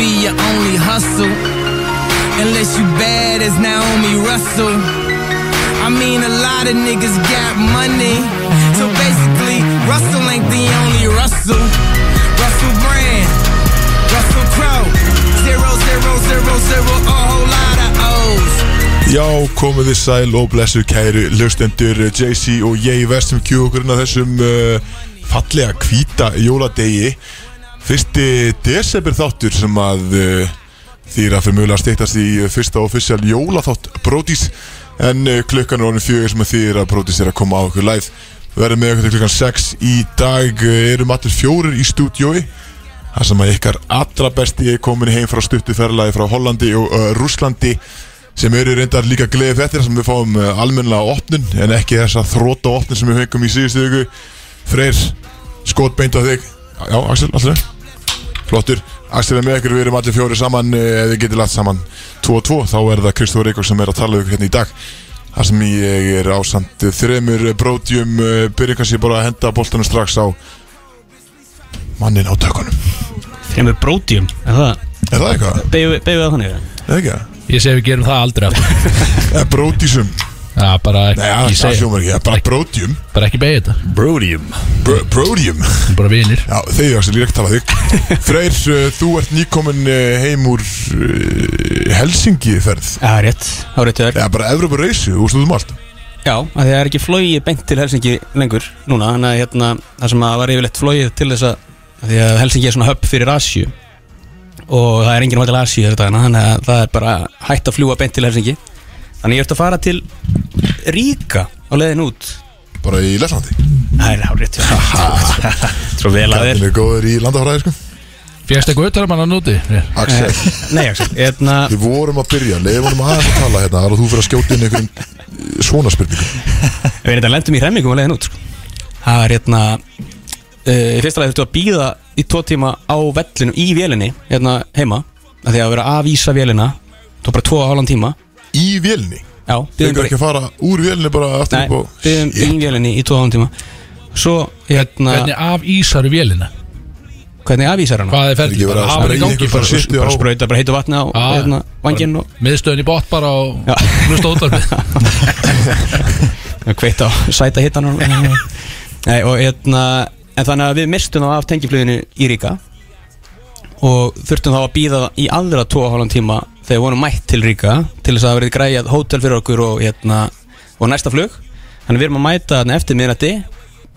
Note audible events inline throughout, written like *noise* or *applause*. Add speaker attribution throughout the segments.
Speaker 1: be your only hustle. Unless you bad as Naomi Russell. I mean, a lot of niggas got money. So basically, Russell ain't the only Russell. Russell Brand, Russell Crowe. Zero, zero, zero, zero, a whole lot of O's.
Speaker 2: Já, komið þið sæl og blessu kæru Lustendur JC og ég vestum kjú okkur inn á þessum uh, fallega hvíta jóladegi Fyrsti desember þáttur sem að uh, þýra fyrir mjögulega steytast í uh, fyrsta offisjál jólaþátt Brodís En uh, klukkan er orðin fjögur sem að þýra Brodís er að koma á okkur live Við verðum með okkur til klukkan 6 í dag, uh, erum allir fjórir í stúdiói Það sem að ykkar allra besti er komin heim frá stuttuferðalagi frá Hollandi og uh, Rúslandi sem eru reyndar líka gleðið fettir sem við fáum uh, almennlega opnun en ekki þessa þróta opnun sem við fengum í síðustu viku Freyr, skot beint á þig Já, Axel, allir Flottur, Axel er með ykkur, við erum allir fjóri saman uh, ef við getum lagt saman 2 og 2 þá er það Kristóf Reykjavík sem er að tala við ykkur hérna í dag þar sem ég er ásamt þremur eh, brótjum, byrja kannski bara að henda boltanum strax á mannin á tökunum
Speaker 3: Fremur brótium Er það,
Speaker 2: Er það eitthvað?
Speaker 3: beigum við það þannig
Speaker 2: Er það ekki?
Speaker 4: Ég segi við gerum það aldrei aftur
Speaker 2: *laughs* Eða brótísum
Speaker 4: Já, bara,
Speaker 2: Nei, það það
Speaker 4: ég segi,
Speaker 2: hljómar ekki, það er bara brótium
Speaker 4: bara ekki beigja þetta
Speaker 5: Brodium
Speaker 2: Br Brótium
Speaker 4: Bara vinir
Speaker 2: Já, þeir eru ég ekki tala þig Freyr, uh, þú ert nýkomin uh, heim úr uh, Helsingi ferð
Speaker 3: Já, rétt, þá réttu þér
Speaker 2: Eða bara Evropa reysu, úr stúðum allt
Speaker 3: Já, af því að það er ekki flogið beint til Helsingi lengur núna, þannig að hérna, það sem að var yfirleitt flogið til þess að af því að Helsingi er svona höpp fyrir Asju og það er enginn að til Asju þess dagana, þannig að það er bara hægt að fljúa beint til Helsingi þannig ég ert að fara til Ríka á leiðin út
Speaker 2: Bara í Lettlandi
Speaker 3: Það er hárið Svo vel að þér
Speaker 2: Kattin er góður í landafræði, sko
Speaker 4: Fjækst eitthvað utan að manna núti Freyr?
Speaker 2: Axel,
Speaker 3: Nei, Axel, hérna
Speaker 2: við vorum að byrja Leifum honum aðeins að tala hérna Það er að þú fyrir að skjóta inn einhverjum eh, svona spurningum
Speaker 3: Við erum þetta lendum í hremmingum að leiðin út sko. Það er hérna uh, Í fyrsta lagi þurftu að býða í tvo tíma á vellinu í vélinni Hérna heima af Því að vera að vísa vélina Þú bara tvo og hálfan tíma
Speaker 2: Í vélni
Speaker 3: Já,
Speaker 2: Þeir
Speaker 3: býðum
Speaker 2: eru
Speaker 3: bara
Speaker 2: ekki að fara úr vélni bara aftur
Speaker 3: Nei,
Speaker 2: upp og
Speaker 3: býðum í vélinni í tvo og hálfan tíma Svo hérna
Speaker 4: Hvernig af ísaru vélina
Speaker 3: Hvernig aðvísar hann?
Speaker 4: Hvað er ferðið?
Speaker 2: Ekki verið að
Speaker 4: Bara hafa í
Speaker 2: sprengja
Speaker 4: gangi
Speaker 2: einhver
Speaker 4: bara
Speaker 2: shit.
Speaker 3: Bara sprauta, bara heitu vatna á
Speaker 4: Já,
Speaker 3: hérna, vanginn og
Speaker 4: Miðstöðin í bótt bara og
Speaker 3: Já.
Speaker 4: hlusta útvarfið
Speaker 3: *laughs* kveitt á sæta hittan
Speaker 2: *laughs*
Speaker 3: og, Nei, og hérna en þannig að við mistum þá af tengifluginu í Ríka og þurftum þá að býða í aðra tvo og hálfum tíma þegar við vorum mætt til Ríka til þess að það verið græjað hótel fyrir okkur og, hérna, og næsta flug þannig við erum að mæta þarna eftir miðnætti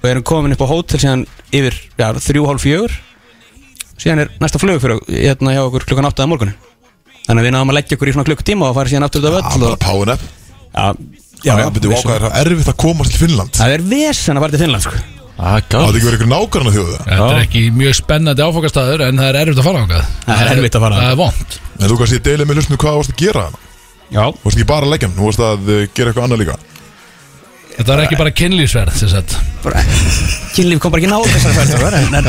Speaker 3: og erum komin upp á hótel síðan yfir já, þrjú hálf fjögur síðan er næsta flug fyrir okkur, hérna, hjá okkur klukkan áttaða morgunin þannig að við náðum að leggja okkur í svona klukkutíma og fara síðan aftur út af
Speaker 2: Það er
Speaker 3: öll
Speaker 2: bara
Speaker 3: og,
Speaker 2: páin upp
Speaker 3: já,
Speaker 2: Já, betur
Speaker 3: vissulega.
Speaker 2: vákaðir, það er erfitt að komast til Finnland
Speaker 3: Það er vesen að fara til Finnland sko.
Speaker 5: Það
Speaker 2: Það
Speaker 5: er galt
Speaker 2: er ekki verið ykkur nákvæmna þjóðu það
Speaker 4: Þetta er ekki mjög spennandi áfokastæður En það er erfitt að fara ákvað
Speaker 3: Það er erfitt að fara
Speaker 4: Það er vond
Speaker 2: En þú kannski deilið með hlustinu hvað þú varst að gera hana Þú
Speaker 3: Já
Speaker 2: varst ekki bara að leggja hann, þú varst að uh, gera eitthvað annað líka
Speaker 4: Þetta er ekki bara kynlýsverð sem sagt.
Speaker 3: Kynlíf kom bara ekki náður þessari ferðar en, en,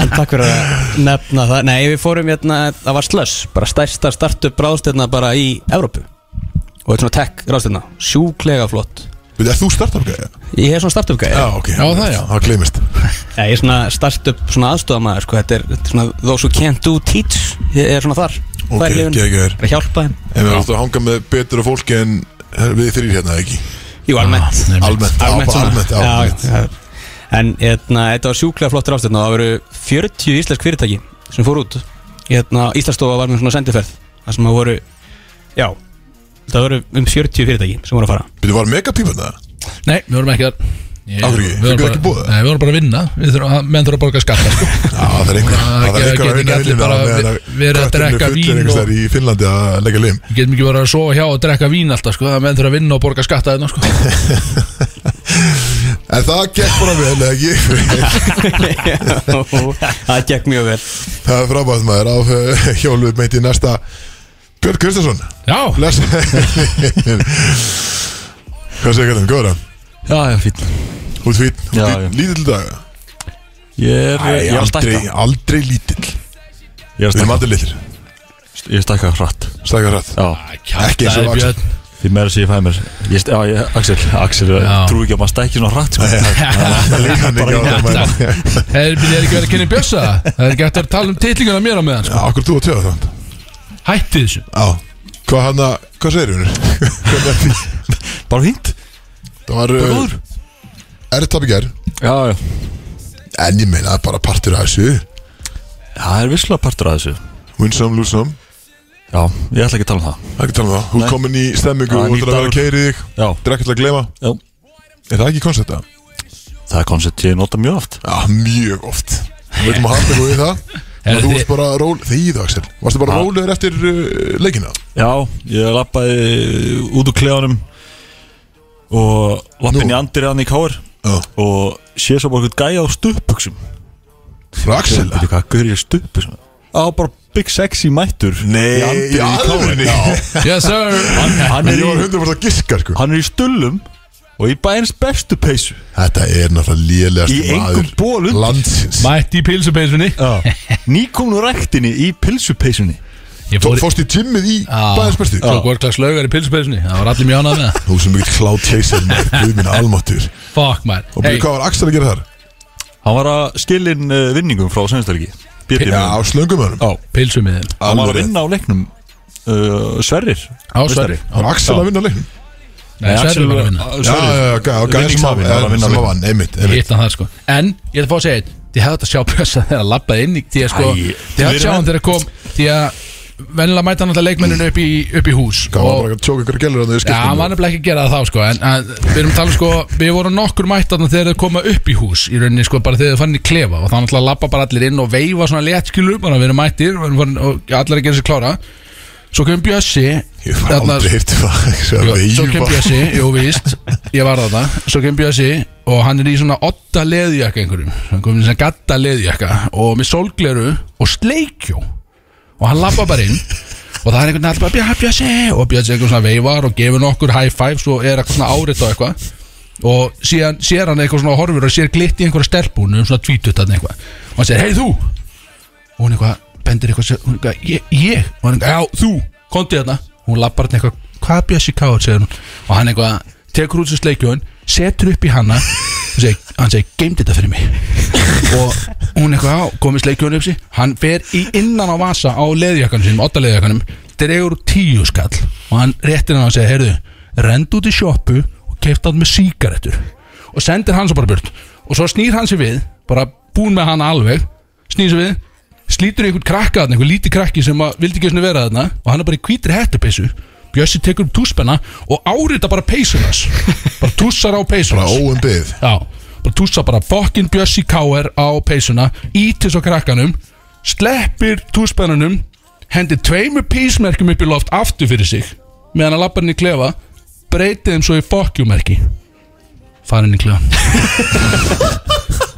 Speaker 3: en takk fyrir að nefna það Nei, við fórum hérna, það var slöss bara stærsta startup ráðstöðna bara í Evrópu og þetta er svona tech ráðstöðna sjúklega flott
Speaker 2: Veit, er eh, þú startar okkar?
Speaker 3: Ég hef svona startup gæði
Speaker 2: ok
Speaker 4: Já, það, já.
Speaker 2: Það gleymist
Speaker 3: Nei, Ég er svona startup svona aðstofamæður sko. þetta, er, þetta er svona those who can't do teach ég er svona þar
Speaker 2: Ok,
Speaker 3: Þær lifin.
Speaker 2: geggjör.
Speaker 3: Bara hjálpa þeim
Speaker 2: En við varst að hanga með betra fólki en við þrýr hérna, ekki?
Speaker 3: Jú, almennt
Speaker 4: Nei, mitt.
Speaker 2: Ah, Almennt, á-
Speaker 3: almennt, svona.
Speaker 2: almennt,
Speaker 3: Já,
Speaker 2: almennt
Speaker 3: já, já. En hérna, þetta var sjúklega flottur ástæðna Það veru 40 íslensk fyrirtæki sem fór út hérna, Íslandsstofa var með svona sendiferð Það sem það voru Já, það voru um 40 fyrirtæki sem voru að fara *laughs*
Speaker 2: Býttu, var megapípan það?
Speaker 4: Nei, við vorum ekki þar Ég-
Speaker 2: Af hverju ekki?
Speaker 4: við vorum
Speaker 2: Fenguð
Speaker 4: bara-
Speaker 2: ekki boðið?
Speaker 4: Nei, við vorum bara að vinna Við þurfum að, menn þurfum að borga skatta sko.
Speaker 2: Já, það er einhver
Speaker 4: Það
Speaker 2: Það er einhver að
Speaker 4: geta ekki
Speaker 2: vinna
Speaker 4: allir
Speaker 2: viljum
Speaker 4: bara verið að drekka vín og-
Speaker 2: Það er í Finnlandi að leggja lim
Speaker 4: Við getum ekki verið að sofa hjá og drekka vín alltaf sko. Það menn þurfum að vinna og borga skatta þeirna, sko.
Speaker 2: *laughs* En það gekk bara vel, eða
Speaker 4: *laughs*
Speaker 2: ekki?
Speaker 3: Það gekk mjög vel
Speaker 2: Það er frábært maður á uh, hjólfið meint í næsta Björn Kristjánsson
Speaker 4: Já,
Speaker 2: Bless *laughs* Hvað segir kallinn, góður það?
Speaker 5: Já, já, fín
Speaker 2: Þú ert fýtt,
Speaker 5: Já, já.
Speaker 2: lítill dag
Speaker 5: Ég er, ég er að
Speaker 2: aldrei,
Speaker 5: stækka
Speaker 2: aldrei lítill Við
Speaker 5: Ég er að
Speaker 2: erum
Speaker 5: stækka
Speaker 2: aldrei litlir,
Speaker 5: Ég er að stækka hratt
Speaker 2: stakka hrætt
Speaker 5: *laughs* Já
Speaker 4: Kjartaði
Speaker 2: Ekki eins og Axel.
Speaker 4: Björn
Speaker 5: Því meira sem ég fæði mér ég, st- Já, ég, Axel, Axel,
Speaker 4: Já.
Speaker 5: trú ekki að maður stækki svona hratt sko.
Speaker 2: Líka mikið á það maður.
Speaker 4: Það er það er ekki verið að kynna bjössa Það er ekki hægt að tala um titlinguna mér á meðan sko.
Speaker 2: Já, Akkur þú að tjóða það
Speaker 4: Hætti þessu
Speaker 2: Já Hvað hann að, hvað segir *laughs* hún?
Speaker 5: Bara fínt
Speaker 2: Það var
Speaker 5: Bara góður
Speaker 2: erðið tap í ger
Speaker 5: Já, já
Speaker 2: En ég meina það er bara partur af þessu
Speaker 5: Það er visslega partur að þessu
Speaker 2: Win some, lose some
Speaker 5: Já, ég ætla ekki að tala um það
Speaker 2: Það er ekki að tala um það Hún
Speaker 5: Nei.
Speaker 2: er komin í stemmingu
Speaker 5: Já,
Speaker 2: og ætlar
Speaker 5: nýr
Speaker 2: að vera
Speaker 5: dagur.
Speaker 2: að keiri þig
Speaker 5: Já,
Speaker 2: Það er ekkert að glema
Speaker 5: já
Speaker 2: Er það ekki koncepta?
Speaker 5: Það er koncept ég nota mjög oft
Speaker 2: Já, mjög oft Við veitum að harta eitthvað í það
Speaker 4: Herðu,
Speaker 2: Og þú
Speaker 4: þið-
Speaker 2: varst bara ról Þýðu Axel Varstu bara rólegur eftir uh, leikina?
Speaker 5: Já, ég lappaði út úr klefanum og
Speaker 2: Nú.
Speaker 5: lappin í andir hann í káir
Speaker 2: Já
Speaker 5: og sé svo bara eitthvað gæja á stuðbuxum
Speaker 2: Frá Axel
Speaker 5: Veitu hvað, gaur ég stuðbuxum? Á, bara Big Sexy mættur Í
Speaker 2: Nei, í
Speaker 5: anddyrinu í KR.
Speaker 2: alvörni *laughs*
Speaker 4: Yes sir
Speaker 5: hann, hann,
Speaker 2: Ég
Speaker 5: er
Speaker 2: var
Speaker 5: í,
Speaker 2: hundum að giska sko
Speaker 5: hann er í stullum og í bæins bestu peysu
Speaker 2: Þetta er náttúrulega
Speaker 5: Í
Speaker 2: lélegast
Speaker 5: engum ból undir
Speaker 2: Landsins
Speaker 4: Mætti í pilsupeisunni
Speaker 5: Nýkomnu ræktinni í pilsupeysunni
Speaker 4: Ég
Speaker 2: Fó-
Speaker 4: fór í
Speaker 2: Fórst í gymmið í
Speaker 4: Já.
Speaker 2: bæðarsbæsti
Speaker 4: Tók vorklags laugar í pilsupeisunni Það var allir mjög ánað með það.
Speaker 2: Þú sem mikill cloud chaser maður, Guð minn almáttur
Speaker 4: Fuck man
Speaker 2: Og
Speaker 4: hey,
Speaker 2: byrju hvað var Axel að gera þar?
Speaker 5: Hann var að skilin uh, vinningum frá Sveinsdalgi BB
Speaker 2: Já, á slöngumöðunum
Speaker 4: Pilsumiðin
Speaker 5: Hann var að
Speaker 2: alveg.
Speaker 5: vinna á leiknum uh, Sverrir
Speaker 4: Ásverri
Speaker 2: Var Axel að vinna leiknum?
Speaker 4: Nei, Sverri var að vinna
Speaker 2: Já, já, já, já, gæði sem að
Speaker 5: Vinningshafinn var að vinna
Speaker 2: sem að
Speaker 5: leiknum.
Speaker 2: vann, einmitt, einmitt
Speaker 4: Hitt að það sko En ég ætla að fá að segja eitt Þið hefði að sjá pressa þegar að labbaði inn í Því að sko
Speaker 5: Æ,
Speaker 4: Þið hefði
Speaker 5: við
Speaker 4: að sjá
Speaker 5: erum
Speaker 4: hann
Speaker 5: enn-
Speaker 4: þegar að kom Því að Vennilega mæta hann alltaf leikmenninu upp í, upp í hús
Speaker 2: Hvað var
Speaker 4: Og
Speaker 2: bara að tjóka ykkur gælur hann
Speaker 4: Já, hann var nefnilega ekki að gera það þá sko En að, við erum að tala sko Við vorum nokkur mættarna þegar þau koma upp í hús Í rauninni sko bara þegar þau fann í klefa Og þannig að labba bara allir inn og veifa svona létt skilur Bara við erum mættir og, við erum farin- og allir að gera sér klára Svo kemur Bjössi
Speaker 2: Ég var
Speaker 4: þarna-
Speaker 2: aldrei hirt *laughs*
Speaker 4: Jú, Hérna- Svo kem
Speaker 2: það
Speaker 4: Bjössi, jú víst Ég var þarna, svo kem Bjössi Og hann er í svona otta leðjaka einhverjum Hann kom í svona gatta leðjaka Og með sólgleru og sleikjó Og hann lappa bara inn Og það er einhvern veginn alltaf bara "Bjö- Bjössi Og Bjössi einhvern svona veifar og gefur nokkur high five Svo er eitthvað svona áriðt á eitthvað Og síðan sér hann eitthvað svona og horfur Og sér glitt í einhverja stelpúnu um svona tvítutan eitthvað Og hann segir, hei þú og hún eitthvað bendir eitthvað, sem- hún eitthvað ég, ég, og hann eitthvað, já, þú, kontið þarna hún lappar hann eitthvað, hvað Bjössi Káur segir hún, og hann eitthvað, tekur út sér sleikjón, setur upp í hanna og segir, hann segir, geimd þetta fyrir mig og hún eitthvað, já, komið sleikjón upp sér, hann fer í innan á vasa á leðjakkanum sínum, otta leðjakkanum dregur úr tíu skall og hann réttir hann og segir, heyrðu, rend út í sjoppu og keift hann með síkaretur og sendir hann svo bara burt og svo snýr hann sér við, bara búin með hann alveg snýr sér við, slítur í einhvern krakka þarna, einhvern lítið krakki sem að vildi ekki svona vera þarna og hann er bara í hvítri hettupesu Bjössi tekur upp túspenna og árita bara peysunas bara tússar á
Speaker 2: Bara
Speaker 4: peysunas
Speaker 2: óum byggð
Speaker 4: já, bara tússar bara fokkin Bjössi K.R. á peysuna ítis á krakkanum sleppir túspennanum hendir tveimur písmerkjum upp í loft aftur fyrir sig meðan að labbarinn í klefa breytið þeim svo í fokkjumerki farin í klefa *laughs*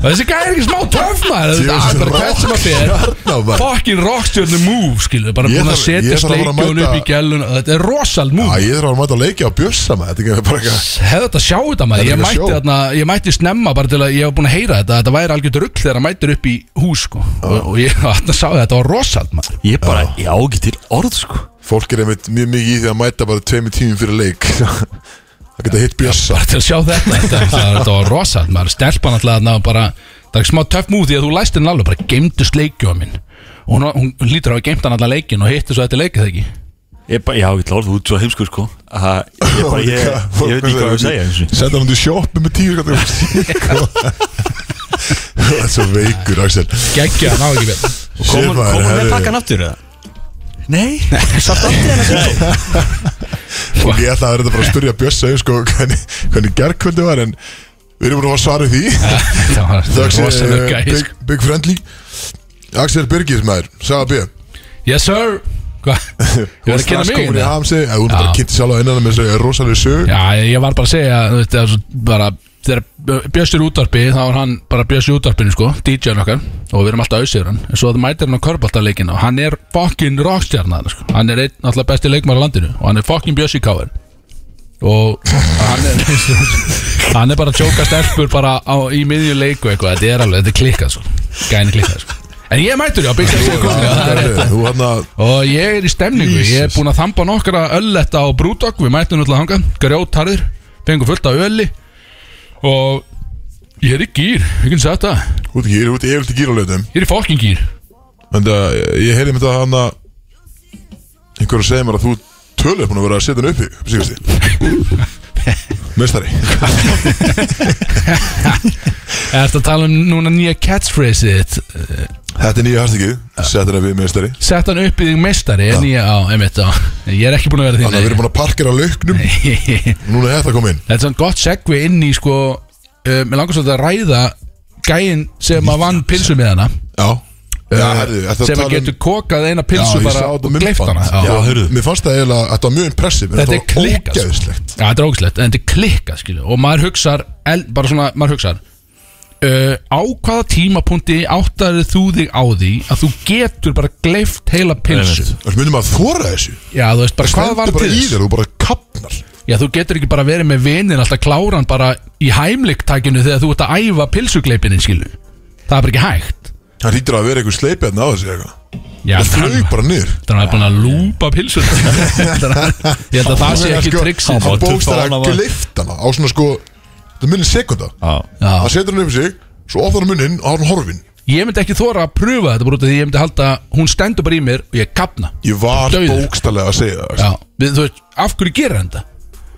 Speaker 4: þessi gæði er ekki smá töfmaður það er bara hvert sem að fyrir
Speaker 2: Ég
Speaker 4: fucking rockstjörnu move skilu bara
Speaker 2: Ég
Speaker 4: búin að
Speaker 2: þarf-
Speaker 4: setja
Speaker 2: ég þarf að fara að
Speaker 4: sleikjón
Speaker 2: mæta-
Speaker 4: upp í gælun þetta er rosal move
Speaker 2: þarf að mæta að leikja á bjössa maður Þetta er bara eitthvað
Speaker 4: hefði þetta að sjá þetta
Speaker 2: Þetta
Speaker 4: maður
Speaker 2: er
Speaker 4: ég
Speaker 2: ekki
Speaker 4: mætti,
Speaker 2: sjó.
Speaker 4: þarna, ég mætti snemma bara til að ég hef búin að heyra þetta þetta væri algjörð rugg þegar það mættir upp í hús sko. og, og ég *laughs* þarna sá þetta þetta var rosal maður
Speaker 5: Ég bara, ég á ekki til orð sko
Speaker 2: Fólk er einmitt mjög mikið í því að mæta bara tveimur tímum fyrir leik *laughs* Það geta hitt bjössa
Speaker 4: bara til að sjá þetta þetta, þetta, þetta var rosal maður stelpan alltaf þarna og bara það er smá töff move því að þú læst henni alveg bara geimdu sleikjón minn og hún, hún lítur á að geimta hann allan leikin og hitti svo þetta leikið ekki
Speaker 5: Ég bara, ég á ekki til orð, þú ert svo heimskur sko Aha, Ég bara, ég, ég veit ekki hvað ég á að segja einu sinni.
Speaker 2: Senda hann til sjoppu með tíu kallar *laughs* Það er svo veikur Axel
Speaker 4: geggja hann á ekki vel *laughs*
Speaker 2: Sér
Speaker 3: Komum
Speaker 2: maður,
Speaker 3: við með
Speaker 2: herri
Speaker 3: pakkan aftur eða?
Speaker 5: Nei,
Speaker 2: Og
Speaker 4: *laughs*
Speaker 2: ég ætla að vera þetta bara að spyrja Bjössa um, sko, *laughs* hvernig, hvernig gerkvöldi var en við erum búin að fá svar við því
Speaker 4: það var
Speaker 2: Þöks
Speaker 4: rosal
Speaker 2: uh,
Speaker 4: gæði
Speaker 2: big, big Friendly Axel Birgis maður, sagði að bíða
Speaker 4: Yes sir *laughs* Hvað? Ég var að kynna mig
Speaker 2: komin í
Speaker 4: hérna
Speaker 2: hamsi Þú ert bara
Speaker 4: Já.
Speaker 2: kynnt sjálf á innan með þessu rosalega sög
Speaker 4: Já, ég ég var bara að segja þú veist, það er svo bara, Þegar Björs er í útvarpi Þá er hann bara Björs í útvarpinu sko DJ-n okkar Og við erum alltaf auðsigur hann En svo það mætir hann á körbáltarleikina Og hann er fokkin rockstjarnar sko. Hann er einn alltaf besti leikmar á landinu Og hann er fokkin Björs í káir Og hann er Hann er *laughs* bara að tjóka stelpur bara á, Í miðju leiku eitthvað Þetta er alveg, þetta er klikkað sko Gæni klikkað sko En ég er mætur, já, Big Sexy er komin já, það er rétt.
Speaker 2: hérna, Þú hann að
Speaker 4: Og ég er í stemningu, ég er búin að þamba nokkra ölletta á Brúdog Við mætum náttúrulega hangað, grjótarður, fengum fullt af ölli Og ég er í gýr, ég get sagt það
Speaker 2: Út í gýr, út í efildi gýr á löðum
Speaker 4: Ég er í fokkin gýr
Speaker 2: En það, hérna. ég heyrði mér þetta hann að Einhverju segir mér að þú tölur búin að vera að setja hann uppi
Speaker 4: *laughs*
Speaker 2: Sýkast því Mestari
Speaker 4: Er þetta að tala um núna nýja catchphrase þitt
Speaker 2: Þetta er nýja hastikið Setja hann uppi mestari
Speaker 4: Sett hann upp í þig meistari, er nýja, á, einmitt, á Ég er ekki búin að vera
Speaker 2: Þannig að við
Speaker 4: þín
Speaker 2: erum búin að parkera lauknum
Speaker 4: nei.
Speaker 2: Núna er þetta að koma inn
Speaker 4: *laughs* Þetta er svona gott segvi inn í sko uh, Mér langar svolítið að ræða gæinn sem að vann pilsu með hana
Speaker 2: Já Já, herðu, ertu að
Speaker 4: sem
Speaker 2: tala
Speaker 4: að
Speaker 2: um-
Speaker 4: getur kokað eina
Speaker 2: Já,
Speaker 4: pilsu
Speaker 2: ég
Speaker 4: bara
Speaker 2: sá þetta
Speaker 4: og gleift
Speaker 2: myndband.
Speaker 4: hana
Speaker 2: Já,
Speaker 5: Já, heyrðu.
Speaker 2: Mér fannst það eiginlega, þetta var mjög impressive en
Speaker 4: Þetta er
Speaker 2: þetta var
Speaker 4: klikkað, sko.
Speaker 2: ógeðslegt.
Speaker 4: Já, þetta er ógislegt, en þetta er klikkað skilju Og maður hugsar, el, bara svona, maður hugsar uh, Á hvaða tímapunkti áttarðu þú þig á því Að þú getur bara gleift heila pilsu
Speaker 5: Einmitt.
Speaker 2: Þú myndum að þóra þessu
Speaker 4: Já, þú veist, bara hvað
Speaker 2: Stendur
Speaker 4: var
Speaker 2: bara
Speaker 4: til
Speaker 2: í
Speaker 4: þess
Speaker 2: þér, þú bara kapnar
Speaker 4: Já, þú getur ekki bara verið með vinin Alltaf kláran bara í hæmliktakinu Þegar þú ert að æfa pilsugleipinin skilju Það er bara ekki hægt
Speaker 2: Það hlýtur að vera eitthvað sleipið hérna á þessu eitthvað
Speaker 4: Já,
Speaker 2: Það flög bara niður
Speaker 4: Þannig að hann er búin að lúpa *laughs* pilsun Ég held að það sé ekki triksi
Speaker 2: sko Hann
Speaker 5: var
Speaker 2: bókstæði
Speaker 5: tuffána,
Speaker 2: að
Speaker 5: maður.
Speaker 2: glifta hana á svona sko Það er minni sekunda
Speaker 4: Já,
Speaker 2: Það setur hann upp í sig Svo ofðar hann munnin og þá er hann horfin
Speaker 4: ég myndi ekki þóra að pröfa þetta bara út af því ég myndi halda að hún stendur bara í mér og ég kapna
Speaker 2: Ég var
Speaker 4: Dauður.
Speaker 2: bókstæðlega að segja það
Speaker 4: Já, við, þú veist, af hverju gera þetta?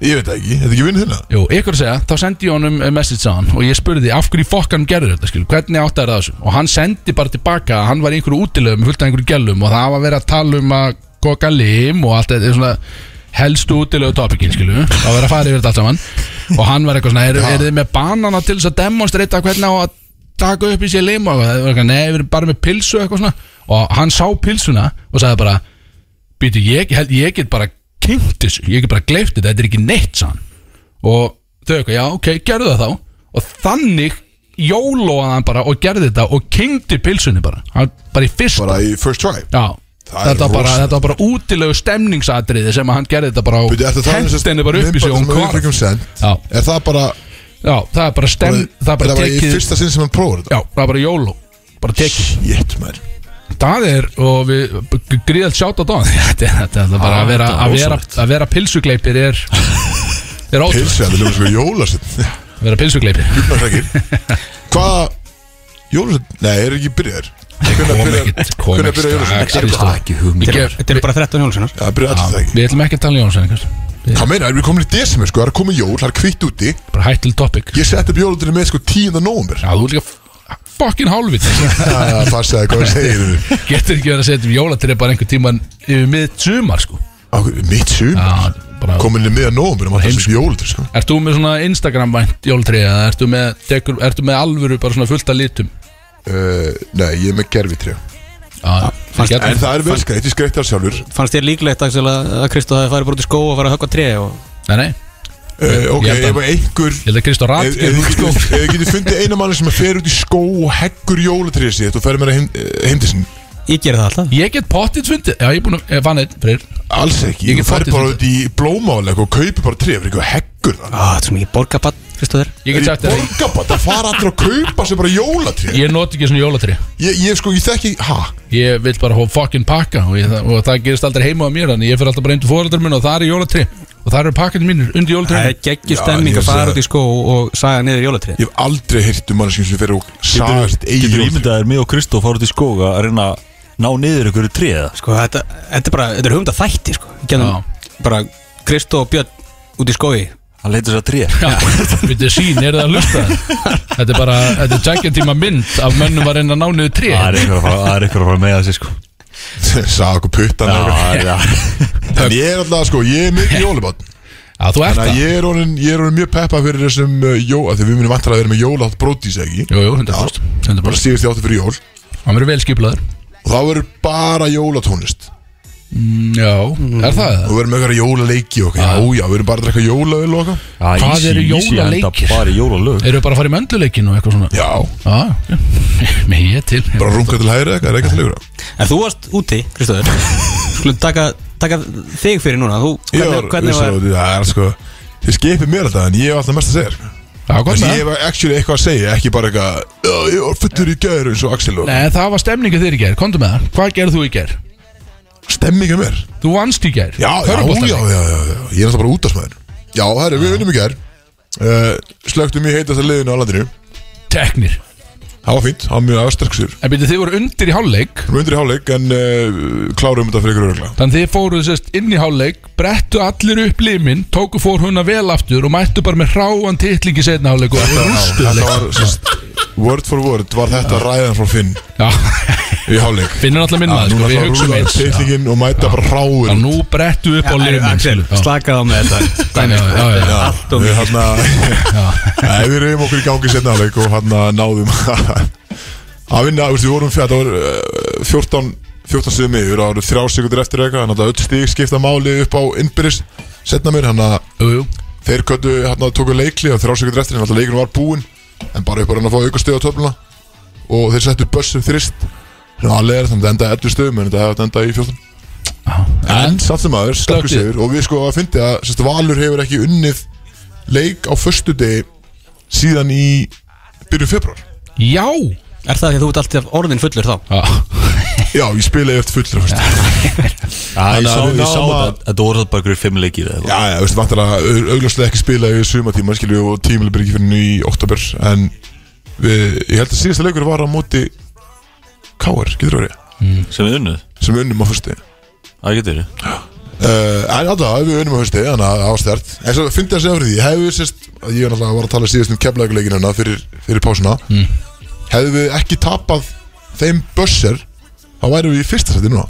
Speaker 2: Ég veit það ekki, þetta er ekki vinn hérna
Speaker 4: Jú, ykkur að segja, þá sendi ég honum eh, message á hann og ég spurði af hverju fokkanum gerður þetta, skil, hvernig átt það þessu og hann sendi bara tilbaka að hann var í einhverju útilegu með fullt af einhverju gælum og það var verið að tala um að koka lim og allt þetta svona helstu útilegu topikin, skilu það var verið að fara yfir þetta allt saman og hann var eitthvað svona, er, er þið með banana til þess að demonstreita hvernig á að taka upp í sér lim og það var eitthvað, nei, við erum bara með pilsu eitthvað svona og hann sá pilsuna og sagði bara, býtu, ég, ég held- ég get bara kynnt þessu, ég get bara gleift þetta, þetta er ekki neitt sann og þau eitthvað, já, ok, gerðu það þá og þannig jólóaði hann bara og gerði þetta og kynnti pilsunni bara, hann bara í fyrsta
Speaker 2: Bara í first try
Speaker 4: já,
Speaker 2: Það er
Speaker 4: þetta var, bara,
Speaker 2: rosalegt.
Speaker 4: þetta var bara útilegu stemningsatriði sem að hann gerði þetta bara
Speaker 2: Bíddu, ertu að
Speaker 4: og
Speaker 2: tala um þessar
Speaker 4: hent henni bara upp í sig
Speaker 2: myndband sem
Speaker 4: og hún
Speaker 2: við
Speaker 4: kvarð
Speaker 2: fengum sent?
Speaker 4: Já.
Speaker 2: Er það bara
Speaker 4: já, það er bara stem, það er
Speaker 2: Þetta
Speaker 4: bara
Speaker 2: var í
Speaker 4: tekið
Speaker 2: fyrsta sinn sem hann prófur þetta
Speaker 4: já, það er bara jóló bara tekið
Speaker 2: Jétt mær
Speaker 4: Það er, og við gríðalt sjátt á dán *laughs* Þetta er þetta er bara
Speaker 5: Ah,
Speaker 4: að vera,
Speaker 5: þetta er
Speaker 4: að vera,
Speaker 5: rosalegt.
Speaker 4: að vera pilsugleipir er er ótrúð
Speaker 2: Pilsið, þetta er líka svo
Speaker 4: *laughs*
Speaker 2: jólasinn
Speaker 4: að vera pilsugleipir
Speaker 2: Júpnarsækir Hvaða Jólasinn, nei, er ekki byrjaður Hvernig
Speaker 4: kom
Speaker 2: byrjar
Speaker 4: ekkert- kom
Speaker 2: Hvernig
Speaker 4: ekkert
Speaker 2: byrjar
Speaker 5: um
Speaker 4: strax,
Speaker 2: jólasinn?
Speaker 4: Kristó.
Speaker 5: ekki hugmynd
Speaker 4: Ég-
Speaker 3: Þetta eru bara sko. 13 jólusinnar
Speaker 2: Það byrjar allir það ekki
Speaker 4: Við ætlum ekki að tala um Jónsson
Speaker 2: Hvað meina, erum við komin í desember sko, það er komið jól, það er kvitt úti
Speaker 4: Bara hættil topic
Speaker 2: Ég setti upp jólundinu með sko 10. nómur
Speaker 4: Já, þú er líka fucking hálfið
Speaker 2: Það fannst það, hvað segir þú?
Speaker 4: *laughs* Getur ekki verið að setja um jólatrið bara einhver tíman yfir mið sumar sko
Speaker 2: Mitt sumar,
Speaker 4: Já, bara
Speaker 2: komin í miðan nómur og maður þessum jólundur sko
Speaker 4: Ert þú með svona Instagram-vænt jólatrið eða ertu með, tekur, ertu með alvöru bara svona fullt af litum Eh,
Speaker 2: Uh, Nei, ég er með gerfitrjá
Speaker 4: Já,
Speaker 3: fannst-
Speaker 4: getur-
Speaker 2: En það er vel skreitt, ég skreitt það sjálfur
Speaker 3: Fannst þér líklegt Axel, að að Kristó hafi farið bara út í skó og farið að höggva tré og
Speaker 4: Nei, nei,
Speaker 2: Uh, Ok,
Speaker 4: Ég held að-
Speaker 2: ef einhver
Speaker 4: ég held að Kristó Ratt
Speaker 2: Ef ef þið
Speaker 4: getur út sko
Speaker 2: getur- ef þið getur fundið eina mann sem fer út í skó og heggur jólatrýðið sitt og fer með hana heim til sín
Speaker 3: Ég gerði það alltaf
Speaker 4: Ég get pottit fundið Já, ég er búin að, ég fann einn, freyr
Speaker 2: Alls ekki,
Speaker 4: Ég
Speaker 2: þú
Speaker 4: get
Speaker 2: fer
Speaker 4: fattað
Speaker 2: bara
Speaker 4: þetta.
Speaker 2: út í blómáleik og kaupir bara tré fyrir eitthvað heggur það
Speaker 3: Á, Þetta er svo mikið borgabatt, Kristó þér
Speaker 4: Ég get sagt
Speaker 2: Það er
Speaker 4: þér að
Speaker 2: borgabat, það fara allir að kaupa sér bara jólatré
Speaker 4: Ég noti ekki svona jólatrið
Speaker 2: Ég, ég sko, ég þekki, ha,
Speaker 4: Ég vil bara hóf fucking pakka og, ég, og það gerist aldrei heima á mér Þannig ég fyrir alltaf bara undir fóreldar minn og það er jólatri Og það eru pakkanir mínir
Speaker 3: Það
Speaker 4: undir jólatri
Speaker 3: er geggjur
Speaker 2: Já,
Speaker 3: stemming
Speaker 2: ég
Speaker 3: að
Speaker 2: sé
Speaker 3: fara
Speaker 2: það.
Speaker 3: út í skó og saga niður jólatré
Speaker 2: ég hef aldrei heyrt um manneskjum sem fer og sagast eigi
Speaker 5: Getur
Speaker 2: jólatré
Speaker 5: ímyndaðir mig og Kristó fara út í skóga að reyna að ná niður einhverju tréða
Speaker 3: Sko, þetta, þetta er bara, þetta er hugmynda þætti, sko Við
Speaker 4: Já.
Speaker 3: Getum bara Kristó og Björn út í skói
Speaker 5: Hann leitur þess að tré
Speaker 4: Vittu sín, er það að lusta Þetta er bara, þetta er tækja tíma mynd Af mönnum var einn að ná niður tré
Speaker 5: Það er einhver að fara- það er einhver að fara með þessi sko
Speaker 2: *laughs* Saga okkur puttan
Speaker 5: Já,
Speaker 2: ja.
Speaker 5: já.
Speaker 2: *laughs* En ég er alltaf, sko, ég er mikið jólabat
Speaker 4: Já, þú ert
Speaker 2: Þannig að
Speaker 4: *laughs* það
Speaker 2: ég er orðin, ég er orðin mjög peppa fyrir þessum uh, jó, af því við munum vantar að vera með jólátt brótis, ekki?
Speaker 4: Jú, jú, 100%,
Speaker 2: Bara
Speaker 4: 100%.
Speaker 2: síðast í áttu fyrir jól
Speaker 4: Hann verður vel skiplaður
Speaker 2: og það verður bara jólatónlist
Speaker 4: Mm, Já, er það það?
Speaker 2: og við verðum með eitthvað jólaleiki og eitthvað, já já, við verðum bara að drekka jólaöl og eitthvað
Speaker 5: Já,
Speaker 4: Hvað
Speaker 5: easy,
Speaker 4: eru
Speaker 5: easy, enda
Speaker 4: jólaleikir?
Speaker 5: Bara í jólalög
Speaker 4: Eru bara að fara í möndluleikin og eitthvað svona?
Speaker 2: já,
Speaker 4: Já, ok. *laughs* mér ég til
Speaker 2: bara runga til hægri eitthvað, er eitthvað til ykkur
Speaker 3: En þú varst úti, Kristó þér Skulum taka, taka þig fyrir núna Þú,
Speaker 2: ég var,
Speaker 3: hvernig, hvernig
Speaker 2: vissi
Speaker 3: var
Speaker 2: það, það er sko þið skipið mér alltaf en ég hef alltaf mest að segja sko.
Speaker 4: Það var gott
Speaker 2: Þessi,
Speaker 4: með
Speaker 2: ég var actually eitthvað að segja, ekki bara eitthvað "Já, Ég var fullur í gæður eins og Axel var
Speaker 4: Nei, það var stemningu þér í gær, komdu með það Hvað gerðu þú í gær?
Speaker 2: Stemminga mér
Speaker 4: Þú vannst í gær
Speaker 2: Já, já, já, já, já, já, ég er alltaf bara út af smæður Já, herri, við vinnum í gær uh, Slögtum í heitasta liðinu á landinu
Speaker 4: Teknir
Speaker 2: Það var fínt, það var mjög aðsterksur
Speaker 4: En byrju, þið voru undir í hálfleik
Speaker 2: Við undir í hálfleik en uh, klárum þetta frekar öruglega
Speaker 4: Þannig þið fóruðu sérst inn í hálfleik Brettu allir upp limin Tóku fór huna vel aftur Og mættu bara með hráan titling í setna hálfleik Og rústu
Speaker 2: Þetta
Speaker 4: hálfleik
Speaker 2: var, sest, word for word var þetta ræðan frá Finn
Speaker 4: Já,
Speaker 2: í hálfleik
Speaker 4: finnur alltaf minna það sko, Við hugsaum eins
Speaker 2: teitlingin og mæta bara
Speaker 4: Og
Speaker 2: hráur
Speaker 4: nú brettu upp á limin
Speaker 3: Axel,
Speaker 4: Já.
Speaker 3: slakaðu á með þetta Dæmi,
Speaker 4: Já, já, já.
Speaker 3: sko.
Speaker 2: Já,
Speaker 3: Allt og
Speaker 2: við
Speaker 3: mikið
Speaker 2: hérna Nei, við reyfum okkur í gangi setna hálfleik og hérna náðum að að vinna, þú veist, við vorum fjart það var eh, 14, 14 stöðum yfir það voru þrjá sekundur eftir eitthvað þannig að öll stík skipta máli upp á innbyrðis setna mér, þannig að
Speaker 4: Jú, jú.
Speaker 2: þeir köttu, hérna tóku leikli og þrjá sekundur eftir, þannig að leikunum var búinn en bara upp að reyna að fá auka stöð á töfluna og þeir settu bössum þrist þannig að leir, þannig að enda 11 stöðum en þetta enda í 14
Speaker 4: En
Speaker 2: En samt sem aður, slökkur
Speaker 4: Slökktu.
Speaker 2: sigur Og við sko að fyndi að sérst, Valur hefur ekki unnið leik á föstu degi síðan í byrjun februar
Speaker 4: Já
Speaker 3: Er það því að þú ert alltaf orðin fullur þá?
Speaker 2: Já, ég spilaði eftir fullra föstu degi
Speaker 5: ég
Speaker 2: Þannig
Speaker 5: sá,
Speaker 2: að við
Speaker 5: ég sá
Speaker 2: náum
Speaker 5: það
Speaker 2: að-
Speaker 5: að þetta voru það bara einhverjir fimm leikir eða
Speaker 2: Já, já, veistu, vantar að au- augljóslega ekki spilaði við sumatíma, skilju, og tímileg byrjum fyrir nýj í oktober En við, ég held að síðasta leikur var á móti Káar, getur það verið,
Speaker 5: eitthvað sem við unnuð
Speaker 2: sem við unnum á föstu degi
Speaker 5: Það getur verið
Speaker 2: Uh, en alltaf, við unnum á hausti, þannig að ástært En svo fyndi að segja fyrir því, hefðu við sérst Ég er alltaf að var að tala síðast um keflækuleikin hennar fyrir, fyrir pásuna mm. Hefðu við ekki tapað þeim bösser Þá værum við í fyrsta seti núna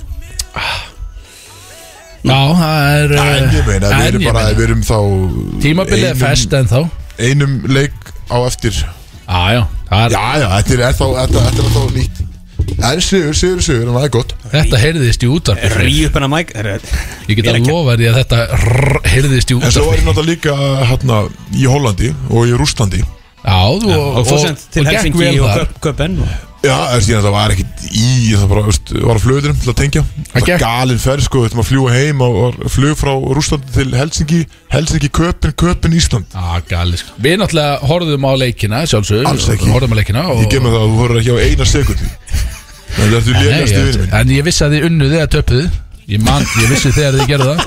Speaker 4: Já, það er
Speaker 2: En ég meina, við
Speaker 4: Eh, en
Speaker 2: erum
Speaker 4: ég
Speaker 2: bara,
Speaker 4: meina.
Speaker 2: við erum þá
Speaker 4: Tímabilið er
Speaker 2: einum-
Speaker 4: fest en þá
Speaker 2: Einum leik á eftir Já,
Speaker 4: Já, já, það er,
Speaker 2: já, þetta er, er þá, þetta, þetta er þá nýtt En sigur, sigur, sigur, þannig að það er gott
Speaker 4: þetta heyrðist í útvarpi Freyr.
Speaker 3: Ríð upp hennar mæk er-
Speaker 4: Ég get
Speaker 3: er
Speaker 4: að
Speaker 3: ekki-
Speaker 4: lofa því að þetta rrr, heyrðist í
Speaker 2: En svo
Speaker 4: útvarpi
Speaker 2: erum náttúrulega líka hérna í Hollandi og í Rústlandi
Speaker 4: Já, þú
Speaker 3: Og svo sent til
Speaker 4: gekk
Speaker 3: Helsingi
Speaker 4: vel
Speaker 3: og
Speaker 4: þar.
Speaker 3: Köp- Köpen og-
Speaker 2: Já, þess að það var ekkit í það bara, veist, var á flöðurum til að tengja Það
Speaker 4: gekk-
Speaker 2: var galin ferð, sko, þetta maður fljúa heim og, og flug frá Rúslandi til Helsingi Helsingi, Köpen, Köpen, Ísland
Speaker 4: Já, gali sko Við náttúrulega horfðum á leikina, sjálfsögur
Speaker 2: Alls ekki.
Speaker 4: Horfðum á leikina og
Speaker 2: Ég gef mig það að þú horfður ekki á eina sekundi Það er þú
Speaker 4: Nei,
Speaker 2: lélegast í
Speaker 4: ég,
Speaker 2: vinnu
Speaker 4: En ég vissi að þið unnuð eða töpuðu Ég man, ég vissi þegar þið gerðu það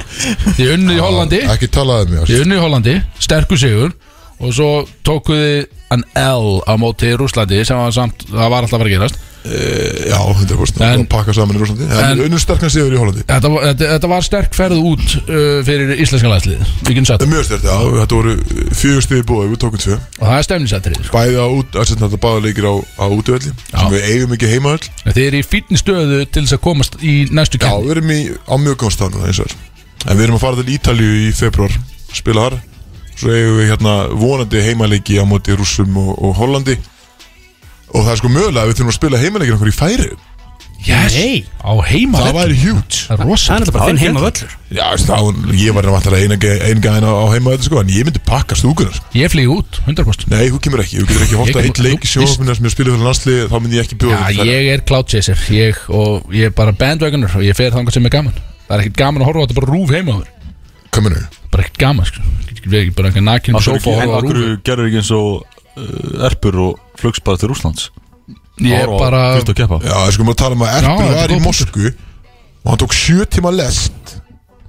Speaker 4: Þið unnuð í Hollandi
Speaker 2: minn Ekki talaði mig,
Speaker 4: Þið unnuð í Hollandi, sterkur sigur Og svo tókuð þið an L á móti í Rúslandi sem var samt, það var alltaf að vera að gerast
Speaker 2: Eh, já, 100% Það
Speaker 4: En-
Speaker 2: var pakka saman í Rúslandi En
Speaker 4: en-
Speaker 2: unnum sterkan sigur í Hollandi
Speaker 4: Þetta, var- þetta, þetta var sterk ferð út uh, fyrir íslenska landslið Við getum satt
Speaker 2: Eh, Mjög stert, já, þetta voru eh, fjögur stiði búið, við tókum tvö
Speaker 4: Og það er stemnisættrið
Speaker 2: Bæði á út, að þetta báða leikir á, á útöðli
Speaker 4: Já.
Speaker 2: sem við eigum ekki heimaöll
Speaker 4: Þið eru í fínni stöðu til þess að komast í næstu
Speaker 2: Já,
Speaker 4: kemni
Speaker 2: við erum í, á mjög góðum stað núna eins og þess En við erum að fara til Ítalju í februar Spila þar Svo eigum við hérna vonandi heimaleiki á móti rússum og, og Hollandi Og það er sko mögulega að við þurfum að spila heimaleikir okkur í færi
Speaker 4: yes,
Speaker 3: Nei.
Speaker 4: Á heima
Speaker 2: Það væri huge
Speaker 4: Það er
Speaker 3: Það er
Speaker 4: rosalega
Speaker 3: alltaf bara þinn heima völlur
Speaker 2: Já, veist, þá, ég var náttúrulega eina, ge- eina gæðin á, á heimavelli sko En ég myndi pakka stúkunar
Speaker 4: Ég flýg út, 100%
Speaker 2: Nei, þú kemur ekki, þú getur ekki
Speaker 4: Ég
Speaker 2: hótt að
Speaker 4: kem-
Speaker 2: eitt leik í
Speaker 4: þú-
Speaker 2: sjófina sem ég spila fyrir landsli Þá myndi ég ekki bjóða
Speaker 4: Já,
Speaker 2: þér til
Speaker 4: ég er cloud chaser ég, Og ég er bara bandwagoner Og ég fer þangað sem er gaman Það er ekkert gaman að horfa á þetta bara rúf heima á þér
Speaker 2: það. Kominu
Speaker 4: Bara ekkert gaman, sko Ég get ekki bara eitthvað nakin
Speaker 5: Akkur,
Speaker 4: sofa og
Speaker 5: en
Speaker 4: horfa á
Speaker 5: akkur
Speaker 4: rúf
Speaker 5: gerur ekki eins og uh, erpur og flugs bara til Rúslands
Speaker 4: Ég er bara
Speaker 5: Fyrst að keppa
Speaker 2: Já, það er sko maður að tala um að
Speaker 4: Já,
Speaker 2: Erpur
Speaker 4: þetta er
Speaker 2: var í
Speaker 4: góð
Speaker 2: Moskvu og hann tók sjö tíma lest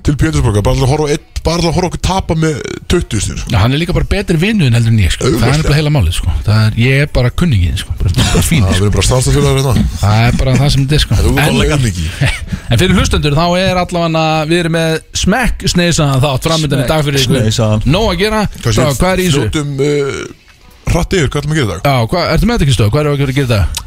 Speaker 2: til Pétursborga, bara til að horfa á einn- bara til að horfa okkur tapa með 20 stund sko.
Speaker 4: Já, hann er líka bara betri vinnu en heldur en ég, sko Það
Speaker 2: Augljóslega.
Speaker 4: er bara heila málið, sko Það er, ég er bara kunningin, sko Bara, bara fín,
Speaker 2: Það
Speaker 4: sko
Speaker 2: verður bara stanslafélagur hérna
Speaker 4: Það er bara það sem þetta er, sko
Speaker 2: Þú
Speaker 4: En,
Speaker 2: verður ekki
Speaker 4: *laughs* en fyrir hlustendur, þá er allavega Við erum með smekk sneisaðan þátt Framöndan í dag fyrir
Speaker 5: Sneisaðan.
Speaker 4: ykkur Nó að gera, Strá, hvað er í þessu?
Speaker 2: Fljótum uh, hratt yfir, hvað ætlum að gera í dag?
Speaker 4: Já, hvað, ertu með þetta ekki stóð? Hvað er að gera í dag?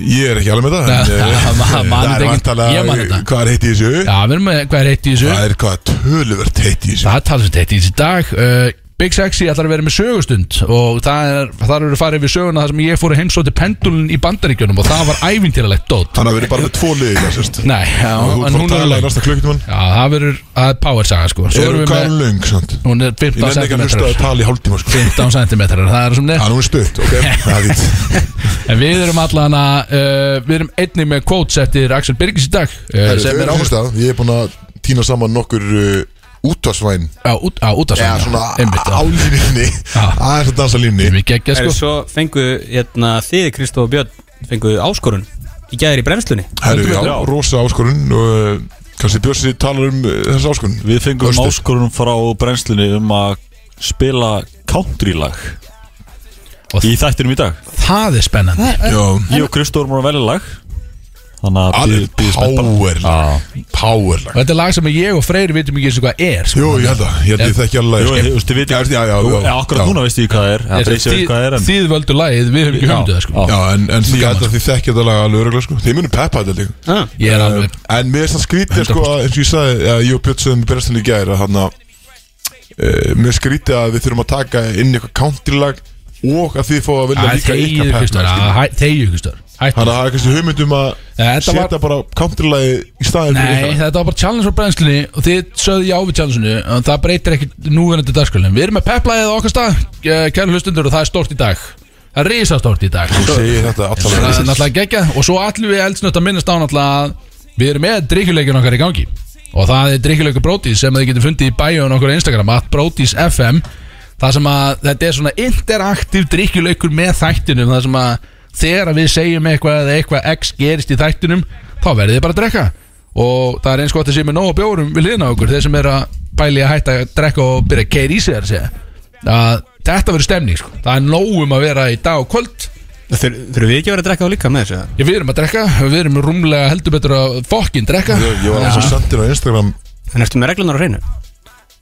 Speaker 2: Ég er ekki alveg með
Speaker 4: *laughs*
Speaker 2: það
Speaker 4: Nei,
Speaker 2: en, eh,
Speaker 4: það- maður- maður
Speaker 2: Það
Speaker 4: þetta
Speaker 2: er
Speaker 4: ekki- ég man
Speaker 2: vantalega
Speaker 4: þetta.
Speaker 2: Hvað er heitt í þessu?
Speaker 4: Já, við erum með hvað er heitt í þessu
Speaker 2: Það er hvað töluvert heitt í þessu
Speaker 4: Það er talsveit heitt í þessu í dag uh, Big Sexy ætlar að vera með sögustund og það er, þar eru farið við söguna þar sem ég fór að heimsóti pendulin í bandaríkjunum og það var ævintýralegt dót
Speaker 2: Þannig að við erum bara með tvo liði það sérst
Speaker 4: Nei, já,
Speaker 2: Og Þú
Speaker 4: en
Speaker 2: ert að
Speaker 4: hún er
Speaker 2: tala í
Speaker 4: lög Já,
Speaker 2: næsta klukkutíman
Speaker 4: það verður, það er power saga sko Svo erum
Speaker 2: Erum
Speaker 4: við
Speaker 2: hvað er
Speaker 4: með,
Speaker 2: hún löng, sant?
Speaker 4: hún er
Speaker 2: Ég
Speaker 4: 15
Speaker 2: nefndi ekki að hlusta að
Speaker 4: cm
Speaker 2: tala í hálftíma sko
Speaker 4: 15 cm, það er
Speaker 2: Já,
Speaker 4: sem nefn
Speaker 2: nú er
Speaker 4: *laughs*
Speaker 2: stutt, ok Það er fínt
Speaker 4: En við erum allan að, uh, við erum einnig með quotes eftir Axel Birgis í dag uh,
Speaker 2: Herru, þau eru áherslu að Ég er búinn að týna saman nokkur uh, útvarsvæn
Speaker 4: Já, út, á, út að
Speaker 2: eða
Speaker 4: svæna
Speaker 2: svona
Speaker 4: Einmitt,
Speaker 2: á
Speaker 4: já
Speaker 2: línunni aðeins að dansa
Speaker 4: Ég
Speaker 2: línunni
Speaker 4: er ekki
Speaker 3: Sko.
Speaker 4: sko
Speaker 3: Svo fengu hérna, þið, Kristof og Björn Fenguðu áskorun Í gæðir í brennslunni
Speaker 2: Herru, já,
Speaker 5: Já.
Speaker 2: rosa áskorun og eh, kannski Björsi talar um eh, þessa áskorun
Speaker 5: Við fengum
Speaker 2: Östur.
Speaker 5: áskorunum frá brennslunni um að spila countrylag
Speaker 4: Og-
Speaker 5: Í þættinum í dag
Speaker 4: Það er spennandi
Speaker 2: Já,
Speaker 5: Ég og Kristór vorum að velja lag Þannig að
Speaker 2: alveg
Speaker 5: bíð- bíðið spennt bara.
Speaker 2: power
Speaker 5: Já.
Speaker 2: power
Speaker 4: Og þetta er lag sem ég og Freyri vitum ekki eins og hvað er sko.
Speaker 2: Jú, ég held að, ég held að ég þekki alveg
Speaker 5: Jú, þú veist, þið
Speaker 2: sko. Já,
Speaker 5: vitið
Speaker 2: já, já,
Speaker 5: Jú,
Speaker 2: já,
Speaker 5: já, akkurat
Speaker 2: já.
Speaker 5: núna veistu ég hvað það er
Speaker 4: Ég sé,
Speaker 5: Það breysið hvað það er
Speaker 4: þið,
Speaker 5: en
Speaker 4: þið völdu lagið, við höfum ekki höfum það sko.
Speaker 5: Já.
Speaker 2: Já, en, en því
Speaker 4: Gaman,
Speaker 2: held að þið þekki þetta alveg alveg örugglega, sko. Þið munum peppa þetta líka
Speaker 3: ah.
Speaker 4: Ég er alveg
Speaker 2: En mér er það skrítið sko
Speaker 4: 100%.
Speaker 2: að, eins og ég sagði að ég og Björn sögum í berðstunni í gæri að hann að e, mér er skrítið að við þurfum að taka inn eitthvað countrylag og að þið fá að
Speaker 4: Æ,
Speaker 2: vilja líka
Speaker 4: Þegju
Speaker 2: ykkar sko. peppa
Speaker 4: Kristór, að
Speaker 2: skilur.
Speaker 4: hæ- þegju Kristór Hættu.
Speaker 2: Þannig að það er kannski hugmynd um að
Speaker 4: Þetta var-
Speaker 2: setja bara countrylagi í staðin
Speaker 4: Nei,
Speaker 2: fyrir ykkar
Speaker 4: þetta var bara challenge frá brennslunni og þið sögðu já við challenge-inu en það breytir ekki núverandi dagskölinum Við erum með peplæðið á okkar stað, eh, kæru hlustundur og það er stort í dag Það er risastórt í dag
Speaker 2: Þú segir þetta
Speaker 4: Það er
Speaker 2: alltaf
Speaker 4: náttúrulega gegja og svo allir við eldsnögt að minnast á náttúrulega að við erum með drikkjuleikin okkar í gangi og það er drikkjuleikur Brótis sem þið getur fundið í bæjun okkar á Instagram at Brótis FM það sem að þetta er svona interaktiv drikkjuleikur með þættinum það sem að þegar við segjum eitthvað eða eitthvað X gerist í þættinum þá verðið þið bara að drekka og það er eins gott að sé með nóg að bjórum við liðna okkur þeir sem er að bæli að hætta að drekka og byrja að keira í sig þar að segja að þetta verður stemning sko. það er nógum að vera í dag og kvöld
Speaker 3: Þur, Þurfum við ekki að vera að drekka á líka með þessu?
Speaker 4: Já, við erum að drekka, við erum rúmlega heldur betur að fokkin drekka
Speaker 2: Ég ég var eins og sendir á Instagram
Speaker 3: En ertu með reglunar á hreinu?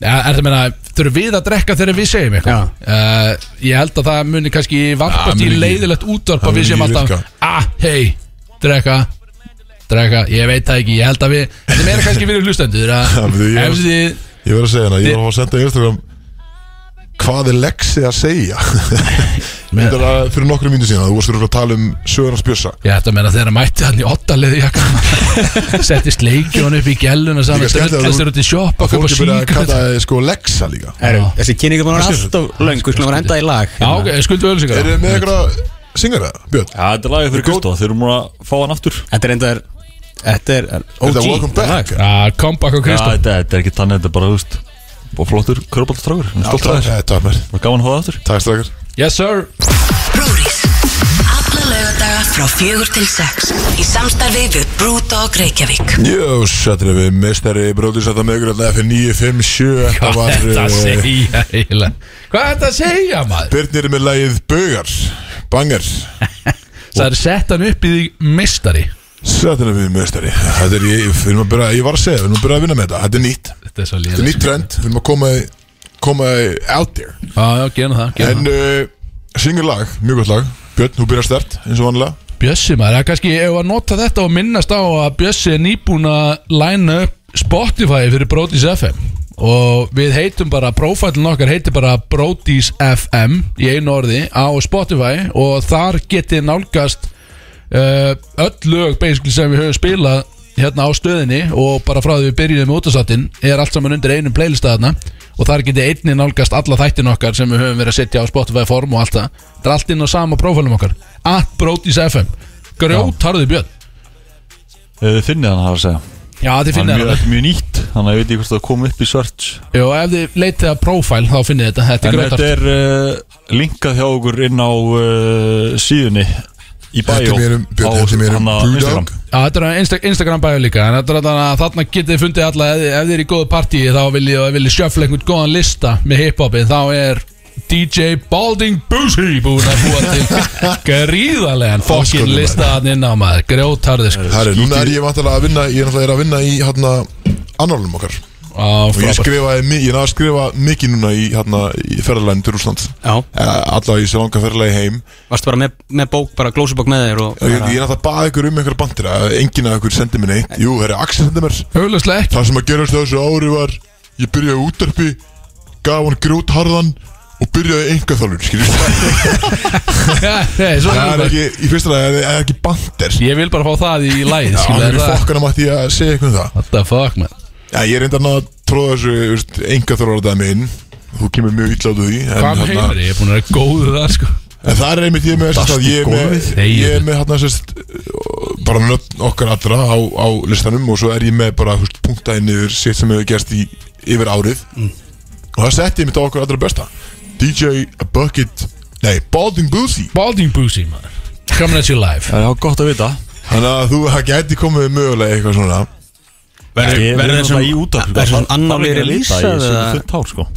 Speaker 4: ja, Er það meina, þurfum við að drekka þegar við segjum eitthvað uh, Ég held að það muni kannski
Speaker 2: Ja,
Speaker 4: varpast
Speaker 2: mun
Speaker 4: í
Speaker 2: ekki-
Speaker 4: leiðilegt útvarp
Speaker 2: það
Speaker 4: að við
Speaker 2: mun
Speaker 4: segjum
Speaker 2: ekki
Speaker 4: alltaf
Speaker 2: virka.
Speaker 4: Ah, hei, drekka Drekka, ég veit það ekki, ég held að við Þetta er meira kannski fyrir hlustendur
Speaker 2: *laughs*
Speaker 4: að
Speaker 2: Já, við- ég-
Speaker 4: Ef þið
Speaker 2: Ég verð að segja hana, ég var að fá að senda á Instagram Hvað er Lexi að
Speaker 4: *laughs*
Speaker 2: segja?
Speaker 4: Með-
Speaker 2: Þetta er fyrir nokkru mínu síðan Þú varst fyrir að tala um sögurnas bjössa
Speaker 4: Ég ætla að meina þeirra mætti hann í ottaliði jakkan *laughs* Settist leikjum hann upp í gelluna
Speaker 2: Líka
Speaker 4: saman
Speaker 2: skemmtilegt að þú-
Speaker 4: Drullastur út í sjoppa
Speaker 2: Að fólki byrja að
Speaker 4: sígarettu.
Speaker 2: kalla það sko Lexa líka
Speaker 3: Heru, þessi kynning er búin að vera alltaf
Speaker 2: sko,
Speaker 3: löng Við skulum að henda sko, í lag hérna.
Speaker 4: Já, ok, skuldum ölsingar
Speaker 2: Eru þið með eitthvað syngara, Björn?
Speaker 5: Já, þetta er lagið fyrir Kristóð Þeir eru múin að fá hann aftur
Speaker 3: Þetta er enda Þetta er uh,
Speaker 2: Er
Speaker 3: OG
Speaker 2: þetta Welcome Back?
Speaker 4: Já, comeback á
Speaker 5: Já,
Speaker 4: Kristó
Speaker 5: þetta þetta er ekki þannig, þetta er bara, þú veist Og flottur körbóltastrákur, stolt að þér
Speaker 2: Þetta var mér
Speaker 5: Bara Gaman að hóða aftur
Speaker 2: Takk strakar
Speaker 4: Yes sir
Speaker 6: Brúris Alla laugardaga frá fjögur til sex Í samstarfi við Brúdog Reykjavík
Speaker 2: Jós, þetta er við meistari bróðis að það með ykkur alltaf F957 Þetta
Speaker 4: Hvað er
Speaker 2: var
Speaker 4: þetta að
Speaker 2: eh,
Speaker 4: segja eiginlega? Hvað er þetta að segja maður?
Speaker 2: Birnir er með lagið Bögar Banger
Speaker 4: Það er sett hann upp í því mistari
Speaker 2: Þetta er við meistari Þetta er, ég, við erum að byrja, ég var að segja, við erum að byrja að vinna með þetta Þetta er nýtt,
Speaker 4: Þetta er svo
Speaker 2: þetta er
Speaker 4: lélega
Speaker 2: nýtt trend Við erum að koma, koma out there
Speaker 4: Já, já, gera það, gera
Speaker 2: En uh, syngur lag, mjög gott lag Björn, þú byrjar stert, eins og vanlega
Speaker 4: það Bjössi maður, það er kannski ef að nota þetta og minnast á að Bjössi er nýbúin að læna upp Spotify fyrir Brodís FM og við heitum bara, prófælun okkar heitir bara Brodís FM í einu orði á Spotify og þar getið nálgast uh, öll lög basically sem við höfum spilað hérna á stöðinni og bara frá því við byrjuðum með útastatinn er allt saman undir einum playlista þarna og þar getið einni nálgast alla þættin okkar sem við höfum verið að setja á Spotify form og allt það það er allt inn á sama prófælum okkar at Brodís FM grjót harði björn
Speaker 5: Eh, Þið finnið hann, það er að segja
Speaker 4: já þið
Speaker 5: Hann er
Speaker 4: finnir
Speaker 5: mjög,
Speaker 4: þetta
Speaker 5: þetta er mjög nýtt, þannig að ég veit ekki hvort það kom upp í svart
Speaker 4: og ef þið leitið að prófæl þá finnir þetta þetta er
Speaker 5: En
Speaker 4: grjót
Speaker 5: þetta
Speaker 4: harði
Speaker 5: er uh, linkað hjá okkur inn á uh, síðunni í bæjó
Speaker 2: Þetta er mér um- Björn, þetta er mér um Brewdog.
Speaker 4: Já, þetta er á Insta Instagram bæðu líka en þetta er þarna að þarna getið þið fundið alla ef, þið- ef þið er í góðu partíi þá viljið og viljið sjöfla einhvern góðan lista með hiphopi þá er DJ Balding Boozy búin að búa
Speaker 2: *laughs*
Speaker 4: til gríðarlegan fokkin
Speaker 2: Ósköpunum,
Speaker 4: lista hann inn á maður grjótarði sko
Speaker 2: Herri, núna er ég vantilega að vinna Ég er náttúrulega er að vinna í hérna annálum okkar
Speaker 4: Á,
Speaker 2: Og ég
Speaker 4: frábært.
Speaker 2: skrifaði, mi- ég náði að skrifa mikið núna í, hérna, í ferðarlæðin til Rúsland
Speaker 3: Já,
Speaker 2: Alla í sér langa ferðarlæði heim
Speaker 3: varstu bara með, með bók, bara glósubók með þér og
Speaker 2: Og ég, ég náttúrulega baði ykkur um einhverja bandir að Enginn af ykkur sendi mér neitt Jú, herri, Axel sendi mér *laughs*
Speaker 4: augljóslega ekki
Speaker 2: Það sem að gerast á þessu ári var Ég byrjaði í útdarpi Gaf hann grjótharðan Og byrjaði enga þálur
Speaker 4: Nei, svo
Speaker 2: Það
Speaker 4: er
Speaker 2: er
Speaker 4: það
Speaker 2: ekki, í fyrsta lagi, það er ekki bandir
Speaker 4: ég vil bara fá það í læð
Speaker 2: Það er fokkan að mætti að segja eitthvað um það
Speaker 4: what the fuck man
Speaker 2: Já, ég reyndi að ná að tróða þessu enga þorvarðaðið minn Þú kemur mjög illa út úr því en,
Speaker 4: hvað
Speaker 2: þarna-
Speaker 4: meður ég er búin að vera góðu það sko
Speaker 2: En það er einmitt ég er með þess að ég er með
Speaker 4: gólfið.
Speaker 2: Ég er með hérna sérst uh, Bara nöfn okkar allra á, á listanum Og svo er ég með bara þú veist, punktaði niður Sitt sem hefur gerst í, yfir árið og það setti ég mitt á okkur allra besta DJ Bucket, nei, Balding Boozy
Speaker 4: Balding Boozy maður Coming at you live
Speaker 5: Það er já, gott að vita
Speaker 2: Þannig að þú, það gæti komið mögulega eitthvað svona *laughs*
Speaker 5: Ég- Við erum svona í útvarp
Speaker 3: Verður svona annáli
Speaker 5: Það
Speaker 3: releasað
Speaker 5: er
Speaker 3: eða-
Speaker 5: fullt hár sko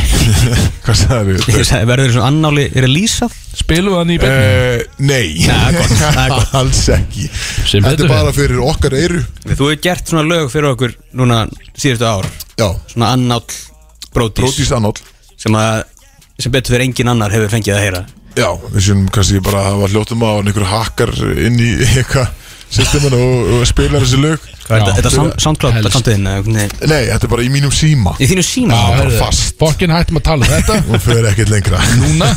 Speaker 2: Hvað sagði
Speaker 3: Ég sagði, Verður svona annáli releasað
Speaker 4: Spilum við hann í beinni
Speaker 2: Uh, nei,
Speaker 3: það er
Speaker 2: *laughs*
Speaker 3: gott, það er gott.
Speaker 2: alls ekki
Speaker 4: Sem
Speaker 2: Þetta
Speaker 4: betur
Speaker 2: er bara fyrir okkar eyru
Speaker 3: Þú hefur gert svona lög fyrir okkur núna síðustu ár
Speaker 2: Já,
Speaker 3: Svona annál brótis
Speaker 2: Brodís Annál
Speaker 3: sem, að- sem betur fyrir engin annar hefur fengið að heyra
Speaker 2: Já, við séum kannski bara að hafa hljóttum á einhverju hakkar inn í eitthvað systemin og, og spila þessi lög
Speaker 3: Hvað er þetta? Þetta er sound-
Speaker 4: Helst.
Speaker 3: soundcloud samtiðin
Speaker 2: Nei, þetta er bara í mínum síma
Speaker 3: Í þínu síma
Speaker 4: Já,
Speaker 2: bara
Speaker 4: heyrðu,
Speaker 2: fast.
Speaker 4: Fokkin hættum að tala um þetta
Speaker 2: og fyrir ekkert lengra
Speaker 4: núna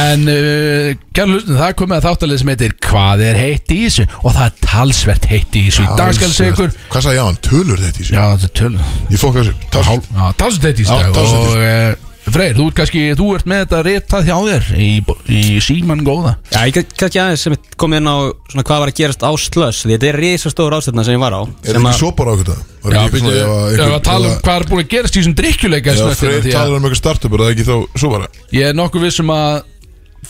Speaker 4: En uh, kæra hlustin, það er komið að þáttalið sem heitir Hvað er heitt í þessu? Og það er talsvert heitt í þessu Í dag skal ég segja ykkur
Speaker 2: Hvað sagði ég á hann? Tölur þetta í sig?
Speaker 4: Já, þetta er tölum
Speaker 2: Ég fokk þessu Talsvöld
Speaker 4: Já, talsvert heitt í
Speaker 2: Já,
Speaker 4: þessu dag
Speaker 2: talsvert heitt í
Speaker 4: Og uh, Freyr, þú ert kannski, þú ert með þetta réttað hjá þér Í, í síman góða
Speaker 3: Já, ég get kannski aðeins sem komið inn á svona hvað var að gerast á slöss því þetta er risastóra ástöfna sem ég var
Speaker 2: Er
Speaker 3: á sem
Speaker 2: þetta
Speaker 3: að-
Speaker 2: ekki svo bara ákveða?
Speaker 4: Já, býttu, ég var að tala um hvað er búin að gerast í þessum drikkjuleika
Speaker 2: Já,
Speaker 4: snöggtina,
Speaker 2: Freyr
Speaker 4: því að-
Speaker 2: talar um eitthvað startup er það ekki þá svo bara?
Speaker 4: Ég er nokkuð vissum að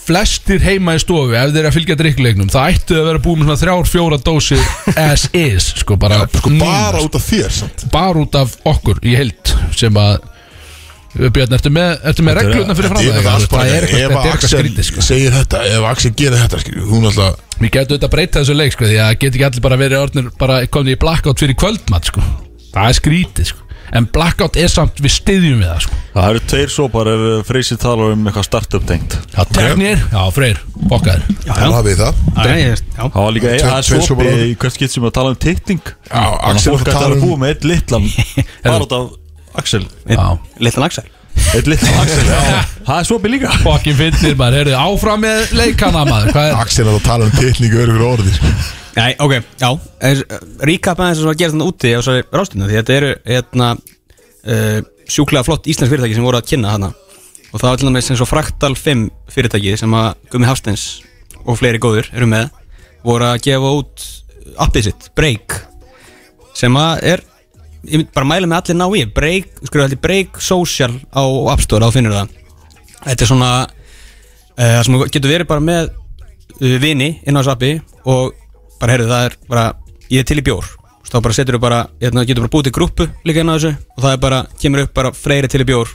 Speaker 4: flestir heima í stofu ef þeir eru að fylgja drikkleiknum það ættu að vera búið með svona þrjár, fjóra
Speaker 2: *laughs*
Speaker 4: dósir as is, sko bara
Speaker 2: Sko
Speaker 4: núna,
Speaker 2: bara út af þér samt
Speaker 4: sko, bara út af okkur í held sem að Björn, ertu með, ertu með
Speaker 5: Þetta er-
Speaker 4: reglurna fyrir fram
Speaker 2: Ég veit allt bara,
Speaker 4: það er
Speaker 2: ef
Speaker 4: eitthvað, þetta er eitthvað
Speaker 2: Axel
Speaker 4: skrítið sko.
Speaker 2: segir þetta, ef Axel gerir þetta skil, hún alltaf,
Speaker 4: Við getum þetta að breyta þessu leik sko, því að get ekki allir bara verið orðnir bara komið í blackout fyrir kvöldmatt sko. það er skrítið sko. en blackout er samt við styðjum við það sko.
Speaker 5: Það eru tveir sopar ef eh, Freysi talar um eitthvað startup tengt
Speaker 4: Já, teknir, já, freyr, bokkaður
Speaker 3: Já, já.
Speaker 2: hann hafið það
Speaker 3: Já, ég er- já.
Speaker 5: Það var líka
Speaker 2: Tve-
Speaker 5: eða
Speaker 2: tveir sopar
Speaker 5: sopi
Speaker 2: áður.
Speaker 5: í hvert skipt sem að tala um titting
Speaker 2: Já, Axel
Speaker 5: Þannig að fólk
Speaker 2: var að
Speaker 5: ætti að
Speaker 2: tala
Speaker 5: vera
Speaker 2: um-
Speaker 5: búið með eitt
Speaker 2: *laughs*
Speaker 5: litlan Bara út af Axel
Speaker 4: Já.
Speaker 3: Litlan Axel
Speaker 5: Eitt litlan Axel já. Það er sopi líka
Speaker 4: Fokkin finnir maður, heyrðu, áfram með leikana maður Hvað er,
Speaker 2: Axel er að tala um tilningu örugur orði sko.
Speaker 3: Nei, ok, já Ríkap aðeins sem var að gerast þannig úti á svo rástöfna því þetta eru hérna, uh, sjúklega flott íslensk fyrirtæki sem voru að kynna hana og það var til dæmis eins og Fraktal 5 fyrirtæki sem að Gumi Hafsteins og fleiri góður eru með voru að gefa út appið sitt, Break sem að er ég mynd bara að mæla með allir ná í Break, skrifa allir Break Social á App Store, á finnur það þetta er svona eh, það sem getur verið bara með uh, vini inn á þessu appi og bara heyrðu það er bara ég er til í bjór Þú veist, þá bara setur þú bara hérna, getur bara búið til grúpu líka inn á þessu og það er bara kemur upp bara freyri til í bjór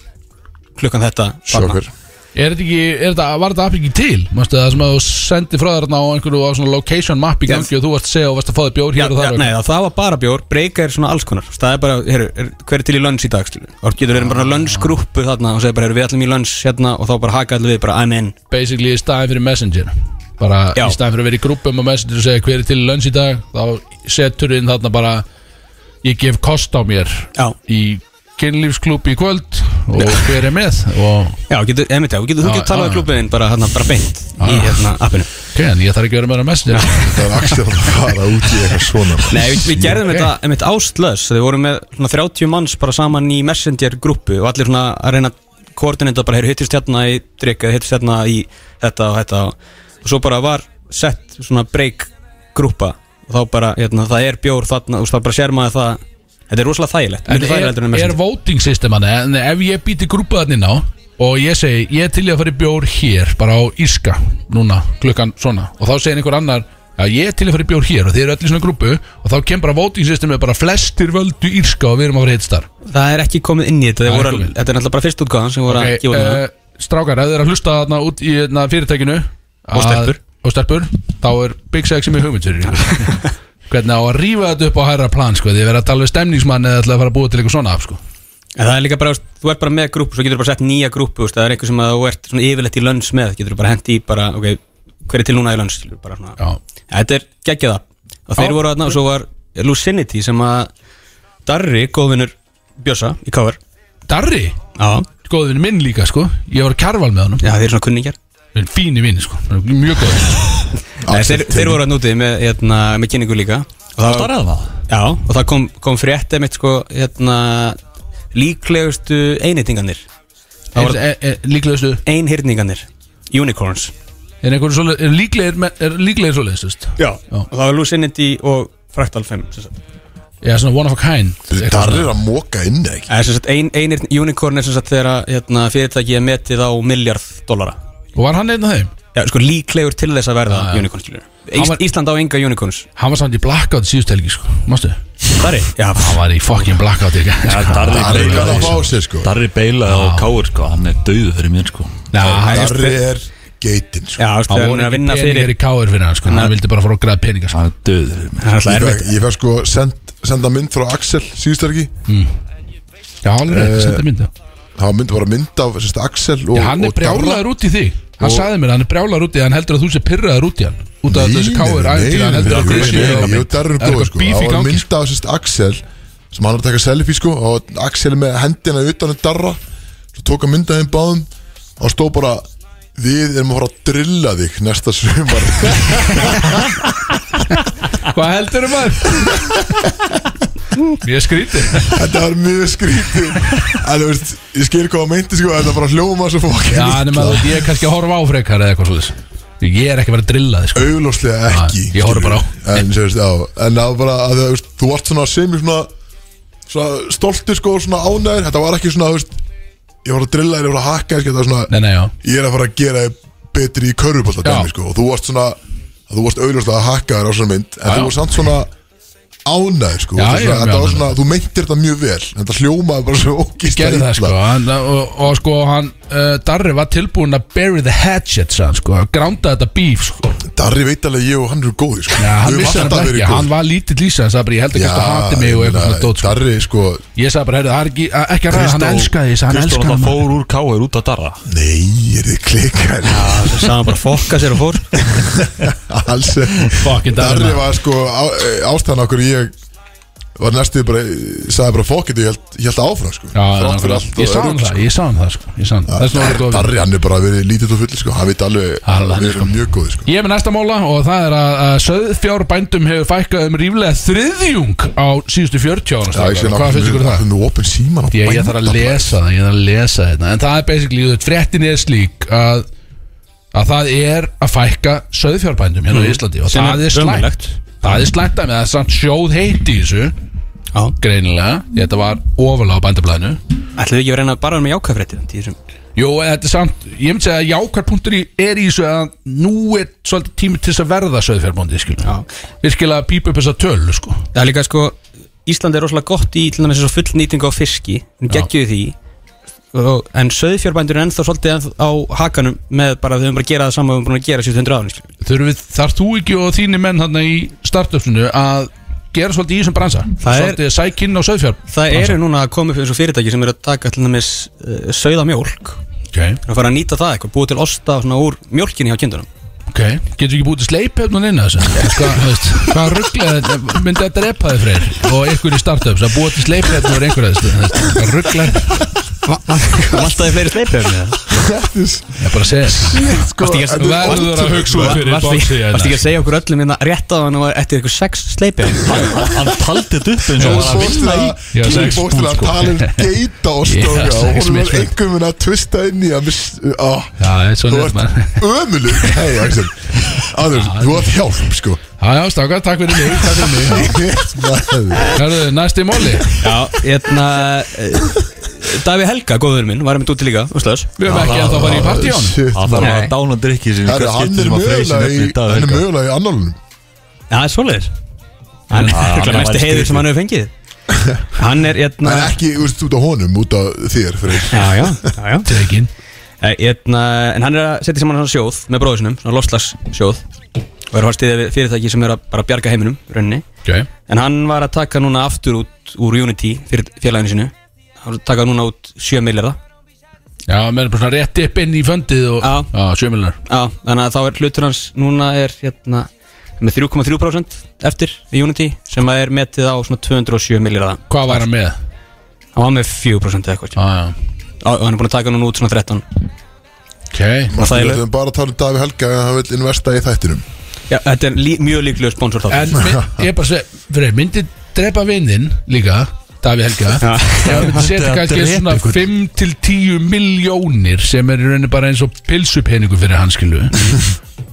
Speaker 3: klukkan þetta
Speaker 2: Sjokkar
Speaker 4: er þetta ekki, er þetta, var þetta app ekki til? Mástu það sem að þú sendi frá þarna á einhverju á svona location map í
Speaker 3: Já.
Speaker 4: gangi og þú varst að segja og varst að fá þér bjór
Speaker 3: Já,
Speaker 4: hér og
Speaker 3: já,
Speaker 4: þar og-
Speaker 3: nei, það, það var bara bjór, breyka er svona alls konar Þú veist, Það er bara, heyrðu, er, hver er til í lönns í dag skilu? Og getur verið bara lönnsgrúppu þarna og segir bara, heyrðu, við ætlum í lönns hérna og þá bara haka allir við, bara I'm in
Speaker 4: basically í staðin fyrir messenger bara
Speaker 3: Já.
Speaker 4: í staðin fyrir að vera í grúpum og messenger og segja hver er til í lönns í dag þá setur inn þarna bara ég gef kost á mér
Speaker 3: Já,
Speaker 4: í kynlífsklúb í kvöld og hver er með og
Speaker 3: já, getur, emitt, já, getur,
Speaker 4: Já,
Speaker 3: þú getur talað
Speaker 4: já,
Speaker 3: við
Speaker 4: já.
Speaker 3: klubbiðin bara, hérna, bara beint í hérna appinu
Speaker 4: ok, en ég þarf ekki að vera með á
Speaker 3: *laughs*
Speaker 4: messenger
Speaker 2: Það er Axel að fara út í eitthvað svona
Speaker 3: Nei, við, við gerðum
Speaker 4: Ok.
Speaker 3: okay. þetta einmitt ástlöðs Við vorum með svona 30 manns bara saman í messenger grúpu og allir svona að reyna að koordinita bara, heyrðu, hittist hérna í drikk eða hittist hérna í þetta og þetta og, og svo bara var sett svona break grúpa og þá bara, hérna, það er bjór þarna og það bara sér maður það Þetta er rosalega þægilegt,
Speaker 4: En
Speaker 3: mjög þægilegt en
Speaker 4: er, er
Speaker 3: messenger
Speaker 4: voting system hann En ef ég býti grúpa þannig ná Og ég segi, ég er til í að fara í bjór hér Bara á Íska, núna, klukkan svona Og þá segir einhver annar Já, ég er til í að fara í bjór hér og þið eru öll í svona grúpu Og þá kemur bara voting system Bara flestir völdu Írska og við erum að fara hittstar
Speaker 3: Það er ekki komið inn í þetta,
Speaker 4: Það
Speaker 3: þetta
Speaker 4: er
Speaker 3: voru-
Speaker 4: komið.
Speaker 3: þetta eh, er náttúrulega bara fyrst útgáðan sem voru
Speaker 4: okay,
Speaker 3: að gefa
Speaker 4: uh, Strákar, ef þið eru að hlusta þarna út í þarna, fyrirtækinu að-
Speaker 3: stelpur.
Speaker 4: Og stelpur, þá er Big Sexy með hugmyndsur
Speaker 3: *laughs*
Speaker 4: Hvernig á að rífa þetta upp á hærra plan sko, Þið verða að tala við stemningsmann eða ætla að fara að búa til eitthvað svona af sko.
Speaker 3: En það er líka bara, veist, þú ert bara með grúpu, svo getur þú bara sett nýja grúpu, veist, það er einhver sem að þú ert svona yfirleitt í lönns með, getur þú bara hent í bara, ok, hver er til núna í lönns, skilur, bara svona.
Speaker 4: Já.
Speaker 3: Þetta er geggjaða. Og þeir
Speaker 4: Já.
Speaker 3: voru aðna, og svo var Lucinity sem að Darri, góðvinur Bjössa í cover.
Speaker 4: Darri,
Speaker 3: Já.
Speaker 4: góðvinn minn líka sko Ég var að kjarval með honum
Speaker 3: Já, þeir eru svona kunningjar.
Speaker 4: Þeir eru fínir vinn sko, Þeir eru mjög góð
Speaker 3: Nei, þeir, þeir voru aðna úti með, hérna, með kynningu líka. Og það,
Speaker 5: Starraði það
Speaker 3: já, og það kom, kom frétt einmitt, sko, hérna, líklegustu einhyrningarnir. Það
Speaker 4: er,
Speaker 3: voru
Speaker 4: er, er, Líklegustu
Speaker 3: einhyrningarnir. Unicorns.
Speaker 4: Er einhverjum svoleið, er líklegir, með- er líklegir svoleið
Speaker 3: Já, og það var Lucinity og Fractal 5 sem sagt.
Speaker 4: Já, svona one of a kind eitthvað
Speaker 2: Darri
Speaker 4: svona.
Speaker 2: er að móka inn eða ekki
Speaker 3: Það er sem sagt ein, einir unicorn er sem sagt þegar að, hérna, fyrirtæki er metið á miljard dollara
Speaker 4: Og var hann einn af þeim?
Speaker 3: Já, sko líklegur til þess að verða ja, unicorn skilur
Speaker 4: Hann
Speaker 3: Ís,
Speaker 4: var-
Speaker 3: Ísland á enga unicorns
Speaker 4: Hann var samt í blackout síðust helgi, sko Mástu?
Speaker 5: Darri
Speaker 3: Já,
Speaker 4: Hann var í fucking blackout í gær, sko.
Speaker 2: Darri
Speaker 5: Darri
Speaker 2: er að fá
Speaker 5: Beila
Speaker 2: sér sko
Speaker 5: Darri Beila og Káur sko Hann er döðu fyrir mér sko
Speaker 4: Já, hann
Speaker 2: Darri er geitin sko
Speaker 3: já þú veist,
Speaker 4: Hann
Speaker 3: þegar hann
Speaker 4: voru
Speaker 3: er að
Speaker 4: ekki
Speaker 3: vinna
Speaker 4: peningar
Speaker 3: fyrir
Speaker 4: í káir fyrir hann sko Hann vildi bara fara og græða peningar sko
Speaker 5: Hann er döðu fyrir
Speaker 3: Það
Speaker 5: mér
Speaker 3: er alltaf
Speaker 2: Ég
Speaker 4: *laughs*
Speaker 3: erfitt
Speaker 2: fekk- Ég fær sko send, senda mynd frá Axel síðustarki
Speaker 4: Já, hann er rétt, senda mynda
Speaker 2: Það var mynd bara mynd af sérst, Axel og,
Speaker 4: Já, hann er
Speaker 2: og Darra.
Speaker 4: brjálaður út í þig Hann sagði mér, hann er brjálaður út í þig Hann heldur að þú sé pyrraður út í hann Út af
Speaker 2: Nei,
Speaker 4: þessi
Speaker 2: nei,
Speaker 4: káir
Speaker 2: nei,
Speaker 4: ættir Hann
Speaker 2: nei,
Speaker 4: heldur
Speaker 2: nei, nei,
Speaker 4: að þú sé
Speaker 2: nei, Jú, Darri er
Speaker 4: Það er
Speaker 2: góð
Speaker 4: eitthvað
Speaker 2: sko
Speaker 4: bíf í
Speaker 2: Það var
Speaker 4: gangi,
Speaker 2: mynd af sérst, Axel sem hann er að taka selfie sko og Axel er með hendina utan að Darra svo tók að mynda þeim báðum og stóð bara Við erum að fara að drilla þig næsta sumar *laughs*
Speaker 4: Hvað heldur um maður? Mér skríti
Speaker 2: Þetta var mjög skrítið En þú veist, ég skil hvað að meinti sko Þetta bara hljóma svo fokkin
Speaker 4: Já, en maður, ég er kannski að horfa á frekar eða eitthvað svo þess Ég er ekki verið að drilla þig sko
Speaker 2: auglóslega ekki
Speaker 4: ég horfði bara á.
Speaker 2: skilurðu. en, sérst, á, en það var bara að, þú veist, þú varst svona sem í svona, svona stolti sko og svona ánæður þetta var ekki svona þú veist, ég var að drilla þér, ég var að hakka þér, sko, þetta var svona,
Speaker 4: Nei, nei, já
Speaker 2: ég er að fara að gera þér betri í körfubólta
Speaker 4: Já.
Speaker 2: dæmi sko og þú varst svona að þú varst auglóslega að hakka þér á svona mynd en
Speaker 4: Já, já.
Speaker 2: þú varst samt svona ánæður sko
Speaker 4: Já,
Speaker 2: Þú veist,
Speaker 4: ég
Speaker 2: svona,
Speaker 4: var
Speaker 2: þetta
Speaker 4: mjög
Speaker 2: var svona, þú meintir þetta mjög vel en það hljómaði bara svo ógist
Speaker 4: Gerði það sko hann, og, og sko hann uh, Darri var tilbúin að bury the hatchet sann, sko Hann grándaði þetta bíf sko
Speaker 2: Darri veit alveg ég og hann eru góði sko
Speaker 4: Já, hann
Speaker 2: Þau
Speaker 4: vissi
Speaker 2: hafa
Speaker 4: hann
Speaker 2: alltaf verið
Speaker 4: ekki,
Speaker 2: góð.
Speaker 4: hann var lítill í sig hann sagði bara ég held ekki að það hati mig og eitthvað svona dót sko.
Speaker 2: Darri sko
Speaker 4: Ég sagði bara, heyrðu, það er ekki, að- ekki að ræða, hann
Speaker 5: Kristó-
Speaker 4: elskaði þess, hann
Speaker 5: Kristó
Speaker 4: elskaði
Speaker 5: náttúrulega
Speaker 4: hann
Speaker 5: fór úr Káur út á Darra
Speaker 2: Nei, er þið klikkar
Speaker 3: Saman bara fokka sér og fór
Speaker 2: *laughs* Alls
Speaker 4: Fucking Darri,
Speaker 2: Darri
Speaker 4: maður.
Speaker 2: var sko á- eh, ástæðan okkur ég var næstuð bara sagði bara fokkið ég held, ég held áfram sko
Speaker 4: Já,
Speaker 2: Þrátt fyrir
Speaker 4: nákvæmlega.
Speaker 2: allt
Speaker 4: ég
Speaker 2: og
Speaker 4: sá hann
Speaker 2: örugg,
Speaker 4: það, ég sá hann það sko Ég sá hann, það er svona
Speaker 2: sko.
Speaker 4: orðið
Speaker 2: Darri hann er bara verið lítið og full sko hann veit alveg
Speaker 4: Hann
Speaker 2: að
Speaker 4: er
Speaker 2: við
Speaker 4: þannig, sko.
Speaker 2: erum mjög góði sko
Speaker 4: Ég er með næsta móla og það er að, að söðfjárbændum hefur fækkað um ríflega þriðjung á síðustu 40 ára
Speaker 2: Já, ég sé
Speaker 4: strákar. Hvað finnst ykkur um það?
Speaker 2: Það er nú opinn síman á
Speaker 4: Ég, ég þarf að
Speaker 2: bænda-
Speaker 4: lesa það, ég þarf að lesa þetta En það er basically, þú veit, fréttin er slík að, að það er að fækka söðfjárbændum hérna á Íslandi Og
Speaker 3: Mm. Sem er
Speaker 4: það er slæmt
Speaker 3: ömurlegt.
Speaker 4: Það er slæmt að með það er samt sjóð heiti í þessu
Speaker 3: Já.
Speaker 4: Greinilega, þetta var ofalega á bændablaðinu
Speaker 3: Ætlum við ekki að reyna bara með jákafrétti
Speaker 4: Jó, en þetta er samt, ég myndi segja að jákvæðpunktur er í þessu að nú er svolítið tími til þess að verða söðfjármóndið, skilur.
Speaker 3: Já.
Speaker 4: Virkilega að pípa upp þessa tölu, sko.
Speaker 3: Það er líka sko Ísland er rosalega gott í til dæmis þessu fullnýtingu á fiski Við geggjum því og, En söðfjárbændur er ennþá svolítið ennþá á hakanum með bara að við höfum bara að gera það sama og við höfum búin að gera 700 áðin skilur.
Speaker 4: Þurfum við, þarf þú ekki og þínir menn þarna í startöfninu að gera svolítið í þessum bransa?
Speaker 3: Það er-
Speaker 4: Svolítið sækinn á söðfjár.
Speaker 3: Það eru núna að koma upp eins og fyrirtæki sem eru að taka til dæmis uh, söða mjólk
Speaker 4: Ok,
Speaker 3: og fara að nýta það eitthvað, búið til osta svona úr mjólkinni hjá kindunum
Speaker 4: ok. Getur ekki búið til sleipöfnun inn að þessu? Þú Sko, þú veist, hvað rugglaði, myndi að drepa þið freyr og ykkur í startöfns að búið til sleipöfnun úr einhverja þessu? þú veist, Hvað rugglaði,
Speaker 3: *laughs* Vantaði fleiri sleipjörni *laughs*
Speaker 4: ég bara segja þetta.
Speaker 2: Sko,
Speaker 3: Varstu ekki að-
Speaker 2: þetta er
Speaker 4: Verður að
Speaker 2: allt-
Speaker 4: hugsa út fyrir
Speaker 3: Varst
Speaker 4: bóksíðina.
Speaker 3: ekki að segja okkur öllum hérna rétt á hann og eftir eitthvað sex sleipjörni
Speaker 5: Hann hann taldi þetta upp eins og hann var að vinna í
Speaker 4: Já,
Speaker 2: Þú
Speaker 4: sex
Speaker 2: fórst til að
Speaker 4: púnt, sko.
Speaker 2: tala um
Speaker 4: *laughs*
Speaker 2: geita og stóka
Speaker 4: Já,
Speaker 2: og
Speaker 4: sex
Speaker 2: hún var
Speaker 4: mismunandi.
Speaker 2: einhvern veginn að tvista inn í að miss, á,
Speaker 4: Já, það er
Speaker 2: Þú
Speaker 4: svona,
Speaker 2: ert
Speaker 4: maður.
Speaker 2: ömulug Hei Axel Aður, þú ert hjálp sko
Speaker 4: Já, já, strákar, takk fyrir mig, takk fyrir mig
Speaker 2: Maður.
Speaker 4: Herðu, næsti móli
Speaker 3: Já, hérna eh, Daví Helga, góður minn, var einmitt úti líka úrslags.
Speaker 4: Við höfum ekki að það var í partíón
Speaker 2: Ah, Shit,
Speaker 5: Hann
Speaker 2: maður.
Speaker 5: þarf að
Speaker 3: Nei.
Speaker 5: dána drikki sinni
Speaker 2: Herru, Hann er mögulega í Hann er mögulega í annálunum
Speaker 3: Já, það er svoleiðis Hann
Speaker 5: Já, hann
Speaker 3: er
Speaker 5: er
Speaker 3: örugglega
Speaker 5: væri
Speaker 3: mesti heiður sem hann hefur *laughs* fengið Hann er hérna
Speaker 2: En ekki úrst út á honum, út á þér Freyr.
Speaker 3: Já, já, já, já.
Speaker 4: Tekin
Speaker 3: Eh, Hérna, en hann er að setja saman svona sjóð með bróðisunum, svona loftslagssjóð og er að fara að stiðja við fyrirtæki sem er að bara bjarga heiminum, í rauninni
Speaker 4: Ok,
Speaker 3: en hann var að taka núna aftur út úr Unity fyrir félaginu sinu hann var að taka núna út 7 miljarda
Speaker 4: já, menn er bara svona rétt upp inn í föndið og
Speaker 3: Já.
Speaker 4: Já, sjömmilunar
Speaker 3: Já, þannig að þá er hlutur hans núna er hérna með 3,3% eftir í Unity sem að er metið á svona 207 miljarda
Speaker 4: Hvað var hann með?
Speaker 3: hann var með 4% eða eitthvað
Speaker 4: Já, já
Speaker 3: Á- og hann er búin að taka núna út svona 13
Speaker 4: Ok
Speaker 2: Maður,
Speaker 3: það er-
Speaker 2: Við ætlum bara að tala um Davi Helga en hann vil investa í þættinum
Speaker 3: Já, þetta er lí, mjög líklegur sponsor þá
Speaker 5: *laughs*
Speaker 4: En mi- ég er bara að segja, fyrir, myndi drepa vinninn líka Davi Helga Já, ég myndi setja
Speaker 5: Að
Speaker 4: kannski
Speaker 5: drepa
Speaker 4: svona
Speaker 5: einhvern.
Speaker 4: 5 til 10 miljónir sem er í rauninni
Speaker 5: *laughs*
Speaker 4: bara eins og pilsupeningu fyrir hann skilu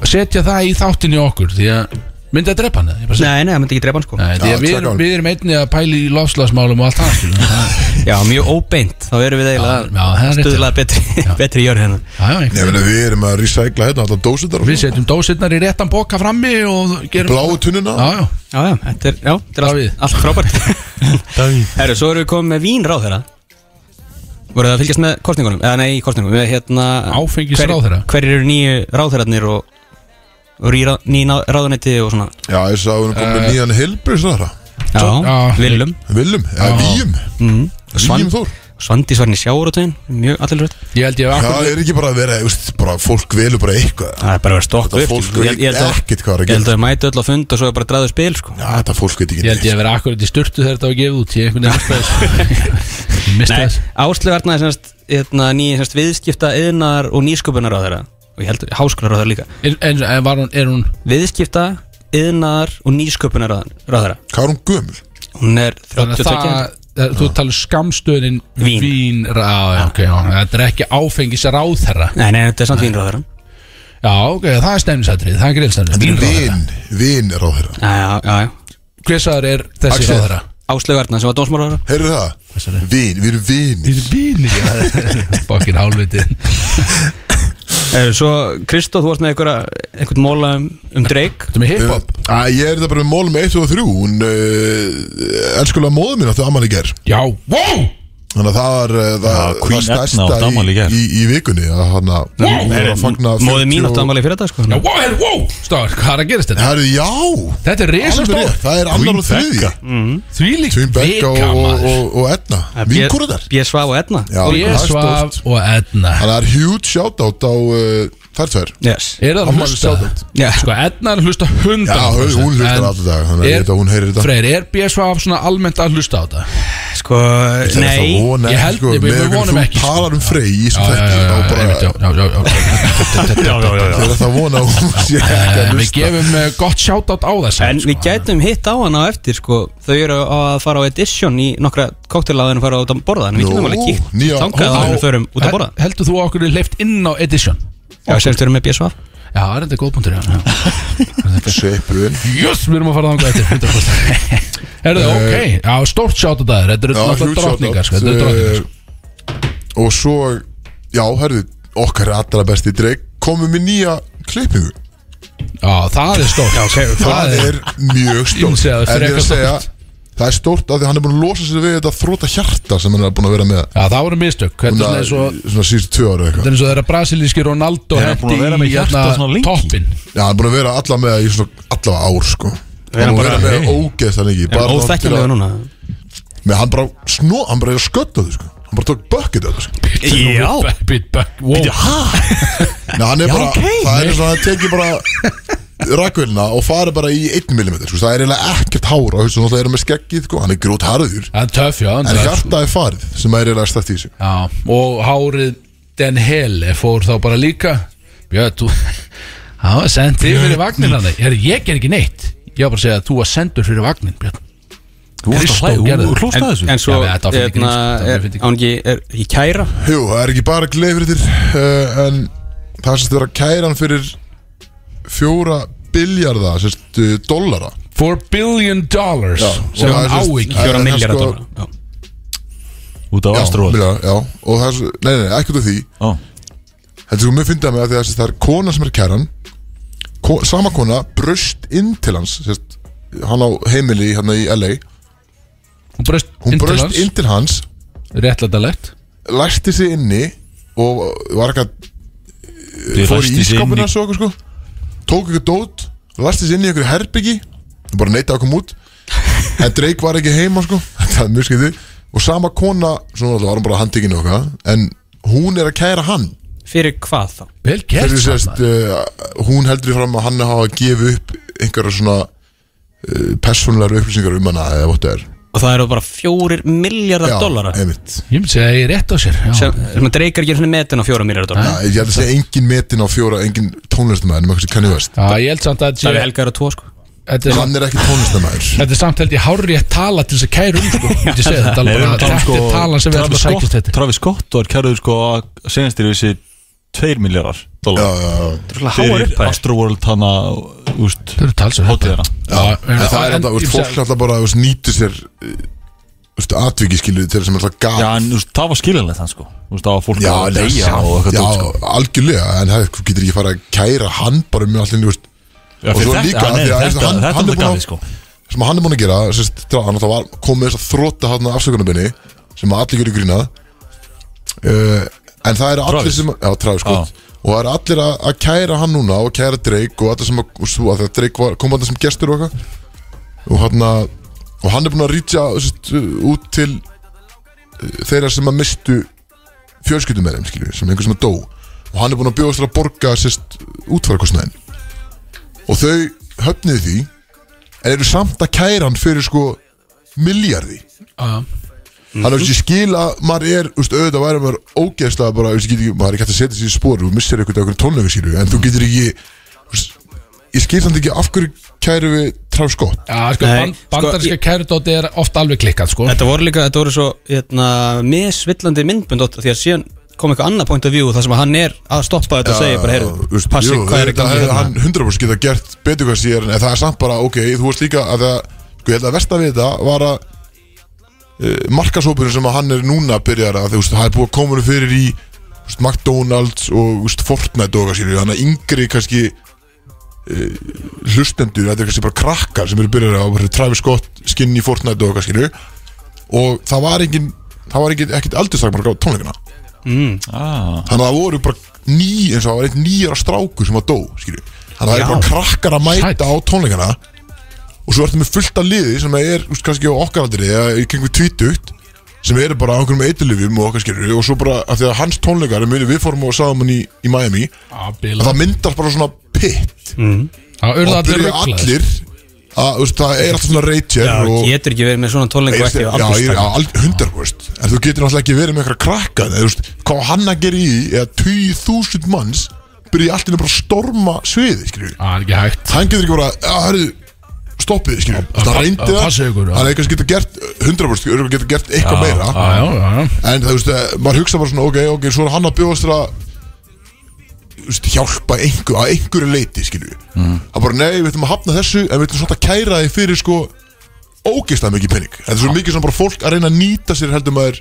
Speaker 4: Setja það í þáttinni okkur því að Myndi að drepa hann eða? Ég bara segi-
Speaker 3: Nei, nei, það myndi ekki drepa hann sko
Speaker 4: Nei, því
Speaker 2: Já,
Speaker 4: að við,
Speaker 2: taka
Speaker 4: erum-
Speaker 2: hann.
Speaker 4: við erum einni að pæli í lofslagsmálum og allt það skilur við. Það-
Speaker 3: Já, mjög óbeint, þá erum við
Speaker 4: Já, já, það
Speaker 3: eiginlega
Speaker 4: er rétt.
Speaker 3: stuðlað betri, *laughs* betri jörg hérna
Speaker 4: Já, já,
Speaker 2: Ég
Speaker 4: einhvern
Speaker 2: meina við erum að recycla hérna alltaf dósindar
Speaker 4: Við setjum dósirnar í réttan boka frammi og gerum
Speaker 2: Bláu tunnuna
Speaker 4: Já, já,
Speaker 3: Já, já, þetta er, já, þetta er
Speaker 4: Davíð.
Speaker 3: allt, allt
Speaker 4: *laughs*
Speaker 3: frábært
Speaker 5: Davíð.
Speaker 3: Herru, svo erum við komið með vínráð þeirra Voruð það að fylgjast með kostningunum? Eða nei, kostningunum, við hérna
Speaker 4: Áfengisráðherra.
Speaker 3: hver, Hverjir eru nýju ráðherrarnir og, og ríra, nýja ráðunetti og svona
Speaker 2: Já, ég sá hún kom með
Speaker 4: Eh.
Speaker 2: nýjan helbriðsræðara
Speaker 3: Já,
Speaker 4: já.
Speaker 3: Willum
Speaker 2: Viljum, eða
Speaker 4: Já.
Speaker 2: Víum
Speaker 3: mm.
Speaker 2: Víum Þór
Speaker 3: Svandís var henni sjáurútegin, mjög allir rödd
Speaker 4: ég held ég
Speaker 2: Já,
Speaker 4: akkur,
Speaker 2: er ekki bara að vera, þú veist, bara fólk velur bara eitthvað
Speaker 3: Það er bara að vera stokk
Speaker 2: Þetta fólk veit ekkert hvað er að
Speaker 3: Ég held
Speaker 2: gera.
Speaker 3: að þau mætu öll á fund og svo er bara að draðu spil sko.
Speaker 2: Já, þetta fólk veit ekki
Speaker 4: Ég held ég
Speaker 2: neitt.
Speaker 4: að vera akkurat í styrtu þegar þetta var gefið út Ég einhvern veginn mista þess Ég mista
Speaker 3: Nei,
Speaker 4: þess
Speaker 3: Áslöfarna er semast, hérna, ný semast, viðskipta, yðnar og nýsköpunar á þeirra og ég held háskólar á þeirra líka
Speaker 4: En, en en var hún, er hún
Speaker 3: viðskipta, yðnar og nýsköpunar ráðara
Speaker 2: Hvað er hún gömul?
Speaker 3: hún er
Speaker 4: Þannig
Speaker 3: 32
Speaker 4: að það, það þú talar skamstöðin
Speaker 3: Vín.
Speaker 4: vín já, já, ok, já, þetta er ekki áfengis ráðherra
Speaker 3: nei, nei, þetta er samt vínráðara
Speaker 4: Já, ok, það er stefnisatrið, það er
Speaker 2: Þetta
Speaker 4: grillstæðrið
Speaker 2: er vin, vin er á þeirra
Speaker 3: já, já, já, já.
Speaker 4: Hversaður er þessi
Speaker 2: Axel.
Speaker 4: ráðherra?
Speaker 3: Áslaugarna sem var dómsmálaráðara
Speaker 2: Heyrðu það?
Speaker 4: Þessari.
Speaker 2: Vin, við erum vini
Speaker 4: Þetta er bíni Fokkin hálfviti Þetta
Speaker 3: Eh, svo Kristó, þú varst með einhverja einhvern móla um, um dreik
Speaker 4: með
Speaker 2: Æ,
Speaker 4: hiphop
Speaker 2: ég er þetta bara með mólum 1 og 3 Hún, uh, elskulega móðum minn áttu amman í ger
Speaker 4: Já, wow
Speaker 2: Þannig að það var uh, það,
Speaker 5: Já, Queen
Speaker 2: það stærsta
Speaker 5: Edna átti afmæli í
Speaker 2: í,
Speaker 5: gær.
Speaker 2: í, í vikunni að hann að hún var að fagna
Speaker 3: móði mín
Speaker 2: 50
Speaker 3: átt aðmáli fyrir þetta sko.
Speaker 4: Já, wow, heyrðu, wow Stáður, hvað er að gerast þetta?
Speaker 2: Herðu, já
Speaker 4: Þetta er resa
Speaker 2: Alveg
Speaker 4: stór
Speaker 2: rétt, það er annar og þriðji
Speaker 4: Þvílík
Speaker 2: Tvinn Becka og, og, og, og Edna
Speaker 3: Eh,
Speaker 2: Vinkurinn þar
Speaker 3: B. Svav og Edna
Speaker 2: Já, það er stórt.
Speaker 4: Svaf og Edna
Speaker 2: Þannig að það er huge shoutout á uh, þær tvær
Speaker 3: yes.
Speaker 4: Er það að
Speaker 2: Afmæli
Speaker 4: hlusta?
Speaker 2: sjálfdæmt.
Speaker 3: Já.
Speaker 4: Sko, Edna er að hlusta
Speaker 2: Já,
Speaker 4: 100%
Speaker 2: hún hún hlustar alltaf dag Þannig að ég
Speaker 4: er-
Speaker 2: veit að hún heyrir þetta
Speaker 4: Freyr, er BSF svona almennt að hlusta á þetta?
Speaker 3: sko,
Speaker 2: Það er það
Speaker 3: nei
Speaker 2: vona
Speaker 4: ég
Speaker 2: ekki
Speaker 4: held-
Speaker 2: sko
Speaker 4: ég-
Speaker 2: Með
Speaker 4: við
Speaker 2: hvernig
Speaker 4: vonum
Speaker 2: þú
Speaker 4: ekki, sko.
Speaker 2: talar um Frey í þessum
Speaker 4: Já, já, já,
Speaker 2: þætti
Speaker 4: já,
Speaker 2: þá bara-
Speaker 4: einmitt, já, já, já,
Speaker 2: *laughs*
Speaker 4: já.
Speaker 2: Það er það vona að hún
Speaker 4: *laughs*
Speaker 2: sé ekki
Speaker 4: Eh,
Speaker 2: að
Speaker 4: Við
Speaker 2: hlusta
Speaker 4: gefum eh, gott shoutout á sko. þess
Speaker 3: En við gætum hitt á hann á eftir sko. Þau eru að fara á edition í nokkra koktellaðinu fara út að borða En við getum
Speaker 2: Nú,
Speaker 3: alveg kíkt
Speaker 2: nýja- Ó.
Speaker 3: Þangað að við förum út að borða
Speaker 4: Heldur þú að okkur er leift inn á edition?
Speaker 3: Já, semst erum með BSV
Speaker 4: Já, það er enda góð punktur, já, já
Speaker 2: Sveipurinn
Speaker 4: Jöss, við erum að fara þangað eftir 100% Herðu, ok, já, stórt shoutout að þér Þetta eru
Speaker 2: Já,
Speaker 4: náttúrulega
Speaker 2: huge Eh,
Speaker 4: drottningar, sko
Speaker 2: shoutout.
Speaker 4: Þetta eru drottningar, sko
Speaker 2: Eh, Og svo, já, herðu Okkar allra besti dreik Komum við nýja klippingu
Speaker 4: Já, það er stórt Já, ok,
Speaker 2: Það er mjög
Speaker 4: Ég
Speaker 2: stórt
Speaker 4: myndi segja
Speaker 2: En ég
Speaker 4: það er
Speaker 2: er
Speaker 4: frekar
Speaker 2: að segja Það er stórt af því að hann er búin að losa sér við þetta þróta hjarta sem hann er búin að vera með
Speaker 4: Já, það voru mistök Þetta er
Speaker 2: Svona,
Speaker 4: svona eins og
Speaker 2: svona síðust tvö ára eitthvað
Speaker 4: Þetta er eins og þeirra brasilíski Ronaldo hérna,
Speaker 5: Er hann búinn að vera með hjartað svona lengi?
Speaker 4: toppin
Speaker 2: Já, hann er búin að vera alla með í svona allavega ár sko Hann er
Speaker 3: hann
Speaker 2: búin að
Speaker 3: bara-
Speaker 2: vera með hey. ógeðst hann ekki
Speaker 3: En óþekkjanlega núna
Speaker 2: Með hann bara snó, hann bara er að skötta þau sko Hann bara tók bucket þetta sko
Speaker 5: Já.
Speaker 4: Bit back, wow
Speaker 2: Nei, hann er bara, það er eins og hann tekið bara rakvélina og farið bara í 1 mm sko Það er eiginlega ekkert hár á hausnum og það er með skeggið sko Hann er grót harður
Speaker 4: Það er töff, já hann
Speaker 2: En
Speaker 4: er-
Speaker 2: hjartað er farið sem er eiginlega stætt í sig
Speaker 4: Já, og hárið Den Hele fór þá bara líka Björn, þú *laughs* Það var sendt þig fyrir vagnin hann Ég, ég ger ekki neitt Ég var bara að segja að þú var sendur fyrir vagnin Björn
Speaker 5: Þú varst að
Speaker 4: Kristó
Speaker 5: hlæja,
Speaker 4: gerði
Speaker 5: þú
Speaker 4: það.
Speaker 5: hlóst að þessu
Speaker 3: En svo,
Speaker 4: Já, þetta var fyrir
Speaker 3: hérna,
Speaker 4: grín, þetta var
Speaker 3: er-
Speaker 4: fyrir grín.
Speaker 3: án ekki, er í kæra
Speaker 2: Jú, það er ekki bara gleifritir uh, En það sést vera kæran fyrir Fjóra biljarða Sérst uh, dollara
Speaker 4: 4 billion dollars
Speaker 2: Já,
Speaker 4: sem
Speaker 2: og
Speaker 4: hann á
Speaker 2: það er
Speaker 4: ekki
Speaker 2: sem-
Speaker 3: Fjóra
Speaker 2: en
Speaker 3: milljar að
Speaker 2: sko-
Speaker 3: dóla
Speaker 5: Út á
Speaker 2: Já,
Speaker 5: Astróð
Speaker 2: milljarða, já Og það er, svo- nei, nei, nei, ekki út af því Þetta er svo mjög fyndið með að því að sérst, það er kona sem er kæran ko Sama kona Bröst inn til hans sérst, Hann á heimili hérna í LA
Speaker 4: Hún bröst
Speaker 2: Hún
Speaker 4: inn til
Speaker 2: bröst
Speaker 4: hans
Speaker 2: inn til hans
Speaker 4: Réttlætalegt
Speaker 2: Læsti sig inni Og var ekki að fór í ískapuna svo okkur sko tók ykkur dót, lastist inn í ykkur herbyggi og bara neyta að koma út en Drake var ekki heima sko *laughs* það er mjög skiptið og sama kona, svona alltaf var hún bara handtekinu okkar en hún er að kæra hann
Speaker 3: Fyrir hvað þá?
Speaker 4: Vel gert
Speaker 2: Fyrir sérst,
Speaker 4: saman.
Speaker 2: uh, hún heldur í fram að hann hafa að gefa upp einhverja svona uh, persónulegar upplýsingar um hana eða what það er
Speaker 3: Og það eru bara fjórir milljarðar dólara
Speaker 2: Já, einmitt
Speaker 4: Ég myndi segja að ég er rétt á sér já.
Speaker 3: Sem sem að dreikar ekki svona metin á fjóra milljarðar
Speaker 2: Já,
Speaker 3: dólara
Speaker 2: Ég held að segja engin metin á fjóra, engin tónlistamæður nema kannski kannu veist
Speaker 4: Já, ég held samt að
Speaker 3: Það er
Speaker 4: sé-
Speaker 3: helgar og tvo sko
Speaker 4: Þetta er
Speaker 2: Hann er ekki tónlistamæður
Speaker 4: Þetta er samt held ég hárri að tala til þess að kæru um sko. Ég segi þetta
Speaker 5: Nei,
Speaker 4: alveg
Speaker 5: við
Speaker 4: bara
Speaker 5: erum að tala um
Speaker 4: Þetta
Speaker 5: sko
Speaker 4: er talan sem við ætlum að
Speaker 5: Travis
Speaker 4: sækjast
Speaker 5: Scott
Speaker 4: þetta
Speaker 5: Travis Scott var kærður sko að senast þér vissi 2 miljardar dólar
Speaker 2: já, já, já.
Speaker 5: fyrir Astroworld hana úst,
Speaker 4: eru talsverð
Speaker 5: hátíðina
Speaker 4: Já,
Speaker 2: En það er þetta, þú veist, fólk alltaf bara þú veist, nýtir sér eh, Þú veist, atviki skiluðu til sem alltaf gaf
Speaker 5: Já, en úst, það var skilinlega þann sko úst, Það var fólk
Speaker 2: Já,
Speaker 5: að
Speaker 2: en það-
Speaker 5: deyja og eitthvað
Speaker 2: já,
Speaker 5: dót, sko.
Speaker 2: algjörlega En það þú getur ekki fara að kæra hann bara með allir, þú veist
Speaker 5: Já,
Speaker 2: og
Speaker 5: fyrir
Speaker 2: svo
Speaker 5: þetta-
Speaker 2: líka,
Speaker 5: já, nei,
Speaker 2: því að
Speaker 5: Þetta
Speaker 2: hann-
Speaker 5: þetta
Speaker 2: hann er
Speaker 5: er
Speaker 2: búinn að-
Speaker 5: gafið sko
Speaker 2: sem hann er búin að gera sérst, dragan, það var komið þess að þróta hann afsökunarbyrni sem að allir gerir grínað uh, en það eru allir
Speaker 5: Travis.
Speaker 2: sem já, Travis, sko, og það eru allir að, að kæra hann núna og kæra Drake og allir sem að, og svo, að þegar Drake var, kom hann sem gestur og eitthvað og hann að og hann er búin að rýtja út til eh, þeirra sem að mistu fjölskyldum með þeim skiljum, sem einhver sem að dó og hann er búin að bjóðast að borga sérst útfærakostnaðin og þau höfniði því en eru samt að kæra hann fyrir sko miljardi hann er ekki skil að maður er þú veist, auðvitað væri maður ógeðslega bara, þú veist, ég get ekki, maður er ekki hægt að setja sér í spór og missir eitthvað eitthvað tónleika skilur en þú getur ekki þú veist, ég skil samt ekki af hverju kæru við Travis Scott
Speaker 4: Já, sko,
Speaker 3: Nei,
Speaker 4: band,
Speaker 3: sko,
Speaker 4: bandarinska
Speaker 3: ég-
Speaker 4: sko, kærudóti er oft alveg klikkað, sko
Speaker 3: Þetta voru líka, þetta voru svo hérna, misvillandi myndbund Otta, því að síðan kom eitthvað annað point of view þar sem að hann er að stoppa þetta og segja bara,
Speaker 2: þú
Speaker 3: heyrðu,
Speaker 2: veist,
Speaker 3: passi
Speaker 2: jú,
Speaker 3: hvað er
Speaker 2: auðvitað
Speaker 3: ekki
Speaker 2: hefði
Speaker 3: hérna
Speaker 2: hann 100% geta gert betur hvað sér en það er samt bara, ok, þú veist líka að það, sko, ég held að versta við þetta var að uh, markasópurinn sem að hann er núna byrjar að þú veist, það er búið að koma honum fyrir í þú veist, McDonalds og þú veist, Fortnite og hvað skilur, þannig að yngri kannski uh, hlustendur, þetta er kannski bara krakkar sem eru byrjar að bara Travis Scott skinn í Fortnite og hvað skilur og það var engin, það var engin ekkert aldurstakmark á tónleikana
Speaker 5: Ah,
Speaker 2: þannig að það voru bara ný eins og það var eitt nýjara strákur sem að dó skilju. þannig að það
Speaker 3: Já.
Speaker 2: eru bara krakkar að mæta
Speaker 4: Sæll.
Speaker 2: á tónleikana og svo ertu með fullt af liði sem er úst, kannski á okkaraldri eða í kringum tvítugt sem eru bara á einhverjum eitilifjum og okkar skilju og svo bara að því að hans tónleikar er muni við fórum og sáum hann í, í Miami
Speaker 4: Já,
Speaker 2: að
Speaker 4: bila
Speaker 2: það myndast bara svona pitt
Speaker 4: Það
Speaker 2: og
Speaker 4: urða
Speaker 2: það
Speaker 4: allir
Speaker 2: byrja
Speaker 4: rugglaðir
Speaker 2: allir að úst, það er alltaf svona reytjer
Speaker 3: Já,
Speaker 2: og
Speaker 3: getur ekki verið með svona tónleik og
Speaker 2: Ég
Speaker 3: ekki
Speaker 2: veist, Já, ég er alveg hundar, veist En þú getur náttúrulega ekki verið með einhverja krakka Þú veist, hvað á hann að gera í því Eða 20.000 manns Byrja allt inni bara að storma sviði, skilju
Speaker 4: Það er ekki hægt
Speaker 2: Hann getur ekki bara, já, hörru Stoppið, skilju, það
Speaker 4: pa-
Speaker 2: reyndi
Speaker 4: að
Speaker 2: það
Speaker 4: passa ykkur, já.
Speaker 2: Hann eitthvað getur gert, eh, 100% Örugglega getur gert eitthvað meira
Speaker 4: Já, já, já, já
Speaker 2: En það, þú veist, eh, maður hugsa bara svona, ok, ok, svo er hann að bjóðast til að þú veist, hjálpa einhver, að einhverju leiti, skilju mm. að bara, nei, við ætlum að hafna þessu en við ætlum svona að kæra þig fyrir, sko ógeislega mikið pening þetta er svo mikið svona bara fólk að reyna að nýta sér heldur maður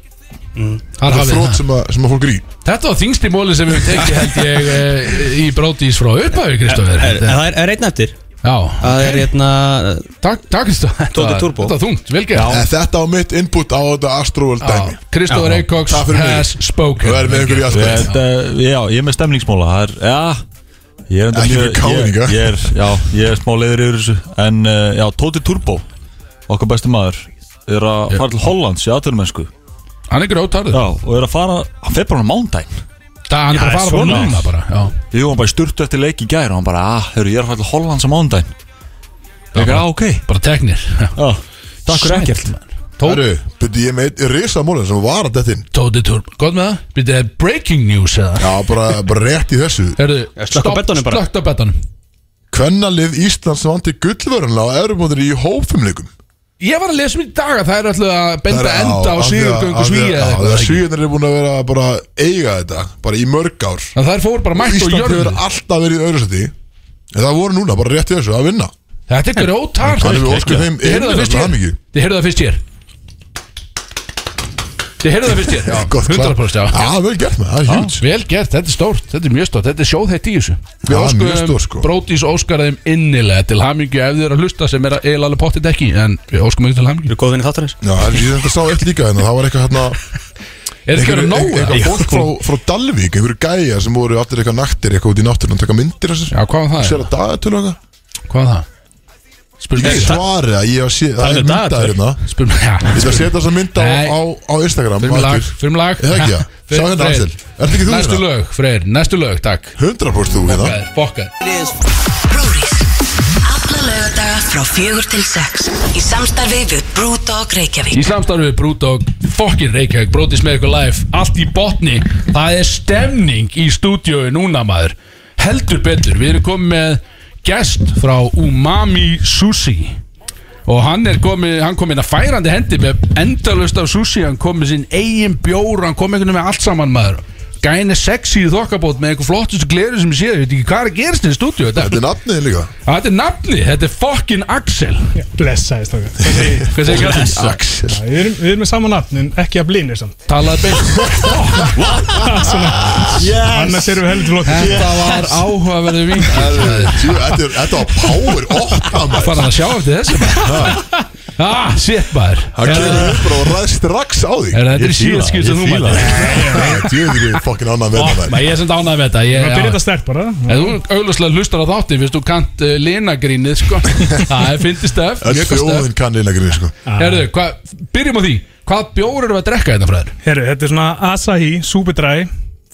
Speaker 4: Þar
Speaker 2: það
Speaker 4: hafið
Speaker 2: þrótt
Speaker 4: það
Speaker 2: sem, að- sem að fólk er í
Speaker 4: Þetta var þingsti móli sem við höfum tekið held ég eh, í brótís frá upphæfi, Kristoffer
Speaker 3: En það er, er einn eftir
Speaker 4: Já,
Speaker 3: Það er hérna
Speaker 4: takk, takk Kristoffer
Speaker 3: Tóti
Speaker 4: Þetta-
Speaker 3: Turbo.
Speaker 4: Þetta var þungt, vel gert
Speaker 2: en þetta á mitt input á þetta Astroworld dæmi
Speaker 4: Kristoffer Eikóks
Speaker 2: Takk fyrir mig.
Speaker 4: has spoken
Speaker 2: það er með einhverju í allt gott.
Speaker 5: þetta, Já, ég er með stemningsmåla Það er, já Ég er enda
Speaker 2: Ekki
Speaker 5: mjög-
Speaker 2: fyrir káninga.
Speaker 5: ég, ég er, já, ég er smá leiður yfir þessu En, eh, já, Tóti Turbo Okkar besti maður Er að fara til Hollands í aðtölumennsku
Speaker 4: Hann er grótarður
Speaker 5: Já, og er að fara Hann fer bara á mándaginn
Speaker 4: Það hann er bara
Speaker 5: Já,
Speaker 4: að fara bara
Speaker 5: svona.
Speaker 4: núna bara Já,
Speaker 5: Jú, hann bara sturtu eftir leik í gæri og hann bara, ah, hörru, ég er að fara til Hollands á mándaginn
Speaker 4: Já,
Speaker 5: Ég,
Speaker 4: bara-
Speaker 5: já, ok
Speaker 4: bara teknir
Speaker 5: Já, takk fyrir
Speaker 4: Sæll,
Speaker 5: ekkert
Speaker 4: maður. Tóti
Speaker 2: Herru, byrju, ég er með risamólin sem var að þetta inn
Speaker 4: Tóti Turbo, gott með það? Býtið er breaking news eða?
Speaker 2: já, bara, bara rétt í þessu
Speaker 4: Herðu,
Speaker 3: slökk á
Speaker 4: stopp,
Speaker 3: beddanum bara.
Speaker 4: slökkt á bettanum
Speaker 2: kvennalið Íslands vandi gullvörunlega á Eurumóðinu í hófumleikum
Speaker 4: Ég var að lesa um í dag að það er alltaf að benda enda á sigurgöngu svíja eða
Speaker 2: Það
Speaker 4: eitthvað,
Speaker 2: er
Speaker 4: ekki?
Speaker 2: svíðanir er búin að vera bara að eiga þetta Bara í mörg ár
Speaker 4: En það er fór bara mætt og
Speaker 2: Ísland
Speaker 4: jörðu
Speaker 2: hefur alltaf verið í öðru seti En það voru núna bara rétt í þessu að vinna
Speaker 4: Þetta er grótar
Speaker 2: Þannig við óskum þeim
Speaker 4: Þið heyrðu það fyrst
Speaker 2: innilega
Speaker 4: hér
Speaker 2: hamingju.
Speaker 4: Þið heyrðu það fyrst hér Þið heyrðu það fyrst hér Já,
Speaker 2: *laughs* Gott klart.
Speaker 4: 100% já.
Speaker 2: Já, vel gert með, það er
Speaker 4: Já,
Speaker 2: hjúts
Speaker 4: Vel gert, þetta er stórt, þetta er mjög stórt Þetta er sjóðhætt í þessu Við
Speaker 2: Já, mjög stórt, sko.
Speaker 4: óskum Brótis óskar þeim innilega til hamingju ef þið eru að hlusta sem er að eiginlega alveg pottit ekki En við óskum ekki til hamingju
Speaker 3: Eru góðvinni þáttarins?
Speaker 2: Já, en ég þetta sá eitt líka hérna, það var eitthvað
Speaker 4: *laughs*
Speaker 2: hérna
Speaker 4: Er þetta verið nóg? eða?
Speaker 2: Eitthvað fólk frá, frá Dalvík, einhverju gæja sem voru allir eitthvað naktir eitthvað út í náttúrunum, taka myndir þessu
Speaker 4: Já, hvað var
Speaker 2: Sér
Speaker 4: það?
Speaker 2: að dagatölu eitthvað
Speaker 4: Hvað var það? Spyr
Speaker 2: Ég
Speaker 4: mig
Speaker 2: svari að ég hef sé, það
Speaker 3: er
Speaker 2: er myndaður
Speaker 3: dagatöl.
Speaker 2: hérna
Speaker 4: Spyr mig Já,
Speaker 2: Ég skal setja þessa mynda á,
Speaker 4: Nei.
Speaker 2: á, á Instagram
Speaker 4: Fyrir mig lag,
Speaker 2: aftur.
Speaker 4: fyrir mig lag
Speaker 2: Eða ekki, já.
Speaker 4: Fyrir-
Speaker 2: Sjá hérna,
Speaker 4: Freyr.
Speaker 2: Axel. Ert ekki þú
Speaker 4: Næstu
Speaker 2: hérna?
Speaker 4: lög, Freyr, næstu lög, takk
Speaker 2: 100% þú hérna
Speaker 4: Fokkaður, fokkaður
Speaker 6: Brúris. Alla lögadaga frá fjögur til sex. Í samstarfi við Brúdog Reykjavík.
Speaker 4: Í samstarfið Brúdók, fokkin Reykjavík, Brótis með ykkur live, allt í botni Það er stemning í stúdíói núna maður Heldur betur, við erum komið með gest frá Umami Sushi Og hann er komið, hann komið inn að færandi hendi með endalust af sushi Hann komið sinn eigin bjór, hann komið einhvern veginn með allt saman maður Gæin er sexy í þokkabót með eitthvað flottustu gleru sem ég sé Ég veit ekki hvað er að gerast í stúdíu
Speaker 2: Þetta
Speaker 4: Þetta
Speaker 2: er nafnið líka
Speaker 4: Þetta er nafni, þetta er fucking Axel
Speaker 7: Blessaðist okkar
Speaker 4: Hvað segir Axel?
Speaker 2: Axel
Speaker 7: Við erum, við erum með sama nafn en ekki að blínir samt
Speaker 4: Talaði beint
Speaker 7: Annars erum við heldur flottir
Speaker 4: Þetta var áhugaverðu vinkill
Speaker 2: Djú, Þetta er- þetta var power okka maður
Speaker 4: Fann hann að sjá eftir þessu maður Ah, shit maður
Speaker 2: Það kemur upp bara og ræðst strax á því
Speaker 4: Er þetta í
Speaker 5: fíla,
Speaker 4: síðan skipt
Speaker 5: ég
Speaker 4: sem þú
Speaker 5: fíla
Speaker 4: maður?
Speaker 2: Djúður ég fokkin annað
Speaker 4: Ó,
Speaker 2: verða
Speaker 4: maður, Ég er sem dánað með þetta
Speaker 7: Það byrja
Speaker 4: ég-
Speaker 7: þetta sterk bara
Speaker 4: En þú auðvitað hlustar á þátti Fyrst þú kant uh, linagrínið sko Það er fyndið stöf
Speaker 2: það
Speaker 4: mjög
Speaker 2: Öll
Speaker 4: gott stöf.
Speaker 2: þjóðin kann einlegrinni sko
Speaker 4: Herðu, hvað, byrjum á því Hvað bjór erum við að drekka þetta fræður?
Speaker 7: Herru, þetta er svona Asahi Superdry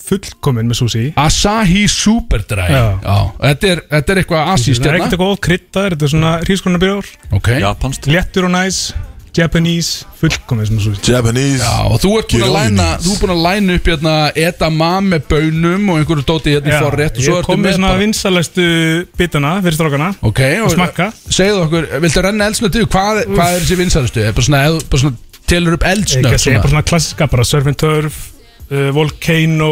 Speaker 7: Fullkomin með sushi
Speaker 4: Asahi Superdry
Speaker 7: Já.
Speaker 4: Já. Þetta, er, þetta er eitthvað asíst
Speaker 7: Það er ekkert
Speaker 4: hérna
Speaker 7: eitthvað kryddar, þetta er svona hrískonarbjór
Speaker 4: Ok Já,
Speaker 5: Japanst
Speaker 7: Léttur og næs, Japanese Fullkomin með sushi
Speaker 2: Japanese
Speaker 4: og þú ert búin að
Speaker 2: Gyrolines.
Speaker 4: læna Þú ert búin að læna upp hérna Edamame bönum og einhverju dóti hérna í forrétt og svo
Speaker 7: ég
Speaker 4: ertu
Speaker 7: kom með
Speaker 4: með
Speaker 7: svona
Speaker 4: bara-
Speaker 7: vinsalastu bitana fyrir strákana
Speaker 4: Ok,
Speaker 7: og smakka
Speaker 4: Segðu okkur, viltu renna eldsnötu hvað, hvað er þessi vinsælustu? Er bara svona, eða þú bara svona telur upp
Speaker 7: Ég
Speaker 4: eldsnötu
Speaker 7: gæti segja bara svona klassiska, bara surf and turf uh, Volcano,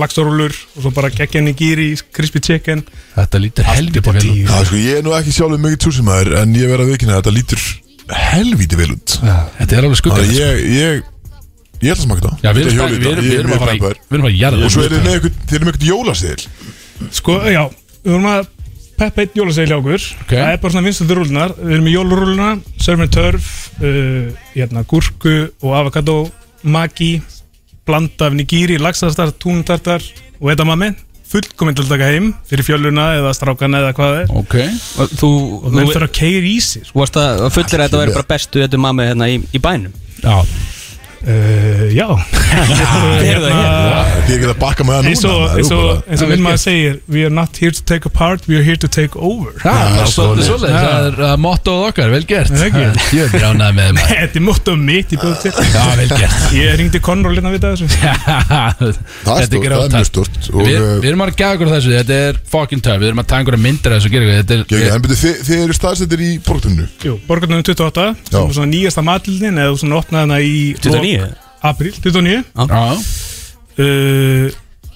Speaker 7: laxarúlur og svo bara geggjani gíri, crispy chicken
Speaker 4: Þetta lítur helviti vel út.
Speaker 2: Já, sko, ég er nú ekki sjálfur mikið túsimæður en ég verð að vikina að þetta lítur helvíti vel út
Speaker 4: Þetta er alveg
Speaker 2: Þannig
Speaker 4: skugga
Speaker 2: að ég, ég, ég ætla að smaka þetta
Speaker 4: Já, við
Speaker 2: Þetta
Speaker 4: erum
Speaker 2: hjólið
Speaker 4: spenntir, við
Speaker 2: þetta,
Speaker 4: erum-
Speaker 2: ég
Speaker 4: við
Speaker 2: er
Speaker 4: erum að
Speaker 2: mjög
Speaker 4: fara í
Speaker 2: peppaður.
Speaker 4: Við erum að fara í jarða
Speaker 2: Og svo er þið með eitthvað, þið erum eitthvað jólastil
Speaker 7: Sko, já, við vorum að peppa eitt jólasegil hjá okkur
Speaker 4: Ok.
Speaker 7: Það er bara svona vinstöldur rúlunar Við erum með jólurúluna, surf and turf uh, hérna, gúrku og avocado magi, blanda af nigíri, laxastar, túntartar og þetta mammi, fullkominn til að taka heim fyrir fjöluna eða strákana eða hvað það er
Speaker 4: Ok
Speaker 3: Og Þú,
Speaker 7: og
Speaker 3: þú
Speaker 7: menn þurfa að keira í sko. sér
Speaker 3: þú varst að fullir að þetta væri bara bestu Þetta mammi hérna í, í bænum
Speaker 4: Já
Speaker 7: uh, Já *laughs* Hérna,
Speaker 2: Þið geta að bakka með það
Speaker 7: eins og,
Speaker 2: núna maður,
Speaker 7: eins
Speaker 2: þú bara-
Speaker 7: og, eins og
Speaker 4: Það er
Speaker 7: minn maður
Speaker 4: gert.
Speaker 7: segir We are not here to take apart, we are here to take over
Speaker 4: Það
Speaker 2: Já,
Speaker 4: er svolítið
Speaker 2: svoleiðis.
Speaker 4: svolítið, það er uh, mottoð okkar, vel gert
Speaker 7: Það er ekki.
Speaker 4: Ég er brjánað með maður
Speaker 7: *laughs* Þetta er mótt á mitt í bjóð til
Speaker 4: Já, vel gert
Speaker 7: Ég ringdi Conrad hérna að vita þessu
Speaker 2: Það
Speaker 4: Það
Speaker 2: er stort, það er mjög stort Og
Speaker 4: Við við erum að gæða okkur á þessu, þetta er fucking töf Við erum að taka einhverja myndir af þessu og gera eitthvað Þetta er-
Speaker 2: Gekki, en byrju, þið, þið eru staðsettir í borgarnu
Speaker 7: Jú, borgarnum 28,
Speaker 2: Já.
Speaker 7: sem er svona nýjasta matildin eða þú svona opnaði hana í
Speaker 3: 29?
Speaker 7: April, 29
Speaker 4: Já,
Speaker 7: uh,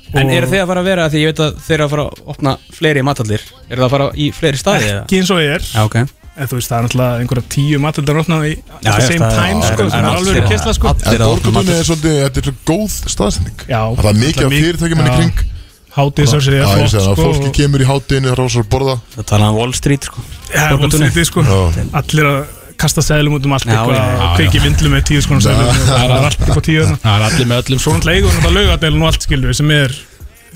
Speaker 3: En
Speaker 7: og
Speaker 3: eru þið að fara að vera Því ég veit að þeir eru að fara að opna fleiri matallir Eru það að fara í fleiri staði? eða?
Speaker 7: ekki eins og er
Speaker 3: Já, ok
Speaker 7: en þú veist það er náttúrulega einhverja tíu matildar opnaði í at the
Speaker 3: já,
Speaker 7: same
Speaker 3: það er-
Speaker 7: time
Speaker 3: það
Speaker 7: sko,
Speaker 3: er-
Speaker 7: sem
Speaker 3: það
Speaker 7: er
Speaker 3: er
Speaker 7: alveg
Speaker 3: allir-
Speaker 7: kessla sko
Speaker 3: allir-
Speaker 2: En
Speaker 3: Þeir eru að opna
Speaker 2: borgarnu
Speaker 3: matið.
Speaker 2: er svolítið, þetta er svo góð staðsending
Speaker 7: Já.
Speaker 2: Það er mikið af
Speaker 7: Mikið-
Speaker 2: fyrirtækjum hann í
Speaker 7: Já.
Speaker 2: kring
Speaker 7: Hátið sem
Speaker 2: Já,
Speaker 7: sér er
Speaker 2: ég
Speaker 7: flott
Speaker 2: segi það,
Speaker 7: sko
Speaker 2: fólki kemur í hátinu, það rásar að borða
Speaker 3: Það talaði um Wall Street sko
Speaker 7: Já,
Speaker 3: Borgartúni.
Speaker 7: vonstundið sko
Speaker 2: Já.
Speaker 7: Allir að kasta seglum út um allt
Speaker 3: Já, já,
Speaker 7: eitthvað
Speaker 3: já,
Speaker 7: og kveiki vindlu með tíu skona seglum og það er allt upp á tíu þarna
Speaker 4: það er allir með öllum
Speaker 7: Svo
Speaker 4: svona
Speaker 7: náttúrulega eigur náttúrulega laugadelin og allt skilur sem er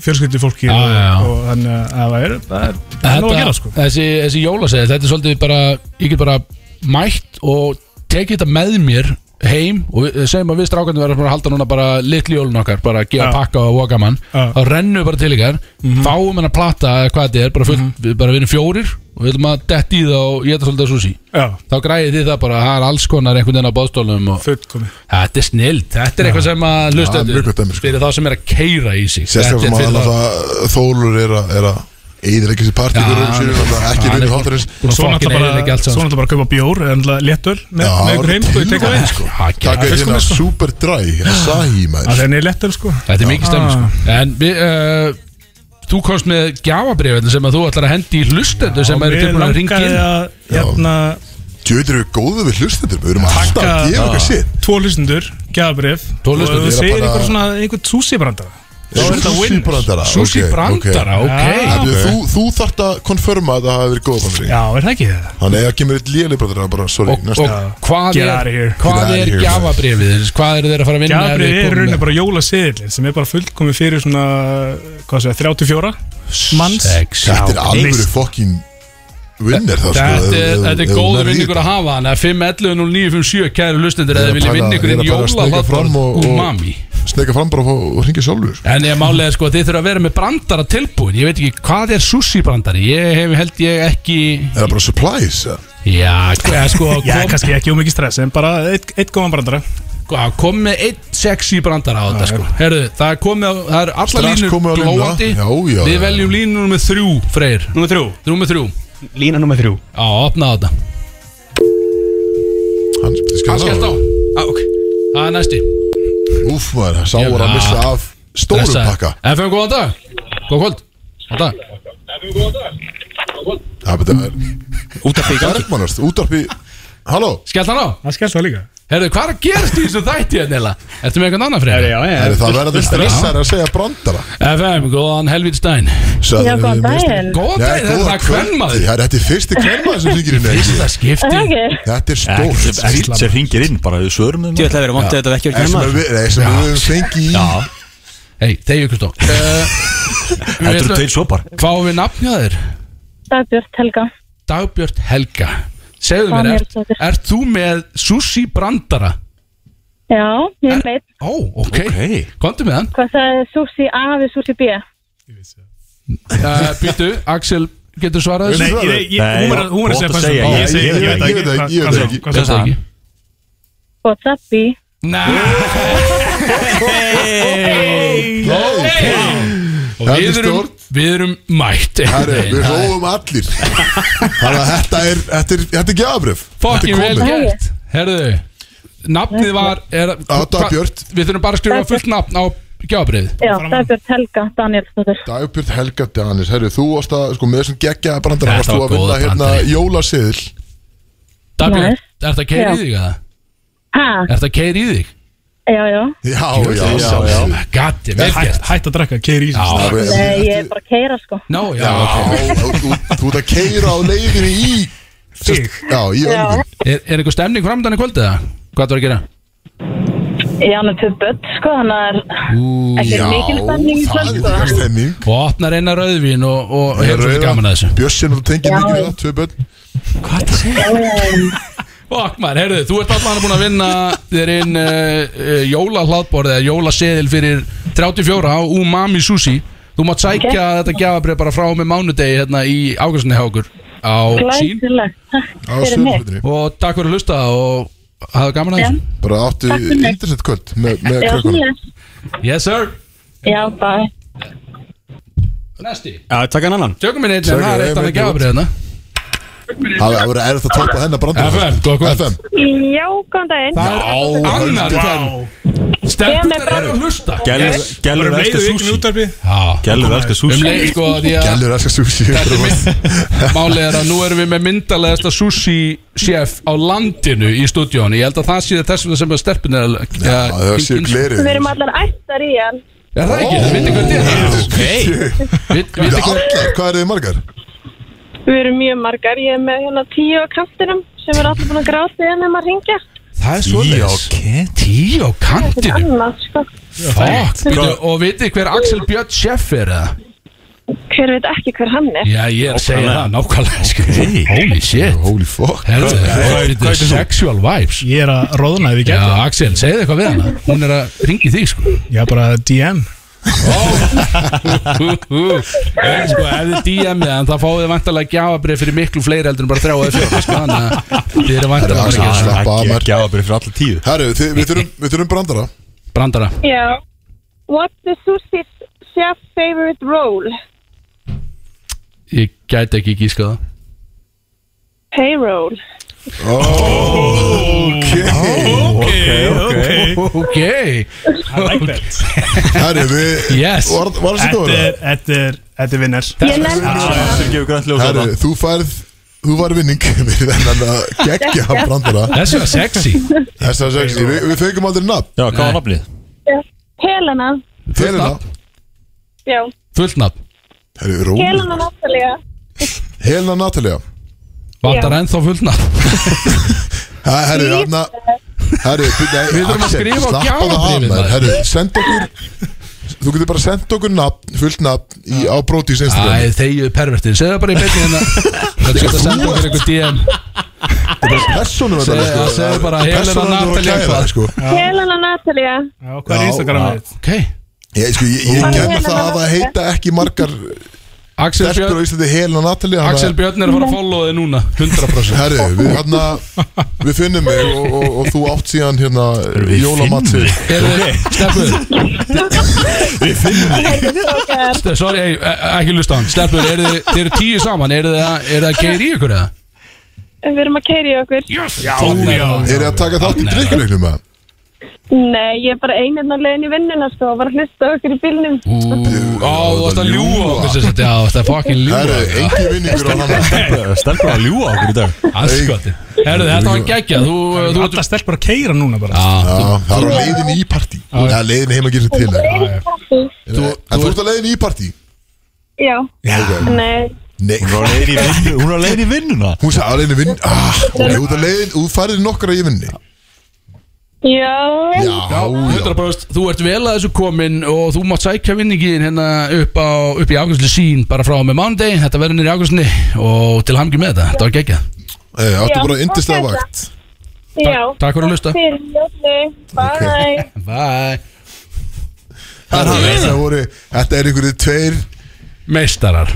Speaker 7: fjölskyldu fólki
Speaker 4: Já, já, já.
Speaker 7: og þannig að það er það er, það er nóg að gera sko
Speaker 4: þessi, þessi jólasegð, þetta er svolítið bara ég get bara mætt og tekið þetta með mér heim og við, segjum að við strákandi verðum bara að halda núna bara litli jólun okkar, bara að gefa
Speaker 7: Já.
Speaker 4: pakka og voka mann,
Speaker 7: Já. Mhm.
Speaker 4: þá rennum við bara til ykkar fáum hennar plata eða hvað þetta er bara, full, við, bara við erum fjórir og við viljum að detti í það og geta svolítið sushi
Speaker 7: Já,
Speaker 4: þá græði þið það bara að það er alls konar einhvern veginn á báðstólum og
Speaker 7: fullkomi
Speaker 4: þetta er snild, þetta er eitthvað sem að
Speaker 2: Já, mjög
Speaker 4: hlustendur
Speaker 2: gott dæmi, sko.
Speaker 4: fyrir þá sem er að keira í sig
Speaker 2: Sérstaklega sem
Speaker 4: Þetta er
Speaker 2: að
Speaker 4: fyrir
Speaker 2: hann
Speaker 4: þá-
Speaker 2: alltaf Þólur er að, er að Eðilegja sér partí
Speaker 4: Já,
Speaker 2: fyrir um
Speaker 4: hann-
Speaker 2: sínum alltaf Ekki
Speaker 4: hann er
Speaker 2: vinni
Speaker 4: búinn-
Speaker 2: háttarins
Speaker 4: búinn að
Speaker 7: Svo
Speaker 4: fucking
Speaker 7: náttúrulega
Speaker 4: eyðileggja
Speaker 7: bara,
Speaker 4: allt saman.
Speaker 7: svo náttúrulega bara að kaupa bjór eða léttöl með, með ykkur heim sko, ég tek að
Speaker 2: sko
Speaker 4: Já, ekki
Speaker 2: Takk
Speaker 7: alveg
Speaker 2: er hérna
Speaker 7: sko, sko.
Speaker 2: Superdry, Asahi
Speaker 7: Það
Speaker 2: maður
Speaker 7: er neitt léttöl sko
Speaker 4: Þetta er mikið stemming
Speaker 7: Ah.
Speaker 4: sko. En við, uh, þú komst með gjafabrif sem að þú ætlar að hendi í hlustendur sem eru tilbúin að ringa inn
Speaker 7: að hérna
Speaker 2: Djöður eru góðu við hlustendur Við erum alltaf að gefa okkar sitt
Speaker 7: tvo hlustundur, gjafabrif
Speaker 4: Tvo hlustendur,
Speaker 2: ég
Speaker 7: og þú
Speaker 2: er
Speaker 7: segir
Speaker 2: bara-
Speaker 7: einhver svona einhvern súsibrandara þá er þetta
Speaker 2: Sushi
Speaker 7: win
Speaker 2: brandara
Speaker 4: Sushi
Speaker 2: ok, ok.
Speaker 4: Brandara,
Speaker 7: Já.
Speaker 4: ok
Speaker 2: Þú, þú, þú þarft að konfirma að það hafi verið góða bandari
Speaker 7: Já, er það ekki það?
Speaker 2: Þannig að ef það kemur eitt léli brandara bara, sorry,
Speaker 4: Og,
Speaker 2: næsta
Speaker 4: og hvað
Speaker 7: Get
Speaker 4: er,
Speaker 7: out of here.
Speaker 4: hvað
Speaker 2: Get out
Speaker 4: er
Speaker 2: of here,
Speaker 4: gjafabrifið þess? Hvað eru þeir að fara að vinna? ef
Speaker 7: Gjafabrif
Speaker 4: við
Speaker 7: er
Speaker 4: komum
Speaker 7: raunin
Speaker 4: með-
Speaker 7: bara jólaseðilin sem er bara fullkomi fyrir svona hvað segja, 34 manns
Speaker 4: Sex.
Speaker 2: Þetta er alvöru
Speaker 7: list.
Speaker 2: fokkin Vinner það sko
Speaker 4: Þetta er, þetta er góður vinn ykkur að
Speaker 2: hafa
Speaker 4: hafa Þannig að 5.11.0957 kæru
Speaker 2: Ég
Speaker 4: lustendur
Speaker 2: er
Speaker 4: eða
Speaker 2: að
Speaker 4: vilja
Speaker 2: pæla-
Speaker 4: vinna ykkur
Speaker 2: ég er
Speaker 4: inn
Speaker 2: að pæla að
Speaker 4: jóla
Speaker 2: stíga fram og- og-
Speaker 4: umami
Speaker 2: Snega fram bara og fá- og ringja sjálfur
Speaker 4: En ég málega sko að þið þurfa að vera með brandara tilbúin Ég veit ekki hvað er sushi brandari Ég hef held ég ekki
Speaker 2: Er það bara surprise? eða?
Speaker 4: Já, sko, eða
Speaker 2: *laughs*
Speaker 4: sko
Speaker 7: Já,
Speaker 4: kom-
Speaker 7: kannski ekki um mikið stress en bara eitt, eitt góðan brandara
Speaker 4: Já, kom með einn sexy brandara á þetta sko Herðu, það er komið á, það er alla
Speaker 2: Strax
Speaker 4: línur
Speaker 2: komið á línuna.
Speaker 4: glóandi
Speaker 2: Já, já,
Speaker 4: Við
Speaker 2: já.
Speaker 4: veljum línur með þrjú, Freyr
Speaker 3: Númer þrjú
Speaker 4: Þrjú með þrjú
Speaker 3: Lína númer þrjú
Speaker 4: Já, opna á þetta
Speaker 2: Hann
Speaker 4: Hann skellt á
Speaker 2: á
Speaker 4: Já, ok Það er næsti
Speaker 2: Úf maður, sá
Speaker 4: Ég-
Speaker 2: var að
Speaker 4: Ah.
Speaker 2: missa af stórum pakka
Speaker 4: FM, góðan dag Góð kvöld Góðan dag
Speaker 2: Það betur að
Speaker 3: Útvarpið í gangi.
Speaker 2: Bergmannast, útvarpi Halló,
Speaker 4: Skellt hann á
Speaker 7: Það skellt það líka
Speaker 4: Herðu, hvað er að gerast í þessu þætti hérna eða? Ertu með eitthvað annað fyrir?
Speaker 7: já,
Speaker 2: er það verður stressar að segja brandara
Speaker 4: FM, góðan Helvítstæn
Speaker 2: Sagði
Speaker 8: Já,
Speaker 2: við
Speaker 8: góðan daginn.
Speaker 2: mistum-
Speaker 4: Góðan
Speaker 2: Nei,
Speaker 4: daginn, er
Speaker 2: góðan
Speaker 4: það
Speaker 2: kvöld.
Speaker 4: kvenmaður?
Speaker 2: Já, Þetta er fyrsti kvennmaður sem hringir inn
Speaker 4: Fyrsta skipti
Speaker 8: Það ekki?
Speaker 2: Þetta er
Speaker 5: Ekkert
Speaker 2: stórt
Speaker 5: ekkert sem ringir inn bara við svörum um þeim
Speaker 3: Ég ætla að vera vant að þetta vekkjur
Speaker 2: Það
Speaker 3: ekki
Speaker 2: sem
Speaker 3: maður
Speaker 2: við nei, sem við höfum fengið í
Speaker 5: Já,
Speaker 4: Hei, tegju Kristó
Speaker 2: Eh.
Speaker 5: þetta eru tveir svopar
Speaker 4: Hvað á við nafn hjá þér?
Speaker 8: Dagbjörn Helga.
Speaker 4: Dagbjört Helga Segðu
Speaker 8: Hvað
Speaker 4: mér,
Speaker 8: mér
Speaker 4: ert
Speaker 8: tókir?
Speaker 4: er þú með sushi brandara?
Speaker 8: Já, ég er meitt.
Speaker 4: Ó, ok, okay. komdu
Speaker 2: *laughs*
Speaker 4: með hann
Speaker 8: Hvað það er Susi A við Susi B?
Speaker 4: uh, Býtu, Axel, getur svarað
Speaker 7: Nei,
Speaker 4: þessu?
Speaker 7: ég, ég, hún var að- hún var að
Speaker 5: Nei,
Speaker 7: segja
Speaker 5: gott að
Speaker 7: hvað
Speaker 5: segja,
Speaker 7: sem-
Speaker 5: ég- ég-
Speaker 7: ég
Speaker 2: ég- ég-
Speaker 7: hvað-
Speaker 2: ég- ég-
Speaker 7: hvað sem-
Speaker 2: ég-
Speaker 7: hvað
Speaker 4: Ég
Speaker 7: sem-
Speaker 4: sagði ekki.
Speaker 8: What's up B?
Speaker 4: Og
Speaker 2: Þetta er
Speaker 4: við erum,
Speaker 2: stórt.
Speaker 4: við erum mætt
Speaker 2: Herru,
Speaker 4: einhvern
Speaker 2: við
Speaker 4: *laughs* veginn.
Speaker 2: róum allir Þannig að þetta er Þetta er, þetta er gjafabrif
Speaker 4: Fokkin vel
Speaker 8: komið.
Speaker 4: gert Herðu, nafnið var er,
Speaker 2: Dagbjört.
Speaker 4: Við þurfum bara að skrifa fullt nafn á gjábreyð
Speaker 8: Já, Dagbjört Helga Danielsdóttir.
Speaker 2: Dagbjörn Helga Danis Herru, þú varst að, sko, með þessum geggja brandara
Speaker 4: Þetta
Speaker 2: varst þú
Speaker 4: var
Speaker 2: að vinna
Speaker 4: góða
Speaker 2: hérna
Speaker 4: brandari.
Speaker 2: jólaseðil
Speaker 4: Dagbjörn,
Speaker 8: Nice.
Speaker 4: er þetta keir í
Speaker 8: Já.
Speaker 4: þig að?
Speaker 8: Hæ?
Speaker 4: Er þetta keir í þig? Oh
Speaker 8: Já, já.
Speaker 2: Já, já, já, já
Speaker 4: Gatti, vel
Speaker 7: Hætt
Speaker 4: gert
Speaker 7: hætt að drekka, keir í sig
Speaker 2: Það er-
Speaker 8: Nei, ég er bara að keira sko.
Speaker 4: No, já,
Speaker 2: Já,
Speaker 4: ok
Speaker 2: þú, þú, þú ert að keira á leiðinni í
Speaker 7: Þig.
Speaker 2: Já, í öngum
Speaker 4: Er, er eitthvað stemning framdann í kvöldið það? Hvað var að gera?
Speaker 8: Ég hann er tvö börn sko, þannig að ekki
Speaker 2: Já,
Speaker 8: mikil stemning í
Speaker 2: það
Speaker 8: kvöld
Speaker 2: er
Speaker 8: sko.
Speaker 2: líka stemning hérna
Speaker 4: Og opnar eina rauðvín og, og hefur svolítið gaman að þessu
Speaker 2: Bjössin og tengir
Speaker 8: Já.
Speaker 2: mikið við það, tvö börn
Speaker 4: Fokk maður, heyrðu, þú ert allan búin að vinna þér inn uh, uh, jólahlaðborð eða jólaseðil fyrir 34 á Umami Sushi Þú mátt sækja þetta gjafabrið bara frá og með mánudegi hérna í ágæstinni hjá okkur á sín
Speaker 8: Glæsilegt. Takk
Speaker 2: á
Speaker 8: Fyrir mig.
Speaker 2: sömfjöldinni
Speaker 4: og takk fyrir að hlusta og hafa gaman að
Speaker 8: Já.
Speaker 4: þessu
Speaker 2: Bara áttu
Speaker 8: Takk fyrir mig.
Speaker 2: internet kvöld með, með
Speaker 8: Já,
Speaker 2: krökkunum
Speaker 8: hlýlega.
Speaker 4: Yes sir
Speaker 8: Já, bye.
Speaker 4: Næsti
Speaker 3: Já, takk hann annan
Speaker 4: Tökum minn einnig,
Speaker 2: Tökum
Speaker 4: það er
Speaker 2: einn
Speaker 4: eitt annað
Speaker 2: einn
Speaker 4: gjafabrið hérna
Speaker 2: Það það verður erfitt að toppa hennar brandara
Speaker 4: FM, góða kvöld.
Speaker 2: FM,
Speaker 8: Já, góðan daginn.
Speaker 2: Já,
Speaker 4: Annar
Speaker 2: heldur.
Speaker 4: kenn Stefnir er að hlusta
Speaker 7: Bara
Speaker 5: Gælur
Speaker 7: um leiðu
Speaker 5: elskar
Speaker 7: ykkur
Speaker 5: sushi
Speaker 7: útarpi
Speaker 4: Já
Speaker 5: Gælur elskar
Speaker 4: Um
Speaker 5: sushi
Speaker 4: leið sko því að
Speaker 2: Gellur elskar sushi
Speaker 4: Þetta er mynd- Málið er að nú erum við með myndalegasta sushi chef á landinu í stúdíónu Ég held að það sé þess vegna sem að stelpun er að
Speaker 2: Já, það séu glerið
Speaker 8: Við erum allar ættar í hann.
Speaker 4: Er það ekki? Það viti hvernig þetta er Ok Viti
Speaker 2: Þetta er
Speaker 4: hvernig
Speaker 2: allar, hvað eru þið margar?
Speaker 8: Við erum mjög margar. Ég er með hérna tíu á kantinum sem er allir búin að gráta í hann um að ringja.
Speaker 4: Það er svoleiðis Tíu á
Speaker 8: Þetta er
Speaker 4: kantinu
Speaker 8: annars sko.
Speaker 4: Fuck Bíddu, Og viti hver Axel Björn chef er það?
Speaker 8: Hver veit ekki hver hann er.
Speaker 4: Já ég er að segja það nákvæmlega sko. Holy shit
Speaker 2: Holy fuck
Speaker 4: Herðu,
Speaker 5: hvað
Speaker 4: þetta
Speaker 5: heitir
Speaker 4: er
Speaker 5: þú?
Speaker 4: sexual vibes
Speaker 7: Ég er að roðna ef ég
Speaker 4: Já,
Speaker 7: get það.
Speaker 4: Axel, segðu eitthvað við hana Hún er að ringi þig sko
Speaker 7: Ég er bara DM
Speaker 4: *laughs* Hú, hú. En sko, ef þið DM-ið hann þá fáið þið vantarlega gjafabrið fyrir miklu fleiri heldur en bara þrjá eða fjóra sko, þannig að þið eru
Speaker 2: Herra,
Speaker 4: vantarlega bara
Speaker 2: Axel.
Speaker 4: ekki
Speaker 2: Sleppa af mér.
Speaker 5: Gælur fyrir alla tíu
Speaker 2: Herru, þið- við þurfum, við þurfum brandara
Speaker 4: brandara
Speaker 8: Já. What's the sushi chef favorite role?
Speaker 4: ég gæti ekki gíska það
Speaker 8: Payroll.
Speaker 2: Ok
Speaker 4: ok
Speaker 2: Herru, við
Speaker 4: Yes.
Speaker 2: Var var það sem þú
Speaker 7: Þetta
Speaker 2: verður?
Speaker 7: er, þetta er, þetta er vinnar
Speaker 8: Ég
Speaker 4: Ah.
Speaker 8: nefndi
Speaker 5: sem gefur grænt ljós
Speaker 2: Herru,
Speaker 5: þarna.
Speaker 2: þú færð Þú var vinning *laughs* við þennan að gegja brandara
Speaker 4: þessu er sexy
Speaker 2: Þess að sexi, við, við fengum aldrei nafn
Speaker 5: Já, hvað var nafnið?
Speaker 8: Helena.
Speaker 2: Helena,
Speaker 8: Já.
Speaker 4: fullt nafn
Speaker 2: herru, róli
Speaker 8: Helena Natalia.
Speaker 2: Helena Natalia
Speaker 4: vantar ennþá fullt nafn
Speaker 2: Ha, Herru, Anna Herru, nei,
Speaker 4: Við þurfum að skrifa á
Speaker 2: slappaðu af,
Speaker 4: gjafabréfið,
Speaker 2: maður.
Speaker 4: maður.
Speaker 2: Herru, send okkur Þú getur bara sendt okkur nafn, fullt nafn í, á Brodís Instagram
Speaker 4: æ, þegju pervertin segðu það bara í beinni hérna þetta er að senda okkur einhver DM
Speaker 2: Personum þetta
Speaker 4: Segðu-
Speaker 2: sko.
Speaker 4: segðu bara Helena
Speaker 2: Persónuverndar og
Speaker 4: Natalia
Speaker 2: kæra,
Speaker 4: eitthvað.
Speaker 2: sko.
Speaker 8: Helena Natalia.
Speaker 7: Já, Hvað er
Speaker 2: Já,
Speaker 7: Instagramið þitt?
Speaker 4: ok
Speaker 2: Ég, sko, ég, ég kenni
Speaker 8: Helena
Speaker 2: það að það
Speaker 8: Natalia.
Speaker 2: heita ekki margar
Speaker 4: Axel
Speaker 2: Stelpur á
Speaker 4: Björn
Speaker 2: Íslandi, Helena Natalia
Speaker 4: Axel Björn er að fara að followa þig núna 100%
Speaker 2: Herru, við, hérna, við finnum mig og, og, og þú átt síðan hérna jólamatsi
Speaker 4: Er þið, Stefnur, sorry, hey, ekki lusta á hann Stefnur, eru þið- þið eru tíu saman, eru þið að- eru þið að geir í ykkur eða?
Speaker 8: Við erum að keiri okkur.
Speaker 4: Já, já,
Speaker 2: Er það að taka þátt í drikkuleiknum með?
Speaker 8: Nei, ég er bara einirna leiðin í vinnuna sko og var að hlusta á okkur í bílnum
Speaker 4: Ú, Á, þú varst að ljúa okkur sem sagt, Já, þú varst að fucking
Speaker 2: Það
Speaker 4: ljúa
Speaker 2: eru engin vinningur á hann
Speaker 5: Stelpur að ljúa okkur í dag
Speaker 4: Askoti Herðu, þetta var geggja Þú, þú ert
Speaker 7: Alla stelpur að keira núna bara
Speaker 4: Já,
Speaker 2: Já, það er á leiðinni í partí Það er leiðinni heim að gera sér til En þú ert á leiðinni í partí
Speaker 8: Já,
Speaker 2: Ok.
Speaker 8: nei,
Speaker 2: Nei,
Speaker 5: Hún er á leiðinni í vinnu- Hún er á leiðin í vinnuna
Speaker 2: hún sagði á leiðinni vinn ah, Þú ert á leiðinni, þú farir nokkra í vinni
Speaker 8: já,
Speaker 2: Já, já
Speaker 4: 100% Þú ert vel að þessu komin og þú mátt sækja vinningin hérna upp, á, upp í afgjörslu sín bara frá og með mándegi, þetta verður niður í afgjörslu og til hamngi með þetta, þetta var geggja
Speaker 2: Ei, Eh, Áttu bara
Speaker 8: Já,
Speaker 2: yndislega
Speaker 8: ok,
Speaker 2: vakt
Speaker 8: já
Speaker 4: takk fyrir að hlusta.
Speaker 8: Takk fyrir, ljóðni, bye
Speaker 4: Bye
Speaker 2: Þetta voru, þetta er einhverju tveir
Speaker 4: Meistarar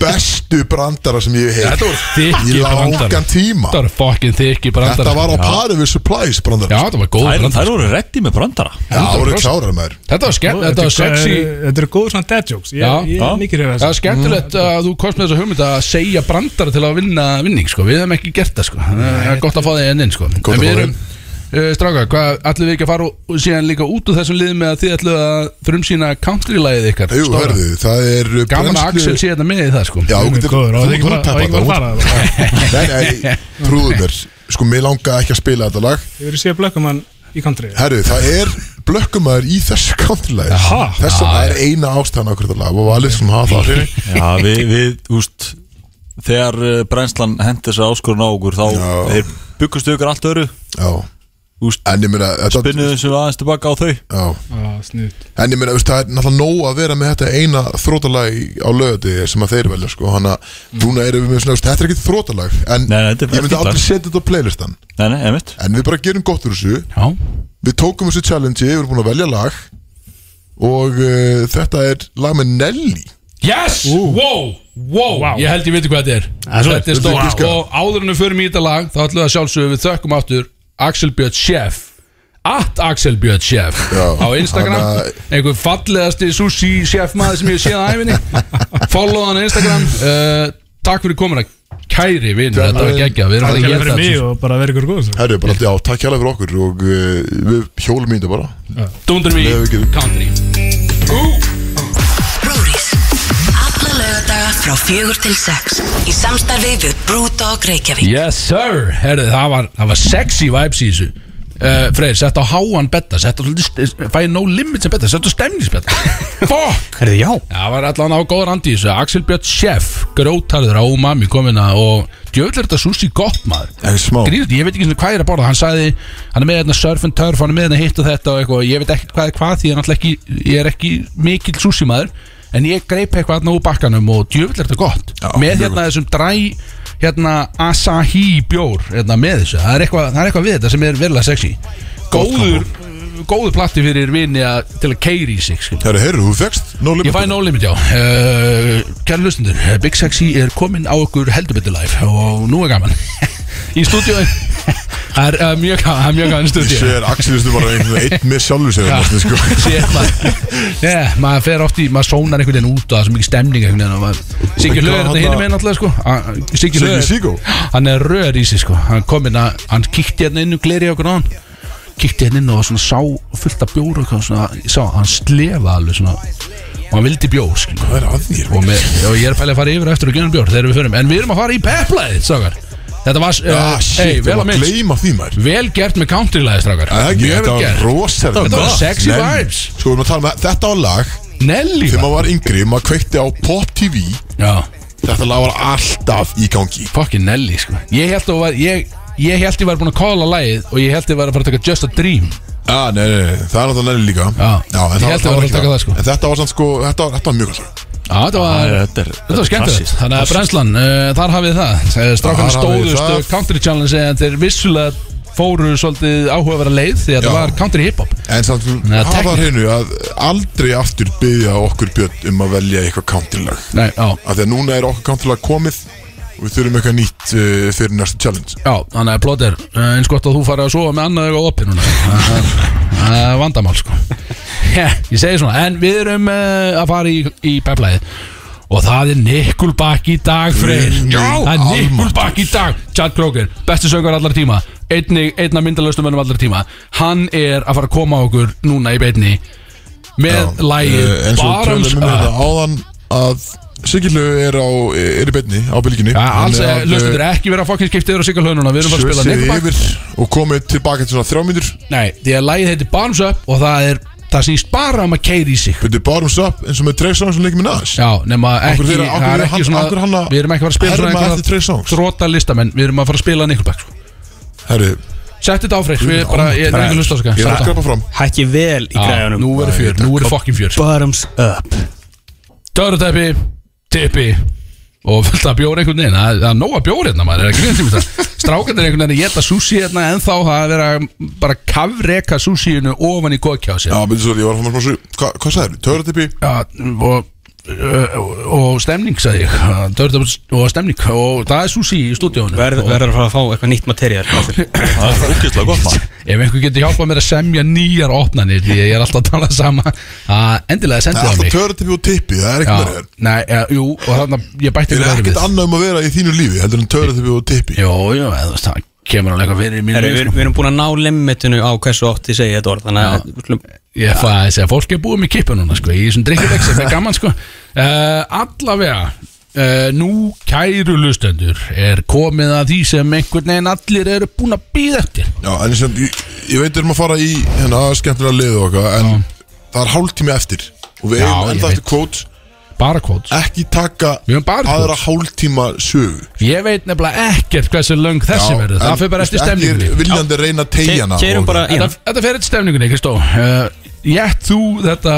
Speaker 2: bestu brandara sem ég hef
Speaker 4: Þetta voru
Speaker 2: heyrt Í
Speaker 4: þykki brandarar
Speaker 2: langan tíma
Speaker 4: Þetta voru fucking þykki brandarar
Speaker 2: Þetta var á pari við Supplies
Speaker 4: Já,
Speaker 2: brandara
Speaker 4: þetta var góð
Speaker 5: Þær,
Speaker 4: brandar
Speaker 5: þær voru reddi með brandara
Speaker 2: Það voru klárar maður
Speaker 4: Þetta var skemmt, þetta var sexy
Speaker 7: Þetta eru góður svona dad jokes Ég,
Speaker 4: Já.
Speaker 7: ég
Speaker 5: Já.
Speaker 7: er mikið reyða
Speaker 4: Það er skemmtilegt
Speaker 2: Mm.
Speaker 4: að þú komst með þessa hugmynd að segja brandara til að vinna vinning sko. Við hefum ekki gert það sko. Það er gott að fá þig enn inn sko.
Speaker 2: Gott að
Speaker 4: En við
Speaker 2: fá þig
Speaker 4: erum, uh, Stráka, hvað ætlum við ekki að fara og síðan líka út úr þessum liðum með að þið ætlum að frumsýna country-lægið ykkar
Speaker 2: Jú,
Speaker 4: stóra?
Speaker 2: hörðu, það er
Speaker 4: Gaman að Axel sé þetta með í það sko.
Speaker 2: Já, þú
Speaker 7: Mjög
Speaker 2: getur-
Speaker 7: góður,
Speaker 2: þú
Speaker 7: og það er
Speaker 2: getur
Speaker 7: ekki bara það
Speaker 2: úttappað
Speaker 7: er ekki bara að
Speaker 2: það
Speaker 7: fara það
Speaker 2: Nei, nei, trúðu mér Sko, mér langa ekki að spila þetta lag
Speaker 7: Ég verið að sé blökkumann í country
Speaker 2: Herru, það er blökkumæður í þessu countrylæði
Speaker 7: Aha.
Speaker 2: Þess að það er eina ástæðan okkur þetta lag Og valið sem hafa það á hreinu.
Speaker 5: Já, við, við úst Þegar eh, brennslan hendi þessa áskorun á okkur Þá
Speaker 2: Já.
Speaker 5: þeir byggust ykkur allt öru
Speaker 2: Já
Speaker 5: Úst,
Speaker 2: En ég meina þetta-
Speaker 5: Spinnuðu þessu aðeins tilbaka á þau
Speaker 2: Já
Speaker 7: Ah, Sniðut
Speaker 2: En ég meina, veist, það er náttúrulega nóg að vera með þetta eina þrótalag á lögati sem að þeir velja, sko, hann að núna erum við með svona, veist, þetta er ekkert þrótalag en
Speaker 5: Nei, nei, þetta er
Speaker 2: ég myndi
Speaker 5: fínt lag.
Speaker 2: aldrei setja þetta á playlistan
Speaker 5: Nei, nei, einmitt
Speaker 2: en við bara gerum gott úr þessu
Speaker 4: Já,
Speaker 2: við tókum þessu challenge, við erum búin að velja lag og uh, þetta er lag með Nelly
Speaker 4: Yes! Wow! Wow! Ég held ég veit hvað þetta er Þetta er
Speaker 2: Þetta er sko.
Speaker 4: stórt
Speaker 2: giska.
Speaker 4: Og áður en við förum í þetta lag þá ætlum við að sjálfsögðu við þökkum áttur Axel Björn Chef At Axel Björn Chef
Speaker 2: Já.
Speaker 4: Á Instagram
Speaker 2: Hann,
Speaker 4: Einhver fallegasti sushi chef maður sem ég séð á
Speaker 2: *laughs*
Speaker 4: æfinni Follow hann á Instagram uh, Takk fyrir komuna Kæri vinn,
Speaker 2: Takk
Speaker 4: þetta var
Speaker 2: fyrir-
Speaker 4: geggja Við erum
Speaker 7: Það
Speaker 4: að
Speaker 7: er
Speaker 4: gera
Speaker 7: fyrir mig
Speaker 4: þetta
Speaker 7: og bara verið ykkur sko. góð
Speaker 2: Herru, bara, já, takk hérlega fyrir okkur og uh, við hjólum í þetta bara
Speaker 4: Dúndur
Speaker 2: Nei, við
Speaker 4: mig
Speaker 2: getum-
Speaker 4: Country
Speaker 6: Brúris. Alla lögadaga frá fjögur til sex. Í samstarfi við Brúdog Reykjavík.
Speaker 4: Yes sir Herðu, það, var, það var sexy vibes í þessu uh, Freyr, sett á háan betta Sett á svolítið- eh, fæ no limit sem betta Sett á stemningsbetta Fuck
Speaker 3: Herði, já
Speaker 4: Það var allan á góðar andi í þessu Axel Björn Chef Grótarður á umami kominna Og djöfull er þetta sushi gott maður
Speaker 2: En smá,
Speaker 4: Grínur, ég veit ekki svona hvað ég er að borða Hann sagði, hann er með hérna surf and turf Hann er með hérna hitt og þetta og eitthvað Ég veit ekkert hvað er hvað því ég er náttúrulega ekki, ég er ekki mikill sushi maður En ég greip eitthvað hérna úr bakkanum Og djöfull er þetta gott
Speaker 2: Já,
Speaker 4: Með
Speaker 2: mjög
Speaker 4: hérna þessum dræ hérna Asahi bjór hérna, með þessu það er, eitthvað, það er eitthvað við þetta sem er verilega sexy Góður Góður platti fyrir vini að, til að keiri í sig skilur.
Speaker 2: herru, herru, þú fegst no
Speaker 4: Ég fæ no limit, já uh, Kæri lustundur, Big Sexy er komin á okkur heldurbyrðu live og nú er gaman *laughs* Í stúdíu Það er uh, mjög gaman, það er mjög gaman
Speaker 2: Ég
Speaker 4: stúdíu
Speaker 2: sé að Axel Vistu bara einhvern veginn einn með sjálfur sér
Speaker 4: Já.
Speaker 2: næstum, sko.
Speaker 4: Sér maður yeah, maður fer oft í, maður sónar einhvern veginn út og það er svo mikið stemning einhvern veginn og maður Siggi Löður þetta hinum einn alltaf sko A- Siggi
Speaker 2: Siggi
Speaker 4: Löður,
Speaker 2: Siggo?
Speaker 4: hann er röður í sig sko hann kom inn að, hann kíkti hérna inn og gleri okkur á hann kíkti hérna inn og svona sá fullt af bjór og eitthvað svona, ég sá, hann slefa alveg svona og hann vildi bjór sko
Speaker 2: Hvað er að þér?
Speaker 4: og, með, og ég er pælið að fara yfir á eftir og gera bjór þegar við förum, en við erum að fara í peplæði strákar, þetta var
Speaker 2: Ah, shit,
Speaker 4: ey,
Speaker 2: ég
Speaker 4: vel
Speaker 2: var
Speaker 4: að
Speaker 2: að
Speaker 4: minnst,
Speaker 2: gleyma því maður
Speaker 4: vel gert með countrylæði strákar,
Speaker 2: Það er ekki,
Speaker 4: mjög
Speaker 2: þetta
Speaker 4: vel
Speaker 2: var
Speaker 4: gert
Speaker 2: rosalega
Speaker 4: Þetta var
Speaker 2: gott.
Speaker 4: sexy
Speaker 2: Nei,
Speaker 4: vibes.
Speaker 2: Sko, við erum að tala með, þetta var lag
Speaker 4: Nelly
Speaker 2: Þegar
Speaker 4: var-
Speaker 2: maður var yngri, maður kveikti á Pop TV
Speaker 4: já,
Speaker 2: Þetta lag var alltaf í gangi
Speaker 4: fucking Nelly sko ég held að var, ég Ég held ég var búin að kóla lægið og ég held ég var að fara að taka Just a Dream
Speaker 2: Já, nei, nei, nei, það er náttúrulega nefnir líka
Speaker 4: Já.
Speaker 2: en
Speaker 4: Ég
Speaker 2: það
Speaker 4: held að það var
Speaker 2: ekki
Speaker 4: að taka það, sko.
Speaker 2: En þetta var samt sko, þetta var, þetta var mjög gott lag.
Speaker 4: Já, þetta var,
Speaker 5: Já, þetta
Speaker 4: þetta
Speaker 5: er-
Speaker 4: var skemmtilegt
Speaker 5: klassískt.
Speaker 4: Þannig að brennslan, uh, þar hafið það Eh, Strákan
Speaker 2: Þar hafið
Speaker 4: stóðust
Speaker 2: það.
Speaker 4: uh, Country Challenge en þeir vissulega fóru svolítið áhugaverða leið því að þetta
Speaker 2: Já.
Speaker 4: var Country Hip Hop
Speaker 2: En samt, sko,
Speaker 4: Nei,
Speaker 2: hafa
Speaker 4: tekni-
Speaker 2: það hreinu að aldrei aftur byggja okkur björn um að velja eitthvað countrylag
Speaker 4: Nei, já,
Speaker 2: Af því að núna er okkur countrylag komið og við þurfum eitthvað nýtt uh, fyrir næstu challenge
Speaker 4: Já, þannig að plóter, eins gott að þú farið að sofa með annað eitthvað opið núna Það- það- Það er vandamál sko Já, Ég segi svona, en við erum uh, að fara í, í peplæðið Og það er Nikulbakk í dag, Freyr
Speaker 2: Guð minn
Speaker 4: Það er
Speaker 2: almáttugur.
Speaker 4: Nikulbakk í dag Chad Kroger, besti söngur allar tíma einnig, einna myndalöstum mönnum allra tíma hann er að fara að koma á okkur núna í beinni með lægið
Speaker 2: Eh, eins og
Speaker 4: Bottoms
Speaker 2: tölum um
Speaker 4: Up.
Speaker 2: þetta áðan að Sigillu er, á, er í beinni á bylginu
Speaker 4: Ja, alls, löstum þetta ekki vera að fokkin skipta yfir að sigga hlununa Við erum bara að spila
Speaker 2: Svissið
Speaker 4: Nickelback
Speaker 2: eh, yfir og komið tilbaka til svona þrjá myndur
Speaker 4: Nei, því að lægið heitir Bottoms Up og það er það snýst bara um að keiri í sig
Speaker 2: Byrju bottoms up eins og með Trey Songs sem leikur með Nas
Speaker 4: Já, nema ekki,
Speaker 2: Okkur þeirra- okkur
Speaker 4: það
Speaker 2: þeirra
Speaker 4: er ekki
Speaker 2: hann-
Speaker 4: svona
Speaker 2: okkur hann að
Speaker 4: Við erum ekki að fara að spila
Speaker 2: herma
Speaker 4: svona
Speaker 2: eftir Trey Songs?
Speaker 4: Þróta listamenn, við erum að fara að spila Nickelback sko.
Speaker 2: Herri,
Speaker 4: Sett þetta á freyr,
Speaker 2: Guð
Speaker 4: við
Speaker 2: minn
Speaker 4: bara,
Speaker 2: almáttugur.
Speaker 4: ég er ekki að hlusta á
Speaker 2: ég er að
Speaker 4: þessu
Speaker 2: skrapa fram
Speaker 3: Hækki vel í græðunum
Speaker 4: Nú verður fjör, nú verður fokkin fjör
Speaker 3: Bottoms up
Speaker 4: Törutæpi, tippi og fullt að bjóra einhvern veginn það það er nóga bjóra hérna maður, er ekki grinn tíma það strákandir einhvern veginn að geta sushi hérna en þá það er verið að bara kafreka sushinu ofan í góðkjási
Speaker 2: Já, byrju svo, ég var að fá mér smá svo Hva, Hvað sagðir, töratipi?
Speaker 4: og, og, og stemning sagði ég, törutæpi og stemning og það er sushi í stúdíónu
Speaker 3: Verður
Speaker 4: og
Speaker 3: verður að fara að fá eitthvað nýtt materjál
Speaker 5: Það er ógeðslega gott maður
Speaker 4: ef einhver getur hjálpað mér að semja nýjar opnanir því að ég er alltaf að tala sama að endilega
Speaker 2: Það er
Speaker 4: sendið á
Speaker 2: alltaf
Speaker 4: mig
Speaker 2: töratipi og tippi, það er
Speaker 4: Já,
Speaker 2: ekkert verið
Speaker 4: nei, eh, jú, og þannig að ég bætti
Speaker 2: Það er
Speaker 4: einhverju öðru
Speaker 2: ekkert annað um að vera í þínu lífi heldur en töratipi og tippi
Speaker 4: Jó, jó, eða, þú veist, það kemur alveg eitthvað fyrir í mínu
Speaker 3: Herru,
Speaker 4: lífi,
Speaker 3: Við
Speaker 4: sko.
Speaker 3: við erum búin að ná limitinu á hversu ótt ég segi þetta orð Þannig að við skulum-
Speaker 4: Ég fæ að segja, fólk er búið með kippa núna sko, í þessum drikkjubæk sem er gaman sko. uh, Allavega uh, Nú kæru lustendur er komið að því sem einhvern veginn allir eru búin að býða eftir
Speaker 2: Já, en ég, sem, ég, ég veit við erum að fara í hérna skemmtilega liðu okkar en það er hálftími eftir og við
Speaker 4: Já,
Speaker 2: eigum
Speaker 4: ég
Speaker 2: enda
Speaker 4: veit.
Speaker 2: eftir kvót
Speaker 4: Bara kvóts
Speaker 2: ekki taka
Speaker 4: Við höfum bara
Speaker 2: aðra
Speaker 4: kvót.
Speaker 2: hálftíma sögu
Speaker 4: Ég veit nefnilega ekkert hversu löng þessi verður
Speaker 2: en
Speaker 4: Það fyrir bara eftir
Speaker 2: ekki
Speaker 4: stemningunni
Speaker 2: er viljandi að reyna að
Speaker 3: Ke-
Speaker 2: tegja hana
Speaker 3: Keirum
Speaker 2: og-
Speaker 3: bara í
Speaker 4: Þetta,
Speaker 3: hann
Speaker 4: þetta fyrir eftir stemningunni, Kristó uh, Jætt þú þetta,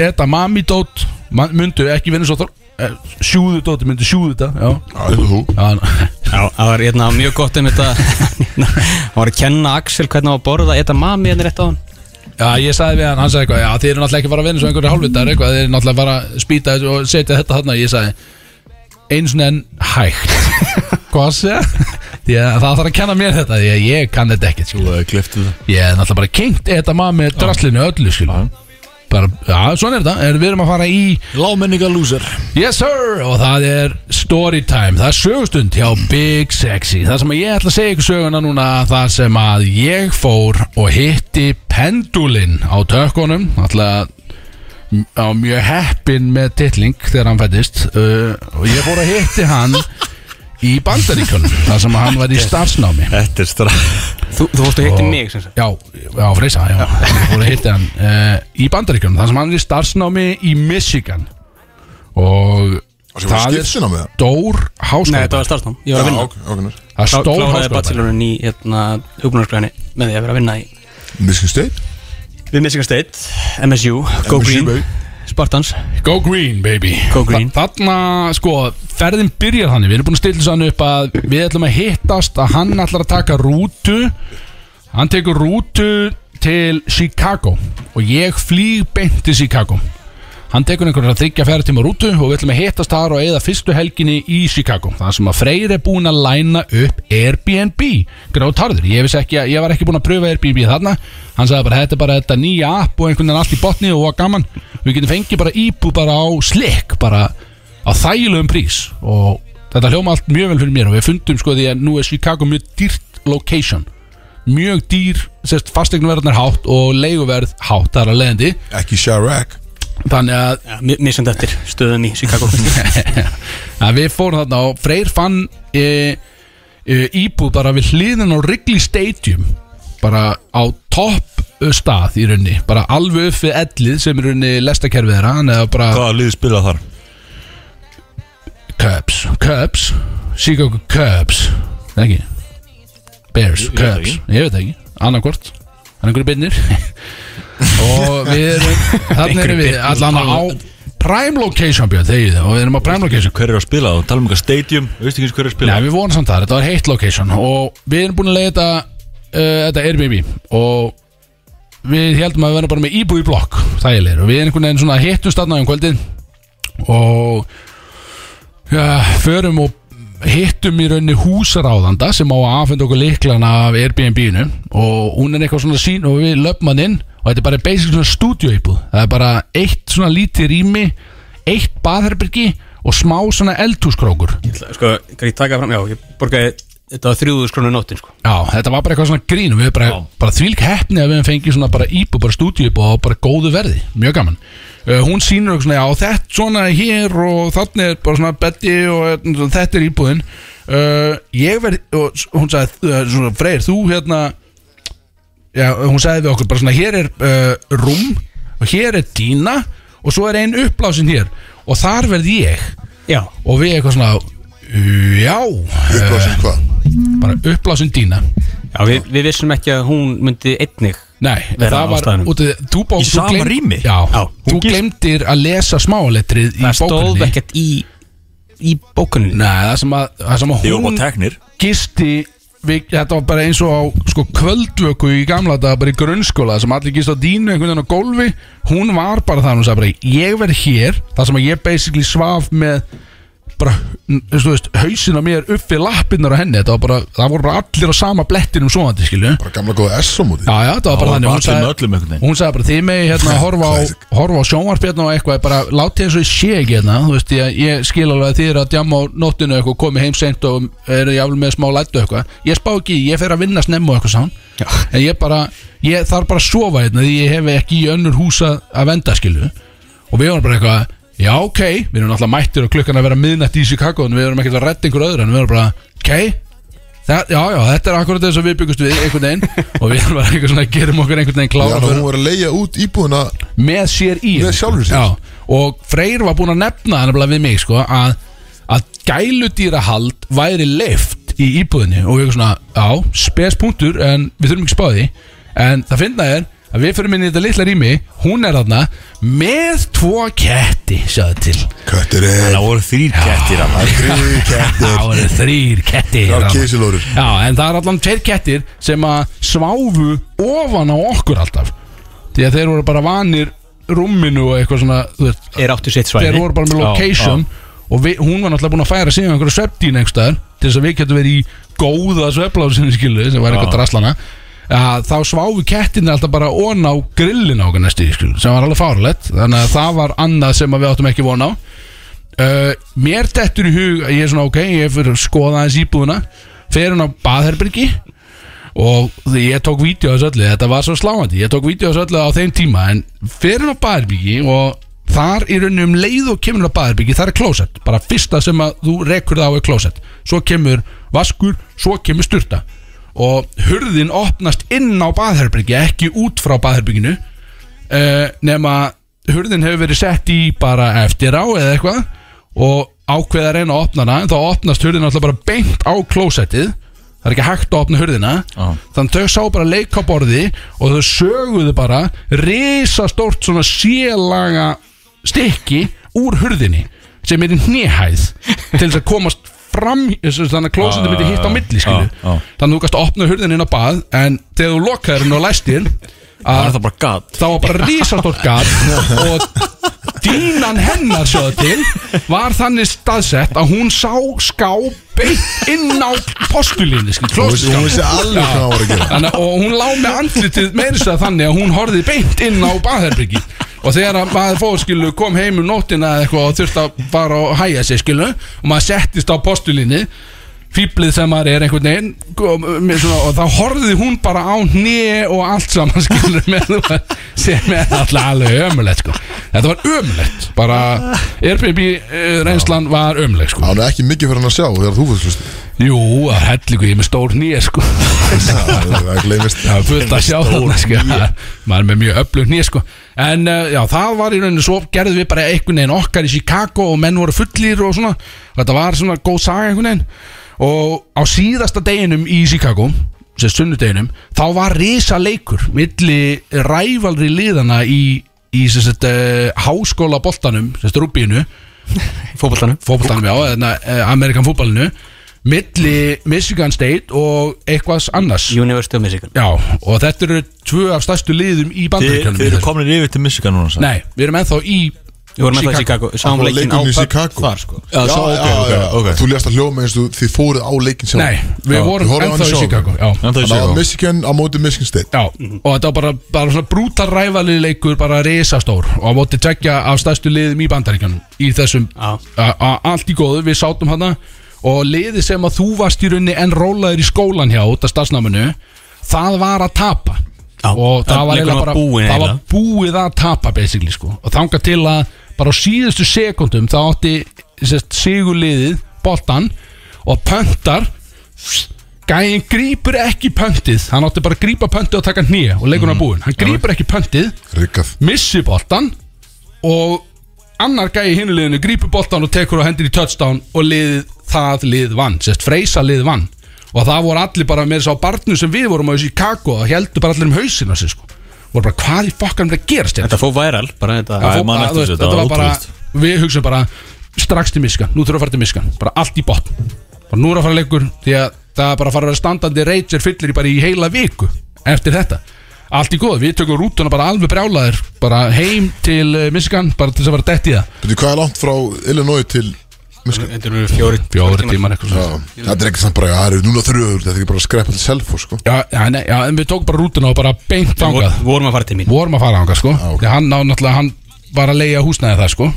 Speaker 4: þetta mamidót Mundu ekki vinna svo þor uh, Sjúðu dóti, mundu sjúðu þetta Já,
Speaker 2: Já, þetta er þú.
Speaker 4: já ná-
Speaker 3: Já, Það var hérna, mjög gott um *laughs* þetta Það var að kenna Axel hvernig á að borða Þetta mami hérna rétt á hann
Speaker 4: *laughs* Já, ég sagði við hann, hann sagði eitthvað, já, þið eru náttúrulega ekki að fara að vinna svo einhverju hálfvitar, eitthvað, þið eru náttúrulega að fara að spýta þessu og setja þetta þarna, ég sagði eins og enn hægt *laughs* hvað sé? Því að það þarf að kenna mér þetta, því að ég kann þetta ekkert sko.
Speaker 5: Það er kliftið það
Speaker 4: Ég er náttúrulega bara kengt þetta maður með draslinu öllu, skilu bara, já, svona er þetta, en við erum að fara í
Speaker 5: Lámenninga lúser
Speaker 4: Yes sir, og það er story time, það er sögustund hjá Big Sexy Það sem að ég ætla að segja ykkur söguna núna Það sem að ég fór og hitti pendulinn á tökkunum ætla að á mjög heppin með titling þegar hann fættist uh, og ég fór að hitti hann í bandaríkunum þar sem að hann var í starfsnámi
Speaker 5: Þetta er strá
Speaker 3: Þú þú fórst að hitti mig sem sagt
Speaker 4: Já, já, freysa, já Ég fór að hitta hann uh, í bandaríkunum þar sem hann er í starfsnámi í Michigan og
Speaker 2: Og sem var skipsuna með það
Speaker 4: stór
Speaker 3: Nei,
Speaker 4: háskóla
Speaker 3: þetta var starfnám, ég var
Speaker 2: Já,
Speaker 3: að vinna
Speaker 2: ok, ok, nú.
Speaker 4: Það er
Speaker 3: Þá
Speaker 4: stór
Speaker 3: kláraði
Speaker 4: háskóla
Speaker 3: bachelorin í hérna, hugbúnarsgræni með því að vera að vinna í
Speaker 2: Michigan State
Speaker 3: Við Michigan State, MSU, Go
Speaker 2: MSU,
Speaker 3: Green
Speaker 2: baby.
Speaker 3: Spartans
Speaker 4: Go green baby
Speaker 3: Go green.
Speaker 4: Þa, Þarna sko ferðin byrjar þannig Við erum búin að stilla þessu hann upp að Við ætlum að hittast að hann ætlar að taka rútu Hann tekur rútu til Chicago Og ég flýg beint til Chicago Hann tekur einhverja þryggja ferðartíma rútu og við ætlum að hittast þar og eigða fyrstu helginni í Chicago. Það sem að Freyr er búin að læna upp Airbnb. Grátarður, ég, vissi ekki, að- ég var ekki búin að pröfa Airbnb þarna. Hann sagði bara, þetta er bara þetta nýja app og einhvern veginn allt í botni og var gaman. Við getum fengið bara íbú bara á slik, bara á þægilegum prís. Og þetta hljóma allt mjög vel fyrir mér og við fundum sko því að nú er Chicago mjög dýrt location. Mjög dýr, sérst fastegnverðnar hátt og leiguverð hátt þar að leiðandi.
Speaker 2: ekki Chirac
Speaker 4: Þannig að
Speaker 3: ja, Mér sem eftir stöðum í
Speaker 4: *laughs*
Speaker 3: Chicago
Speaker 4: að við fórum þarna og Freyr fann e, e, íbúð bara við hliðin á Wrigley Stadium bara á topp ö, stað í rauninni, bara alveg upp við ellið sem er rauninni lestakerfið þeirra hann eða bara
Speaker 5: Hvaða liði spila þar?
Speaker 4: Cubs Cubs, Chicago Cubs Er ekki Bears,
Speaker 5: veit það
Speaker 4: Cubs, ég veit það ekki annarkvort, hann er einhverju byrnir *laughs* og við erum þarna erum við allan á prime location björn þegið og við erum á prime location
Speaker 5: Hver er að spila það? Talum eitthvað stadium Veistu ekki eins hver er að spila
Speaker 4: Nei, við vonum samt það, þetta var heitt location og við erum búin að leiða þetta, uh, þetta Airbnb og við heldum að við verðum bara með íbúi blokk þægilegir og við einhvern veginn svona hittum stanna um kvöldin og ja, förum og hittum í rauninni húsaráðanda sem á að aðfenda okkur liklana af Airbnb-inu og hún er eitthvað svona sín og við löpum hann inn og þetta er bara basic svona stúdíoíbúð það er bara eitt svona lítið rými eitt baðherbyrgi og smá svona eldhúskrókur
Speaker 3: Sko, kann ég taka fram, já, ég borgaði þetta var þrjúður skrona nóttin sko
Speaker 4: Já, þetta var bara eitthvað svona grín og Við erum bara, bara þvílík heppni að við hefum fengið svona bara íbú, bara stúdíu og bara góðu verði Mjög gaman uh, Hún sýnir okkur svona, já þetta svona er hér og þannig er bara svona betti og hérna, þetta er íbúðin uh, Ég verð, og s- hún sagði, uh, svona Freyr, þú hérna Já, hún sagði við okkur bara svona, hér er uh, rúm og hér er dýna og svo er ein uppblásin hér og þar verð ég
Speaker 3: Já,
Speaker 4: og við eitthvað svona, já, uh,
Speaker 2: Upplásin hvað?
Speaker 4: bara uppblásin dýna
Speaker 3: já við, við vissum ekki að hún myndi einnig
Speaker 4: Nei,
Speaker 3: vera
Speaker 4: það
Speaker 3: á
Speaker 4: var
Speaker 3: staðnum.
Speaker 4: út af því- þú bók,
Speaker 5: Í sama rými?
Speaker 4: Já,
Speaker 3: Já,
Speaker 4: þú
Speaker 5: hún gist-
Speaker 4: glemdir að lesa smáaletrið í
Speaker 3: Það stóð
Speaker 4: bókunni
Speaker 3: ekkert í, í bókuninni
Speaker 4: Nei, það sem að, það sem að
Speaker 5: Ég var
Speaker 4: hún
Speaker 5: bara teknir
Speaker 4: gisti við, Þetta var bara eins og á sko, kvöldvöku í gamla daga bara í grunnskóla sem allir gist á dínu einhvern veginn á gólfi Hún var bara það, hún sagði bara Ég verð hér, það sem að ég basically svaf með bara, n- þú veist, hausin á mér upp við lappirnar á henni, þetta var bara, það voru bara allir á sama blettinum svoandi, skilju
Speaker 2: Bara gamla góða S-móti
Speaker 4: Já, já, þetta var bara
Speaker 5: var
Speaker 4: þannig
Speaker 5: bara
Speaker 4: Hún
Speaker 5: allir með öllum
Speaker 4: sagði,
Speaker 5: einhvern veginn.
Speaker 4: hún sagði bara þið megi hérna horfa á, horfa á sjónvarpjarn og eitthvað bara látið eins og ég sé ekki hérna þú veist, ég, ég skil alveg að þið eru að djama á nóttinu eitthvað komið heim seint og eru jafnvel með smá lættu eitthvað ég spá ekki, í, ég fer að vinna snemma og eitthvað sán
Speaker 3: Já.
Speaker 4: en ég bara, ég þarf bara að sofa hérna því ég hef ekki í önnur húsa að venda skilu og við vorum bara eitthvað já ok, við erum alltaf mættir og klukkan að vera miðnætt í Chicago en við erum ekkert að redda einhver öðru en við erum bara, ok, Það, já, já, þetta er akkurat þess að við byggust við einhvern veginn og við erum bara einhvern svona, gerum okkur einhvern veginn
Speaker 2: Já,
Speaker 4: klára
Speaker 2: þannig að
Speaker 4: fyrir,
Speaker 2: hún var að leia út íbúðina
Speaker 4: með sér í sko.
Speaker 2: Með sjálfri sér.
Speaker 4: Já, og Freyr var búin að nefna það nefnilega við mig sko, að, að gæludýrahald væri leift í íbúðinni og við erum svona, já, spes punktur en við þurfum ekki spáði en það finna er að við fyrir minni þetta litla rými hún er þarna með tvo ketti, sjáðu til
Speaker 2: Köttur er
Speaker 5: Það voru þrýr kettir að maður
Speaker 4: *laughs*
Speaker 2: Þrjú
Speaker 4: það
Speaker 2: kettur
Speaker 4: voru þrýr ketti
Speaker 2: Þrjár kísilórur.
Speaker 4: Já, en það er allan tveir kettir sem að sváfu ofan á okkur alltaf Því að þeir voru bara vanir rúminu og eitthvað svona þú veist,
Speaker 3: Er áttu sitt svæði
Speaker 4: Þeir voru bara með
Speaker 5: Já,
Speaker 4: location Og vi, hún var náttúrulega búin að færa sig um einhverju svefndín einhverstaðar Til þess að við getum verið í góða svefnlásinu skilu *laughs* Sem var eitthvað draslana að Þá sváfu kettinni alltaf bara ón á grillin á okkur næstu í, skilu Sem var alveg fárlegt Þannig að það var annað sem að við áttum ekki von á uh, Mér dettur í hug að Ég er svona ok, ég fyrir að skoða aðeins íbúðuna Fer hún á baðherbergi Og því ég tók vídeo þessu öllu Þetta var svo sláandi, ég tók vídeo þessu öllu á þeim tíma En fer hún á baðherbyggi Og þar í rauninu um leið og kemur hún á baðherbyggi Það er klósett, bara fyrsta sem að þú rekur það á er klósett Svo kemur vaskur, svo kemur sturta Og hurðin opnast inn á baðherbyggi Ekki út frá baðherbygginu uh, nema hurðin hefur verið sett í bara eftir á eða eitthvað og ákveða að reyna að opna hana en þá opnast hurðin alltaf bara beint á klósettið það er ekki hægt að opna hurðina
Speaker 5: Já.
Speaker 4: þannig þau sá bara leik á borði og þau söguðu bara risastórt svona sélaga stykki úr hurðinni sem er í hnihæð til þess að komast fram þannig að klósettið myndi hitt á milli skilju
Speaker 5: Já, já.
Speaker 4: þannig að þú gast að opna hurðin inn á bað en þegar þú lokaður hún og læstir
Speaker 5: Það
Speaker 4: að
Speaker 5: er það bara gatt
Speaker 4: það var bara risastórt gat og dínan hennar sjóðu til var þannig staðsett að hún sá ská beint inn á postulínu
Speaker 2: Hún vissi- hún vissi alveg hvað hún var að gera.
Speaker 4: og hún lá með andlitið meirist að þannig að hún horfið beint inn á baðherbyggi og þegar að maður fór skilu kom heim um nóttina eða eitthvað og þurfti að fara og hæja sig skilu og maður settist á postulínu fýblið sem maður er einhvern veginn kom, um, með svona, og þá horfði hún bara á hné og allt saman *laughs* skilur með sem er alltaf alveg ömulegt sko. þetta var ömulegt bara Airbnb eh, reynslan var ömuleg sko.
Speaker 2: Hann er ekki mikið fyrir hann að sjá þegar þú fyrst hlusti
Speaker 4: jú, það er hellingu ég er með stór hné sko.
Speaker 2: Það gleymist
Speaker 4: það er fullt að sjá þarna sko. maður er með mjög öflug hné sko. en uh, já, það var í rauninu svo gerðum við bara einhvern veginn okkar í Chicago og menn voru fullir og svona þetta var svona góð saga einhvern veginn og á síðasta deginum í Chicago sem sunnudeginum, þá var risa leikur milli rævalri liðana í, í sem sagt, uh, háskóla boltanum, sem sagt rúbíinu
Speaker 3: Fótboltanum
Speaker 4: fótboltanum já, eðna, uh, Amerikan fótballinu milli Michigan State og eitthvað annars
Speaker 3: University of Michigan
Speaker 4: Já, og þetta eru tvö af stærstu liðum í
Speaker 5: Þið
Speaker 4: bandaríkjörnum
Speaker 5: þið eru komin yfir til Michigan núna sagði.
Speaker 4: Nei, við erum ennþá í
Speaker 3: Við vorum alltaf í Chicago Sáum
Speaker 2: Það var
Speaker 3: leikin á
Speaker 2: leikurinn í
Speaker 3: pub
Speaker 2: Chicago.
Speaker 3: þar sko
Speaker 2: Já, já, já, já, þú lést að hljóma eins og þið fóruð á leikin sjálf
Speaker 4: Nei, við vorum
Speaker 2: horfðum á hann
Speaker 4: ennþá í
Speaker 2: sjálf.
Speaker 4: Chicago Já,
Speaker 5: En það er
Speaker 2: Þannig að
Speaker 5: sér
Speaker 2: Michigan á móti Michigan State
Speaker 4: já og þetta var bara, bara svona brútar rævalið leikur bara risastór og að móti tvekja af stærstu liðum í bandaríkjörnum í þessum,
Speaker 3: Já.
Speaker 4: a- a- allt í góðu, við sátum hana og liði sem að þú varst í rauninni en rólaður í skólan hjá út af starfsnáminu það var að tapa
Speaker 3: Já,
Speaker 4: og það
Speaker 3: en
Speaker 4: var
Speaker 3: leikurinn
Speaker 4: eiginlega
Speaker 3: var
Speaker 4: bara
Speaker 3: búinn
Speaker 4: það var
Speaker 3: eiginlega.
Speaker 4: búið að tapa basically sko og þanga til að bara á síðustu sekundum þá átti sest, sigurliðið boltan og pöntar gæin grýpur ekki pöntið hann átti bara að grýpa pöntið og taka nýja og leikurinn var búinn, hann grýpur ekki pöntið
Speaker 2: Rikkað
Speaker 4: missi boltan og annar gæi í hinu liðinu grípur boltan og tekur og hendur í touchdown og lið, það lið vann, sérst freysa lið vann og það voru allir bara með þess á barnu sem við vorum á þessu í kakó og heldur bara allir um hausinu sér sko voru bara hvað í fokkan er að gerast hérna?"
Speaker 3: Þetta fór væral bara þetta
Speaker 4: Það
Speaker 5: Já,
Speaker 4: fór
Speaker 5: ég man
Speaker 4: bara,
Speaker 5: eftir
Speaker 4: þú veist, þetta
Speaker 5: þessu, þetta var
Speaker 4: var bara
Speaker 5: ótrúlegt.
Speaker 4: við hugsaum bara strax til miskan, nú þurfum við að fara til miskan bara allt í botn, bara nú er að fara leikur því að það er bara að fara að vera standandi reytsir fyllir í bara í heila viku eftir þetta, allt í góð, við tökum rútuna bara alveg brjálaðir, bara heim til eh, miskan, bara til þess að fara dætt í það
Speaker 2: Byrju, hvað er langt frá Illinois til Michigan?
Speaker 3: Þetta eru fjóri
Speaker 4: fjóri tímar eitthvað
Speaker 2: Já,
Speaker 4: svona
Speaker 2: þetta er ekki samt bara, það eru núna þrjöður, þetta er ekki bara að skrepa til selfo, sko
Speaker 4: já, já, nei, já, en við tókum bara rútuna og bara beint þangað
Speaker 3: Vor- Vorum að fara til mín
Speaker 4: vorum að fara ánga sko
Speaker 2: ok.
Speaker 4: Þegar hann, ná, náttúrulega, hann var að leiga húsnæði það sko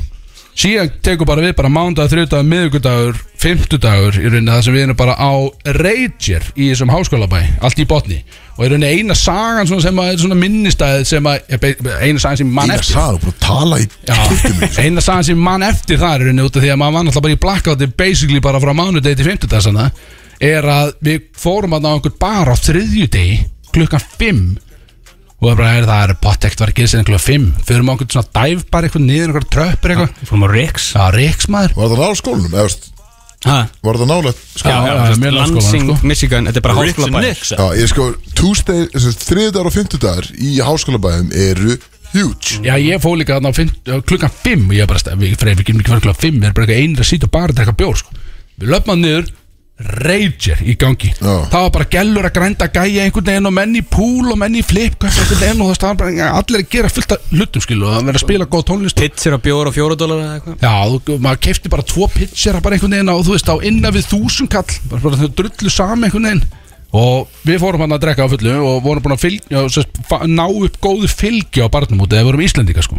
Speaker 4: síðan tekur bara við bara mándag, þriðdag, miðugudagur, fymtudagur í rauninni það sem við erum bara á Rager í þessum háskólabæ, allt í botni og í rauninni eina sagan svona sem að er svona minnistæð sem að, ja, be- eina sagan sem mann
Speaker 2: Ína
Speaker 4: eftir
Speaker 2: sagði, búin að tala í kirkjum
Speaker 4: Já, eina sagan sem mann eftir það er í rauninni út af því að maður var náttúrulega bara í blackouti basically bara frá mánudegi til fymtudagsana er að við fórum að ná einhvern bar á þriðjudegi klukkan 5 og það er bara er það er potekt var ekki sinni klukkan 5 fyrir maður einhvern svona dive bar eitthvað niður einhver tröppur eitthvað
Speaker 3: Fórum á Rix
Speaker 4: Já, reiksmaður
Speaker 2: Var það nála skólunum, eða veist,
Speaker 3: Ha,
Speaker 2: var það nála sko?
Speaker 4: Já, já, já, mjög langt skólan,
Speaker 3: Lansing,
Speaker 4: sko.
Speaker 3: Michigan Þetta er bara
Speaker 5: Ricks and
Speaker 3: háskóla bæ
Speaker 5: Nicks
Speaker 2: Já, ég sko, túsdeg, þriðdagar og fymtudagar í háskólabæðum eru huge
Speaker 4: Já, ég fóð líka þarna á fimm- á klukkan 5 og ég bara, stað- við freyfum ekki mikið fyrir klukkan 5 við erum bara eitthvað einra sít og bara að drekka bjór sko. við löfum niður rager í gangi
Speaker 2: Já.
Speaker 4: það var bara gellur að grænda gæja einhvern veginn og menn í púl og menn í flip köp, einhvern veginn og það var bara allir að gera fullt af hlutum skilu og að vera að spila góð tónlist
Speaker 3: Pitsir á bjór og fjóra dólar eða eitthvað
Speaker 4: Já, þú, maður kefti bara tvo pitchera bara einhvern veginn og þú veist á innan við þúsunkall bara, bara þau drullu saman einhvern veginn og við fórum hann að drekka á fullu og vorum búin að fylgja, og, sest, ná upp góðu fylgi á barnum út eða vorum Íslendinga sko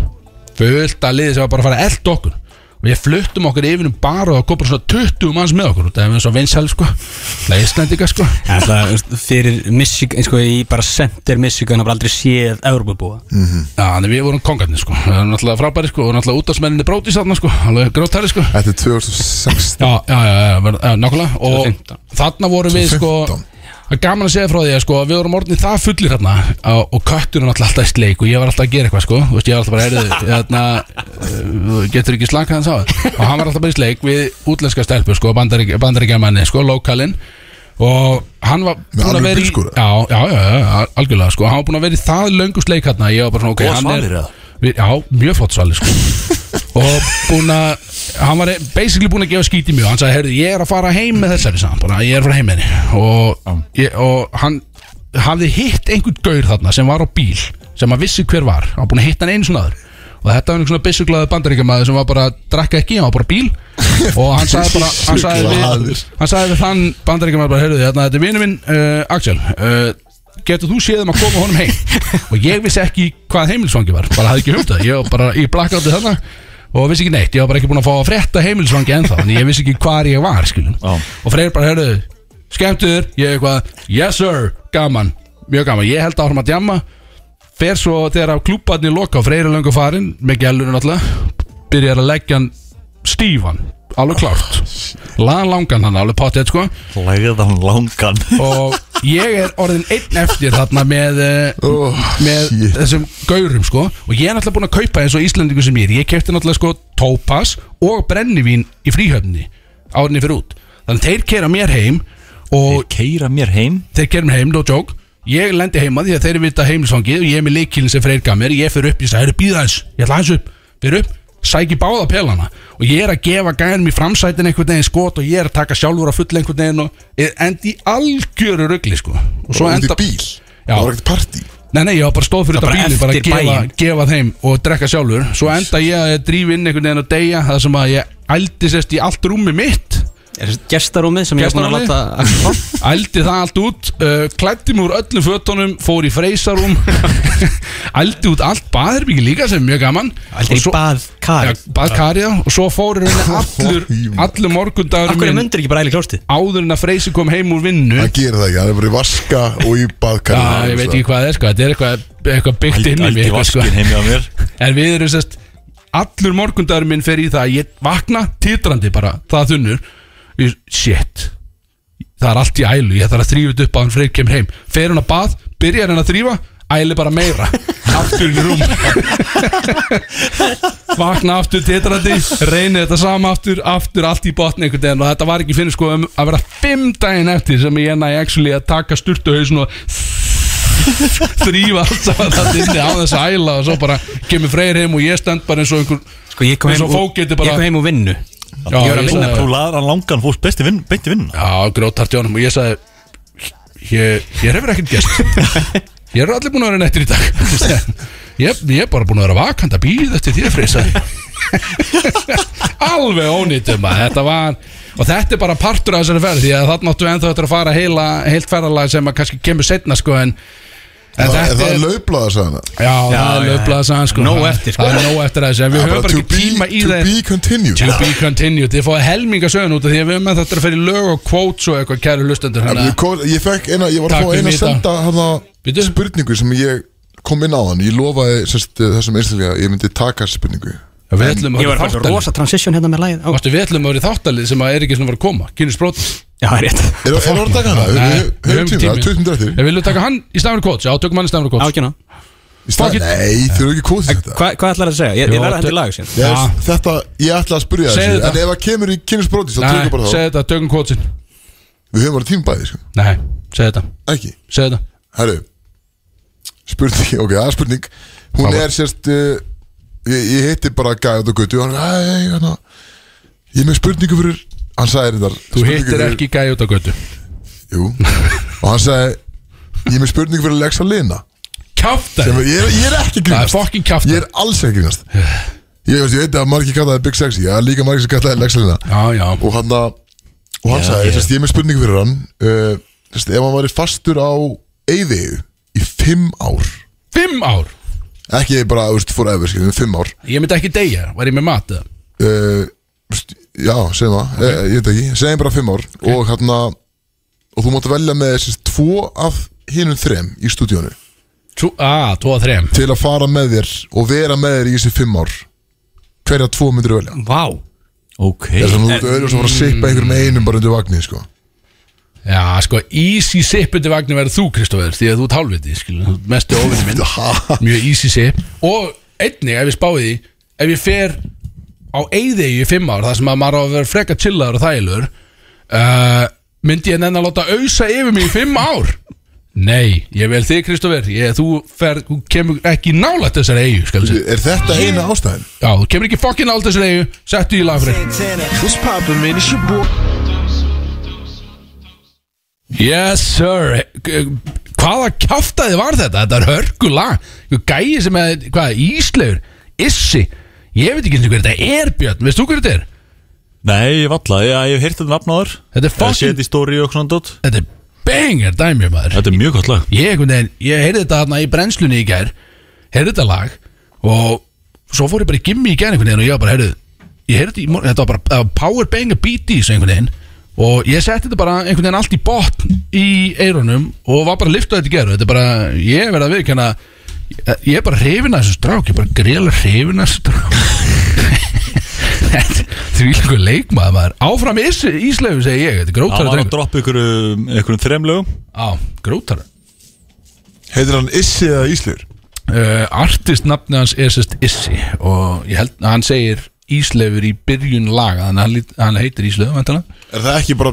Speaker 4: fullt að liði sem var bara að fara að elda okkur og við fluttum okkur yfir um bara og það kom bara svona 20 manns með okkur út eða við erum svo vinsæl sko Það er Íslendinga sko
Speaker 3: Já, Það þú veist, fyrir Michigan sko, Í bara center Michigan Það var aldrei séð Európa-búa
Speaker 4: Já, þannig við vorum kongarnir sko við erum náttúrulega frábæri sko og náttúrulega útastmenninni bróti satna sko alveg grótari sko
Speaker 2: Þetta er 2016
Speaker 4: Já, já, já, já, verð- já nákvæmlega Og
Speaker 3: 2015.
Speaker 4: þarna vorum við sko
Speaker 2: 2015.
Speaker 4: Það er gaman að segja frá því að sko Við vorum orðin það fullir þarna á- Og kötturinn var alltaf í sleik Og ég var alltaf að gera eitthvað sko Þú veist, ég var alltaf bara
Speaker 5: *laughs*
Speaker 4: heyrðu Þarna uh, Getur ekki slakað hans á það Og hann var alltaf bara í sleik Við útlenska stelpu sko Bandaríkjamanni sko Lókalinn Og hann var
Speaker 2: Með
Speaker 4: búinn að
Speaker 2: alvöru
Speaker 4: vera í-
Speaker 2: bílskúra?
Speaker 4: Já, já, já, já, al- algjörlega sko Hann var búinn að vera í það löngu sleik hérna Ég var bara svona, ok,
Speaker 5: Og
Speaker 4: hann
Speaker 5: svalir, eða?
Speaker 4: er við, Já, mjög flott svalir sko Og búinn að Hann var basically búinn að gefa skíti mjög Hann sagði, heyrðu, ég er að fara heim með þessari sagði hann bara, Ég er að fara heim með henni Og, ég, og hann hafði hitt einhvern gaur þarna sem var á bíl sem að vissi hver var, hann var búinn að hitta hann einu svona aður og þetta var einhvern svona byssuglaði bandaríkjamaður sem var bara að drakka ekki, hann var bara á bíl og hann sagði bara, hann sagði við,
Speaker 2: Byssuglaður.
Speaker 4: hann sagði við þann bandaríkjamaður bara, heyrðu þarna, þetta er vinur minn uh, Axel, uh, getur þú séð um að koma honum heim og ég vissi ekki hvað heimilsvangi var, bara hafði ekki humtað ég var bara í blackouti þarna og vissi ekki neitt, ég var bara ekki búin að fá að frétta heimilsvangi ennþá, en ég vissi ekki hvar ég var skilum,
Speaker 5: Já.
Speaker 4: og Freyr bara, heyrðu skemmtur, ég eitthvað, yes sir gaman, mjög gaman, ég held áfram að djamma fer svo þegar að klúbarni loka á freyri löngu farin með gælunum alltaf byrjar að leggja hann stífan alveg klárt laðan langan hann alveg potið sko
Speaker 5: Lægða hann um langan
Speaker 4: og ég er orðin einn eftir þarna með,
Speaker 2: Oh,
Speaker 4: oh, með
Speaker 2: shit.
Speaker 4: þessum gaurum sko og ég er náttúrulega búin að kaupa eins og Íslandingu sem ég er ég kefti náttúrulega sko tópas og brennivín í fríhöfni árinni fyrir út þannig þeir kera mér heim og
Speaker 5: Keira mér heim
Speaker 4: þeir gerum heim, no joke ég lendi heima því að þeir vita heimlisfangið og ég er með leikilin sem freyr gaf mér ég fyrir upp, ég sagði, "Heyrðu, býða aðeins, ég ætla aðeins upp fyrir upp, sæki báða pelana og ég er að gefa gæðanum í framsætin einhvern veginn skot og ég er að taka sjálfur á full einhvern veginn og er endi í algjöru rugli sko og svo
Speaker 2: Og út
Speaker 4: enda
Speaker 2: í bíl
Speaker 4: Já.
Speaker 2: Það var ekkert partí
Speaker 4: Nei, nei, ég var bara stóð fyrir
Speaker 3: Það
Speaker 4: þetta
Speaker 3: bara
Speaker 4: bíli bara að
Speaker 3: eftir
Speaker 4: gefa,
Speaker 3: bæinn.
Speaker 4: gefa þeim og drekka sjálfur svo enda ég að drífa inn einhvern veginn og deyja það sem að ég ældi sérst í allt rúmi mitt
Speaker 3: Er þetta Gestarúmið sem ég er búin að
Speaker 4: Gestarúmið?
Speaker 3: láta Axel fá?
Speaker 4: Ældi það allt út uh, Klætti mig úr öllum fötunum Fór í freysarúm *laughs* Ældi út allt baðherbyggi líka sem er mjög gaman
Speaker 3: Aldrei
Speaker 4: Og svo-
Speaker 3: bað kar
Speaker 4: Já, baðkarið á, Og svo fór í rauninni allur, allur
Speaker 3: Akkur
Speaker 4: morgundagur
Speaker 3: er
Speaker 4: minn
Speaker 3: myndir ekki bara æli klóstið?
Speaker 4: Áður en að freysi kom heim úr vinnu
Speaker 2: Það gerir það ekki, það er bara í vaska og í baðkar
Speaker 4: Já, ég veit ekki hvað það er sko Þetta er eitthvað, eitthvað byggt inn í
Speaker 5: Aldi
Speaker 4: mig sko.
Speaker 5: vaskin heim hjá mér
Speaker 4: En við erum sérst Allur morgundagur minn fer í það að Ég vakna titrandi bara, það þunnur ég, Shit Það er allt í ælu, ég þarf að þrýfa þetta upp að hann freyr kemur heim Fer hann að bað, byrjar hann að þrýfa Æli bara meira Aftur í rúm Vakna aftur titrandi Reyni þetta sama aftur, aftur allt í botni einhvern veginn Og þetta var ekki fyrir sko um að vera Fimm daginn eftir sem ég næ actually að taka sturtuhausin og þrýfa allt saman það inni á þess að æla og svo bara kemur Freyr heim og ég stend bara eins og einhver
Speaker 3: Sko ég kom
Speaker 4: Eins
Speaker 3: heim
Speaker 4: og fólk
Speaker 3: úr- ég
Speaker 4: getur bara-
Speaker 3: kom heim úr vinnu
Speaker 4: já,
Speaker 3: ég var að vinna
Speaker 5: Þú laðar hann langan fólk besti vinn Beinti vinn
Speaker 4: já, grótart Jónum og ég sagði ég, ég hefur ekkert gæst ég er allir búin að vera nettir í dag *laughs* ég, ég er bara búin að vera vakand að býða eftir þér Freyr sagði ég. *laughs* alveg ónýttum að þetta var og þetta er bara partur af þessari ferð því að þarna áttu ennþá þetta að fara heila, heilt ferðalag sem að kannski kemur setna sko en, en
Speaker 2: Það, það er laublaða sagðan
Speaker 4: Já, það er
Speaker 3: já,
Speaker 4: löfblað að sagða sko
Speaker 3: Nóg eftir, sko.
Speaker 4: Það er nóg eftir að þessu En við höfum bara
Speaker 2: To
Speaker 4: ekki tíma
Speaker 2: be,
Speaker 4: í
Speaker 2: to
Speaker 4: það
Speaker 2: be continued
Speaker 4: To be continued Þið fáið helminga sögun út af Því að við höfum að þetta er að fyrir lög og quotes og eitthvað Kæru lustendur
Speaker 2: En
Speaker 4: hérna
Speaker 2: ég kom- Ég fekk eina, ég var að
Speaker 4: Takk
Speaker 2: fá eina að
Speaker 4: fyrir mig í dag.
Speaker 2: senda hana,
Speaker 4: Bíddu.
Speaker 2: spurningu sem ég kom inn á hann Ég lofaði sérst, eh, þessum einstaklega að ég myndi taka spurningu
Speaker 4: Við ætlum
Speaker 3: Ég
Speaker 4: að
Speaker 3: var að fara
Speaker 4: vera
Speaker 3: rosa transition hérna með lagið Ó,
Speaker 4: þáttalið Við ætlum að vera þáttalið sem að er ekki svona að vera að koma Kynus brót
Speaker 3: Já, það er rétt
Speaker 2: Er það að taka hana? Við-
Speaker 4: Nei,
Speaker 2: við- Við höfum tíma, 20 minn drættir
Speaker 4: Við viljum taka hann í stafnir quotes Já, tökum hann í stafnir quotes
Speaker 3: Ákjöna
Speaker 4: fuck it.
Speaker 2: Nei, þau eru ekki kóðið þetta
Speaker 3: Hvað hva ætlar það að segja? Ég,
Speaker 4: Jó,
Speaker 3: ég verða hendur
Speaker 4: þetta-
Speaker 3: lag síðan
Speaker 2: Yes,
Speaker 4: Já.
Speaker 2: Þetta, ég ætla að spyrja
Speaker 4: Segðu
Speaker 2: þessu En
Speaker 4: það.
Speaker 2: ef það kemur í kynnsbrótis þá
Speaker 4: Nei,
Speaker 2: tökum bara
Speaker 4: segð
Speaker 2: þá
Speaker 4: þetta, tökum quotesin
Speaker 2: Við höfum bara tíma bæði, sko
Speaker 4: Nei, segð þetta,
Speaker 2: Ekki,
Speaker 4: segð þetta
Speaker 2: herru Spurning, ok, það er spurning Hún
Speaker 4: Hvað var-
Speaker 2: er sérst uh, ég, ég heiti bara Gæði og Gautu Hann er, hei, hérna Ég er með spurningu fyrir Hann sagði þetta
Speaker 4: Þú hittir ekki gæði út á götu
Speaker 2: Jú Og hann sagði Ég er með spurningu fyrir Lexa Lina
Speaker 4: Kjáftar
Speaker 2: Sem er- ég, er- ég er ekki að
Speaker 4: Það er
Speaker 2: grínast
Speaker 4: fucking
Speaker 2: Ég
Speaker 4: kjáftar
Speaker 2: er alls ekki að grínast Ég veist, ég veit að margir kallaði Big Sexy Já, líka margir sem kallaði Lexa Lina
Speaker 4: Já, já
Speaker 2: og hann að og hann sagði, sérst, ég er með spurningu fyrir hann uh, sérst, ef hann væri fastur á eyðiðu í fimm ár
Speaker 4: Fimm ár
Speaker 2: ekki bara, þú veist, fór eða, skiljum, fimm ár
Speaker 4: Ég myndi ekki deyja, var ég með mat eða?
Speaker 2: uh, veist, já, segjum það okay. ég veit ekki, segjum bara fimm ár og hann að, og þú mátt velja með sérst, tvo af hinum þrem í stúdíónu
Speaker 4: Tvo- Ah, 2 að 3
Speaker 2: til að fara með þér og vera með þér í þessi fimm ár hverja tvo myndir velja
Speaker 3: Vá
Speaker 5: Ok
Speaker 2: þess að þú ert auðvitað að fara að sippa einhverjum einum bara undir vagnir, sko
Speaker 4: Já, sko, easy sip undir vagnin verður þú, Kristoffer, því að þú ert hálfviti, skilu, þú ert mestu óvinni minn,
Speaker 2: Ha?
Speaker 4: mjög easy sip og einnig, ef ég spáði því, ef ég fer á eyðegi í fimm ár, þar sem að maður á að vera freka chillaður og þægilegur, uh, myndi ég nenn að láta ausa yfir mig í fimm ár? Nei, ég vel þig, Kristoffer, ég, þú, fer, þú kemur ekki nálægt þessari eigu, skal við segja.
Speaker 2: er þetta eina ástæðin?
Speaker 4: Já, þú kemur ekki fokkin nálægt þessari eigu, settu í lagfrið.
Speaker 9: What's poppin', man? It's your boy.
Speaker 4: Yes sir K- Hvaða kjáftaði var þetta? Þetta er hörgulag Gæi sem er, hvað, íslefur Issi, ég veit ekki einu sinni hver þetta er Björn, veist þú hver þetta er?
Speaker 5: Nei, ég valla, ég, ég hef heyrt þetta um nafn á þér
Speaker 4: Þetta er
Speaker 5: Ég hef séð
Speaker 4: fucking,
Speaker 5: þetta í stóri og svona dot
Speaker 4: þetta er banger dæmi maður
Speaker 5: Þetta er mjög gott lag
Speaker 4: Ég, einhvern veginn, ég heyrði þetta þarna í brennslunni í gær Heyrði þetta lag Og svo fór ég bara í gimmi í gær einhvern veginn Og ég var bara, heyrðu Ég heyrði þetta í morgun, þetta var bara það var power banger beat í þessu einhvern veginn Og ég setti þetta bara einhvern veginn allt í botn Í eyrunum Og var bara að lyfta þetta í gær Og Þetta er bara, ég verða að viðkjanna Ég er bara hrifin að þessu strák Ég er bara greiðlega hrifin að þessu *laughs* strák Því líka leikmaður maður Áfram íslegu segi ég Þetta er
Speaker 5: Það
Speaker 4: grótara
Speaker 5: var að
Speaker 4: drengur
Speaker 5: droppa ykkur um, einhverjum þrem lögum
Speaker 4: Á, grótara
Speaker 2: heitir hann Issi eða Íslur?
Speaker 4: uh, artistnafni hans er sérst Issi og ég held að hann segir Ísleifur í byrjun laga þannig að hann, lít- hann heitir Ísleifur væntanlega.
Speaker 2: Er það ekki bara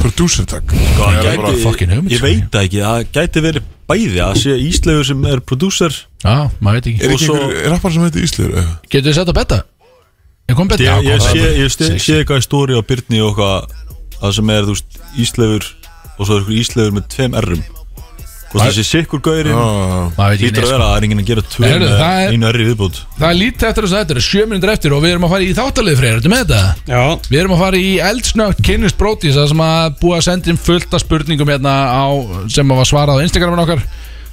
Speaker 2: Producer tag
Speaker 5: Það
Speaker 4: er bara fucking hugmynd,
Speaker 5: Ég
Speaker 4: sko.
Speaker 5: veit það ekki, það gæti verið bæði að sé Íslegu sem er prodúser
Speaker 4: já, maður veit ekki
Speaker 2: Er ekki
Speaker 5: Og svo-
Speaker 2: einhver rappar sem heitir Eh, Íslur eða?
Speaker 4: getur þið sett að betta? ég kom betta?
Speaker 5: Ég, ég sé, ég sé,
Speaker 4: Sexy.
Speaker 5: sé eitthvað í stóri á Byrni og eitthvað að sem er, þú veist, Íslefur og svo er eitthvað Íslefur með tveim R-um Hvort þessi sikkur gaurinn
Speaker 2: Já,
Speaker 4: Maður veit ekki neitt,
Speaker 5: Lítur að
Speaker 4: sko.
Speaker 5: vera að það er enginn að gera tvö
Speaker 4: Heyrðu,
Speaker 5: með
Speaker 4: það er-
Speaker 5: einu erri viðbútt
Speaker 4: Það er lítið eftir þess að þetta er sjö minnir eftir og við erum að fara í þáttalið freyr, ertu með þetta?
Speaker 3: Já,
Speaker 4: Við erum að fara í eldsnögt kynnist brótis það sem að búa að senda inn fullt af spurningum hérna á, sem að var svarað á Instagramin okkar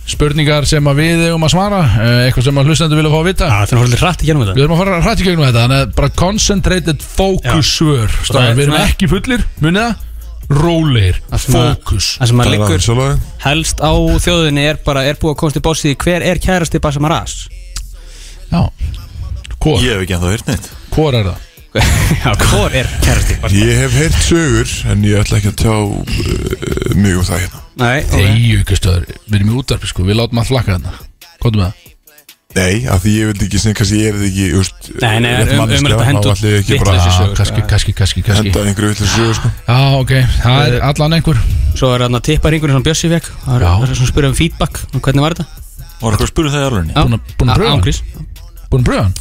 Speaker 4: spurningar sem að við eigum að svara eh, eitthvað sem að hlustendur vilja fá að vita
Speaker 3: það er hórið rætt í gennum
Speaker 4: Við
Speaker 3: þetta
Speaker 4: erum að fara hrætt í gegnum þetta Þannig að bara concentrated focus svör
Speaker 3: Það er
Speaker 4: Við erum
Speaker 3: svona-
Speaker 4: ekki fullir, munið það Rólegir,
Speaker 3: sem að-
Speaker 4: fókus
Speaker 3: Það sem maður
Speaker 2: það er
Speaker 3: liggur
Speaker 2: svo lagið
Speaker 3: helst á þjóðinni er bara, er búið að komast í bossið hver er kærasti Basam Aras?
Speaker 4: Já Hvor,
Speaker 5: Ég hef ekki ennþá heyrt neitt
Speaker 4: hvor er það?
Speaker 3: Já, hvor er kærasti Basam
Speaker 2: Ég hef heyrt sögur en ég ætla ekki að tjá uh, mjög um það hérna
Speaker 3: Aras? Nei, ok.
Speaker 4: Þeir aukastöður, við erum í útvarpi sko Við látum að flakka þarna Hvað með það?
Speaker 2: Nei, af því ég vildi ekki sem kannski ég er ekki úst,
Speaker 3: Nei, nei, um- um- um- hendur
Speaker 2: hendur allir ekki bara
Speaker 3: vitleysi
Speaker 2: að
Speaker 3: sögur.
Speaker 4: Já, kannski, kannski, kannski, kannski
Speaker 2: henda einhverju vill sögur sko.
Speaker 4: Já, ok, það
Speaker 3: Eh,
Speaker 4: er allan einhver
Speaker 3: Svo er þarna tipparingurinn sem Bjössi fekk Það er-
Speaker 4: Já.
Speaker 3: það er svona að spyrja um feedback um hvernig var þetta
Speaker 5: Var eitthvað að spyrja um það í alvegni?
Speaker 3: Já.
Speaker 4: Búin að- búin að
Speaker 3: Á-
Speaker 4: prófa hann?
Speaker 3: Ángrís
Speaker 4: Búin að pröfa hann?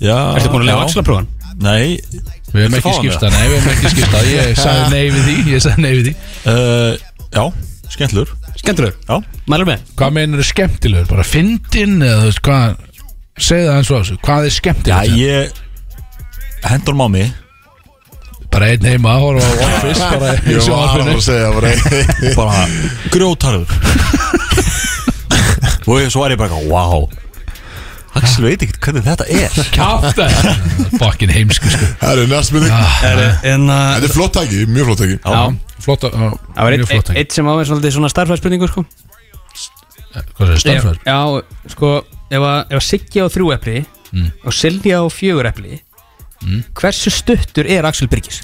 Speaker 5: Já
Speaker 3: Ertu búin að lega
Speaker 5: Já.
Speaker 3: axlaprófan?
Speaker 5: Nei
Speaker 4: Við erum
Speaker 5: Viltu
Speaker 4: ekki
Speaker 5: fá hann
Speaker 4: skipta, nei, við erum ekki skipta
Speaker 3: *laughs*
Speaker 4: Ég sagði nei við því, ég sagði nei við því
Speaker 5: uh, Já, skemmtlur
Speaker 3: Skemmtilegur
Speaker 5: Já
Speaker 3: Mælum með
Speaker 4: Hvað meinar er skemmtilegur? Bara fyndin eða þú veist hvað Segðu það eins og þessu, hvað er
Speaker 5: Já,
Speaker 4: skemmtilegur?
Speaker 5: ég Hendur mámi
Speaker 4: bara einn heima að horfa á Office bara í
Speaker 2: Ég var að
Speaker 4: sjónvarpinu
Speaker 2: fara að segja bara
Speaker 5: Bara *laughs* grjótarður Og ég- svo er ég bara eitthvað, wow Axel veit ekkert hvernig þetta er
Speaker 4: kjátt fokkin heimsku sko
Speaker 2: *laughs* Það er næstmynding
Speaker 4: Ah.
Speaker 3: En
Speaker 2: Þetta er flott tæki, mjög flott tæki
Speaker 5: Já,
Speaker 4: flott að- á-
Speaker 3: það var
Speaker 4: mjög
Speaker 3: eitt-
Speaker 4: flott
Speaker 3: eitt
Speaker 4: að-
Speaker 3: eitt sem á er svolítið svona starfræðspurningu sko
Speaker 4: hvað er starfræður
Speaker 3: Já, sko Ef að ef að Siggi á þrjú epli
Speaker 4: Mm.
Speaker 3: og Silja á fjögur epli Hversu stuttur er Axel Byrgis?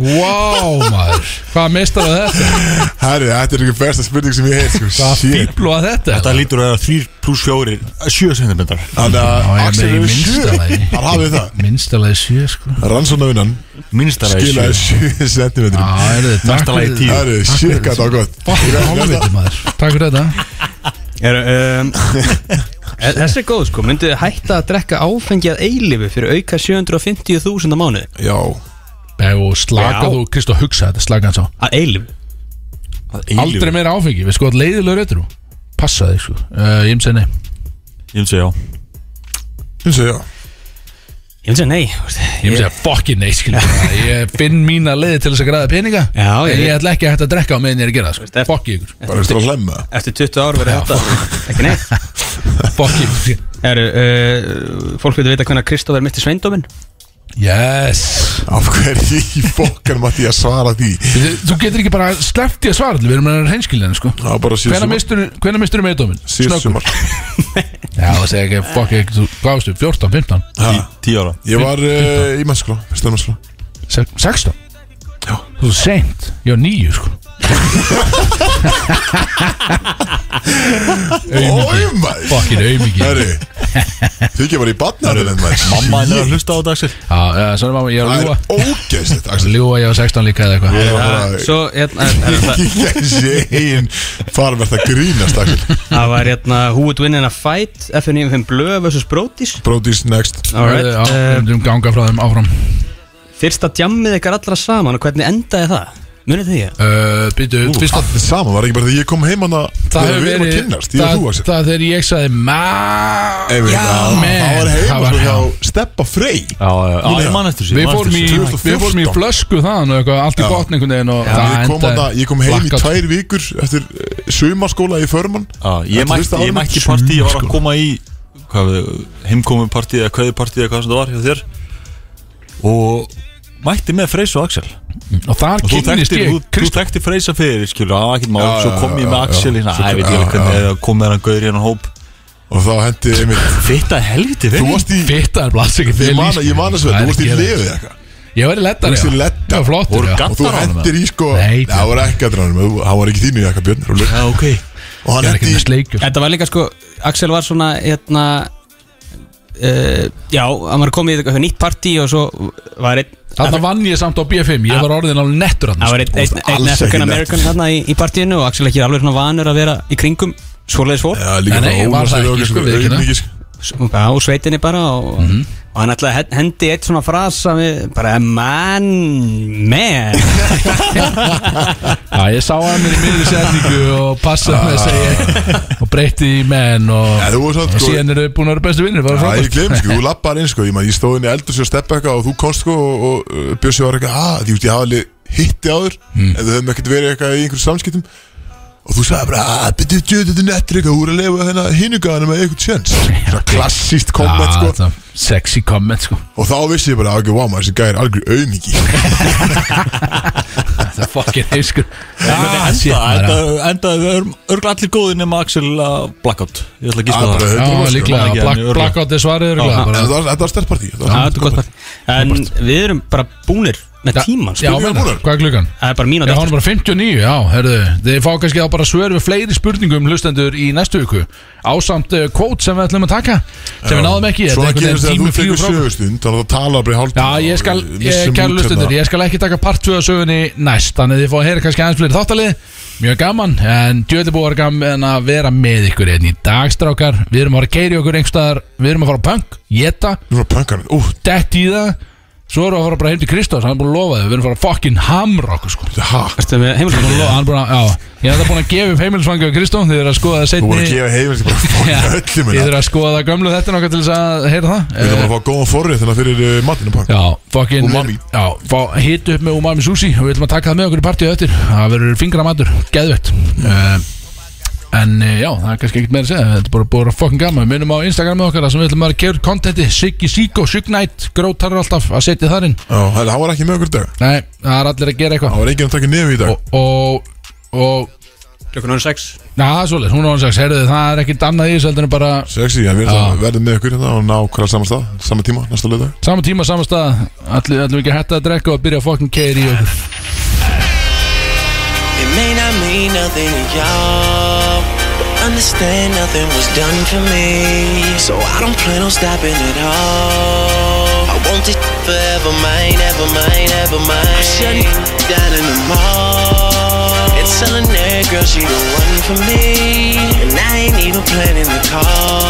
Speaker 4: wow maður hvað mistar að þetta
Speaker 2: Herri, þetta er ekki besta spurning sem ég heit sko.
Speaker 4: hvað
Speaker 2: Shit.
Speaker 4: fíblu að þetta
Speaker 5: þetta lítur að það er 3 pluss 4 7 sendimindar
Speaker 2: Þannig
Speaker 4: Já,
Speaker 2: að
Speaker 4: ég
Speaker 2: Axel
Speaker 4: megi
Speaker 2: hefur
Speaker 4: minnsta
Speaker 2: sjö
Speaker 4: lagi.
Speaker 2: Þar hafið það
Speaker 4: minnstalega sjö sko
Speaker 2: Rannsónavinnan
Speaker 5: Minnstara er
Speaker 2: skilaði
Speaker 5: 7
Speaker 2: sjö *laughs* sentimetrum
Speaker 4: Já, er þetta
Speaker 5: Mesta lagi tíu.
Speaker 2: Herri, shit, hvað það var gott
Speaker 4: Fokkin hálfviti maður Takk fyrir þetta
Speaker 3: Er, *laughs* um, þessi er góð sko Mynduðu hætta að drekka áfengi að eilifu fyrir auka 750.000 á mánuði
Speaker 2: Já,
Speaker 4: Nei, Og slaka
Speaker 3: Já.
Speaker 4: þú, Kristó, hugsa þetta Slaka hans á
Speaker 3: Að eilifu?
Speaker 4: Aldrei meira áfengi Við sko að leiðilega reytur Passa þig sko uh, Ég myndi að nei
Speaker 5: Ég myndi segja já
Speaker 2: ég segi já
Speaker 3: Ég myndi að nei
Speaker 4: Ég myndi að fokkin nei skilur bara. Ég finn mína leiði til þess að græða peninga
Speaker 3: Já,
Speaker 4: ég,
Speaker 3: ég-
Speaker 4: ég ætla ekki að hætta að drekka á meðin ég er að gera það
Speaker 3: Veist,
Speaker 4: sko.
Speaker 3: ef-
Speaker 4: Fokki ykkur
Speaker 2: Bara eftir að hlemma
Speaker 3: Eftir 20 ár verið þetta Ekki nei
Speaker 4: Fokki ykkur
Speaker 3: Eru, uh, fólk veitur vita hvernig Kristófer misti sveindóminn?
Speaker 4: Yes
Speaker 2: Af hverju í fokkan mætti ég að svara því
Speaker 4: Þú þú getur ekki bara sleppt í að svara allir Við erum að reynskilja sko
Speaker 2: Það var bara síðan
Speaker 4: Hvenær mistur, hvenær mistur með dómin?
Speaker 2: Síðan sumar
Speaker 4: Já, það segja ekki Fokki ykkur Þú gáðstu 14, 15,
Speaker 2: Ha.
Speaker 5: 10 ára
Speaker 2: Ég var uh, í mennskóla, fyrsta mennskóla
Speaker 4: se- 16 Já Þú er seint Ég var nýju sko
Speaker 2: Ói maður
Speaker 4: Fokkin aumingi Já,
Speaker 2: Herri Þú ekki var í badnarinn maður
Speaker 5: Mamma henni er að hlusta á þetta Axel
Speaker 4: já, svona mamma Ég var að
Speaker 2: Það
Speaker 4: ljúa
Speaker 2: er ógeðslegt Axel
Speaker 4: Ljúa ég var 16 líka eða eitthvað
Speaker 2: Ég var bara
Speaker 3: Svo, hérna, er, er, það,
Speaker 2: Ég er séin Farverð að grínast Axel
Speaker 3: það var hérna Who would win in a fight FN95 Blöð vs. Brodís
Speaker 2: Brody's next
Speaker 3: Alright,
Speaker 4: Já, við
Speaker 3: uh,
Speaker 4: myndum ganga frá þeim áfram
Speaker 3: Fyrsta djammið ykkar allra saman og hvernig endaði það? Munið því að?
Speaker 4: uh, Býtu, fyrsta
Speaker 2: Það sama var ekki bara þegar ég kom heim hana
Speaker 4: Það
Speaker 2: Þegar
Speaker 4: hefur
Speaker 2: við erum að
Speaker 4: verið
Speaker 2: kynnast Ég og þú
Speaker 4: það,
Speaker 2: Axel
Speaker 4: það þegar ég sagði Ma
Speaker 2: Ef við- Það það var
Speaker 4: Það
Speaker 2: heima
Speaker 4: var-
Speaker 2: svo hjá Steppa Frey
Speaker 5: Já, já, já, ég man eftir þessu, ég
Speaker 4: Við
Speaker 5: man eftir
Speaker 4: fórum í,
Speaker 5: þessu.
Speaker 4: við fórum í
Speaker 2: 2014.
Speaker 4: flösku þann og eitthvað allt í
Speaker 2: Já.
Speaker 4: botn einhvern veginn og það
Speaker 2: Ég kom,
Speaker 4: endaði
Speaker 2: hana, ég kom heim í
Speaker 4: flakkat.
Speaker 2: tvær vikur eftir eh, sumarskóla í förmann
Speaker 5: Já, ég
Speaker 2: Þetta fyrsta
Speaker 5: mætti, ég
Speaker 2: árið.
Speaker 5: mætti í partí, ég var
Speaker 2: Sko.
Speaker 5: að koma í hvað við, heimkomupartí eða kveðupartí eða hvað sem það var hjá þér og mætti með Freys og Axel og
Speaker 4: og þar
Speaker 5: þú
Speaker 4: kynnist
Speaker 5: þekkti,
Speaker 4: ég
Speaker 5: þú, þú þekkti Freysa fyrir, skilur, á ekkert mál svo kom ég með
Speaker 2: já, já,
Speaker 5: Axel
Speaker 2: já.
Speaker 5: hérna,
Speaker 2: Svo-
Speaker 5: æ, veit
Speaker 2: já,
Speaker 5: ég hvernig
Speaker 2: já.
Speaker 5: eða kom með hann gauður hérna hóp
Speaker 2: Og þá hendi einmitt
Speaker 5: Fitta helviti,
Speaker 2: Þú varst í
Speaker 4: Fittar blast ekki
Speaker 2: Ég man- ég man að svo, þú varst í lefið eitthvað
Speaker 4: Ég var í leddar
Speaker 2: Þú varst í leddar.
Speaker 4: Já, flottur
Speaker 5: Voru
Speaker 4: já.
Speaker 5: gatt-
Speaker 2: Og þú
Speaker 5: Hattar á honum,
Speaker 2: hendir í sko
Speaker 4: Nei,
Speaker 2: Nei, það var ekki að dránum þú- Hann var ekki þínu jakka Björn Rúlur.
Speaker 5: Já, ok
Speaker 2: Og hann
Speaker 4: Ég er ekki
Speaker 2: hendi
Speaker 4: með sleikjur
Speaker 3: Þetta var líka sko, Axel var svona hérna Uh, já, hann var komið í eitthvað nýtt partí og svo var einn
Speaker 4: Þarna vann ég samt á B5 Ég var orðin alveg nettur
Speaker 3: það
Speaker 4: hann
Speaker 3: var einn ein,
Speaker 2: varst
Speaker 3: ein
Speaker 2: alls ekki
Speaker 3: African
Speaker 2: nettur.
Speaker 3: American hérna í, í partíinu og Axel ekki alveg svona vanur að vera í kringum svoleiðis fólk
Speaker 2: Já, líka
Speaker 4: Nei, nei,
Speaker 2: frá
Speaker 4: var
Speaker 2: Ólasari
Speaker 4: það ekki,
Speaker 2: og
Speaker 4: sko,
Speaker 2: sko
Speaker 4: viðurkenna.
Speaker 2: auðmikið, sko.
Speaker 4: Mhm.
Speaker 3: og sveitinni bara og, og hann ætlaði að hen- hendi eitt svona frasa við bara man,
Speaker 4: *laughs*
Speaker 3: man
Speaker 4: Já, ég sá að mér í miðri setningu og passaði með að segja og breytti í menn og,
Speaker 2: Ja, Ah. þú var samt,
Speaker 4: og
Speaker 2: sko-
Speaker 4: síðan eru bestu að vera bestu vinnir
Speaker 2: Já, ég gleym,
Speaker 4: *laughs*
Speaker 2: sko, þú lappar inn, sko, ég, man, ég stóð inn í eldur sér steppa eitthvað og þú komst, sko, og, og uh, Bjössi var eitthvað, að, því, veist, ég hafa alveg hitti á þér,
Speaker 4: Hmm.
Speaker 2: en þau höfum ekkert verið eitthvað í einhverjum samskiptum, og þú sagði bara, að, betur, djöðu, þetta er nettir eitthvað, þú er að leifa þennan hinugaðanum með eitthvað
Speaker 4: *laughs*
Speaker 2: tjens, svona klassíst komment, sko,
Speaker 4: Sexy komment sko
Speaker 2: og þá vissi ég bara, ok, wow, maður, þessi gæði er algjör auðmiki,
Speaker 4: Það er fucking heiskur
Speaker 5: Ah,
Speaker 4: shit, maður.
Speaker 5: enda, enda, enda örgla allir góði nema Axel að blackout Ég ætla að
Speaker 2: Já,
Speaker 5: gíska
Speaker 2: bara-
Speaker 5: það
Speaker 4: Já,
Speaker 2: Þetta var
Speaker 4: líklega,
Speaker 5: sko, ekki,
Speaker 4: black-
Speaker 5: en örugglega.
Speaker 4: blackout er svarið örugglega, bara-
Speaker 2: en þetta var- þetta var stert partí, þetta
Speaker 3: Já,
Speaker 2: var
Speaker 3: þetta er gott part. en við erum bara búnir með tíman sko.
Speaker 4: Já,
Speaker 2: Spurningar
Speaker 4: menna,
Speaker 2: búnar?
Speaker 4: hvað er klukkan?
Speaker 3: það er bara mín
Speaker 4: Já,
Speaker 3: og
Speaker 4: hann er bara 59, já, herðu Þið fá kannski þá bara svör við fleiri spurningum hlustendur í næstu viku Ásamt uh, kvót sem við ætlum að taka Sem við náðum ekki, þetta er
Speaker 2: Svona
Speaker 4: einhvern
Speaker 2: gerist
Speaker 4: veginn
Speaker 2: þegar
Speaker 4: tími
Speaker 2: þú
Speaker 4: frí og
Speaker 2: tekur
Speaker 4: frá
Speaker 2: sögustund, þannig að það tala bara í hálftíma
Speaker 4: Já, ég skal,
Speaker 2: og við
Speaker 4: ég,
Speaker 2: missum
Speaker 4: kæru
Speaker 2: út
Speaker 4: lustendur,
Speaker 2: hérna.
Speaker 4: ég skal ekki taka part 2 af sögunni næst Þannig að þið fá að heyra kannski aðeins fleiri þáttalið Mjög gaman, en djöðlibú er gaman að vera með ykkur einn í dagstrákar Við erum að fara að keiri okkur einhverstaðar Við erum að fara á punk, geta,
Speaker 2: Þú erum að pönka hann, ú,
Speaker 4: dett í það Svo erum við að fara bara heim til Kristofs, hann er búin að lofa þau Við erum að fara að fucking hamra okkur sko
Speaker 2: þetta er hæ
Speaker 3: Ertu með
Speaker 4: Búin að
Speaker 3: heimilisfangið?
Speaker 4: lofa- hann er búin að, já Ég er þetta búin að gefa upp heimilisfangið á Kristof Þið eru að skoða það
Speaker 2: Þú voru
Speaker 4: setni
Speaker 2: að gefa heimil sem
Speaker 4: *laughs*
Speaker 2: bara fokka öllum
Speaker 4: Þið
Speaker 2: hérna
Speaker 4: eru að skoða gömlu þetta nokkað til þess að heyra það
Speaker 2: Við
Speaker 4: Eh,
Speaker 2: þurfum að fá góðan forrið þannig fyrir uh, matinu pakk
Speaker 4: Já, fucking
Speaker 2: Umami.
Speaker 4: Já, fá hitu upp með umami sushi og við ætlum að taka það með okkur í partíu öttir það verður fingramatur, geðvett uh, en uh, já, það er kannski ekkert meira að segja þetta er bara búin að fucking gaman við minnum á Instagram með okkar þar sem við ætlum að gera kontenti Siggi Siko, Signite, Grótar alltaf að setja þar inn
Speaker 2: Já, það var ekki með okkur í dag
Speaker 4: nei, það er allir að gera
Speaker 2: Það
Speaker 4: eitthvað
Speaker 2: var enginn að taka nefn í dag
Speaker 4: og, og, og
Speaker 3: klukkan orðin 6
Speaker 4: na, það er svolítið, hún á hans að herðu það er ekkert annað í þessu heldur en bara
Speaker 2: Sexy, en við erum það að verða með okkur hérna og ná hverja saman stað, sama tíma, næsta lögdag
Speaker 4: sama tíma, sama stað allir, allir ekki að hætta að drekka og byrja að fucking keira í okkur
Speaker 1: It may not mean nothing to y'all, but understand nothing was done for me. So I don't plan on stopping at all. I want it forever, mine, ever mine, ever mine. I'm shutting down in the mall. And telling that girl she the one for me. And I ain't even planning the call.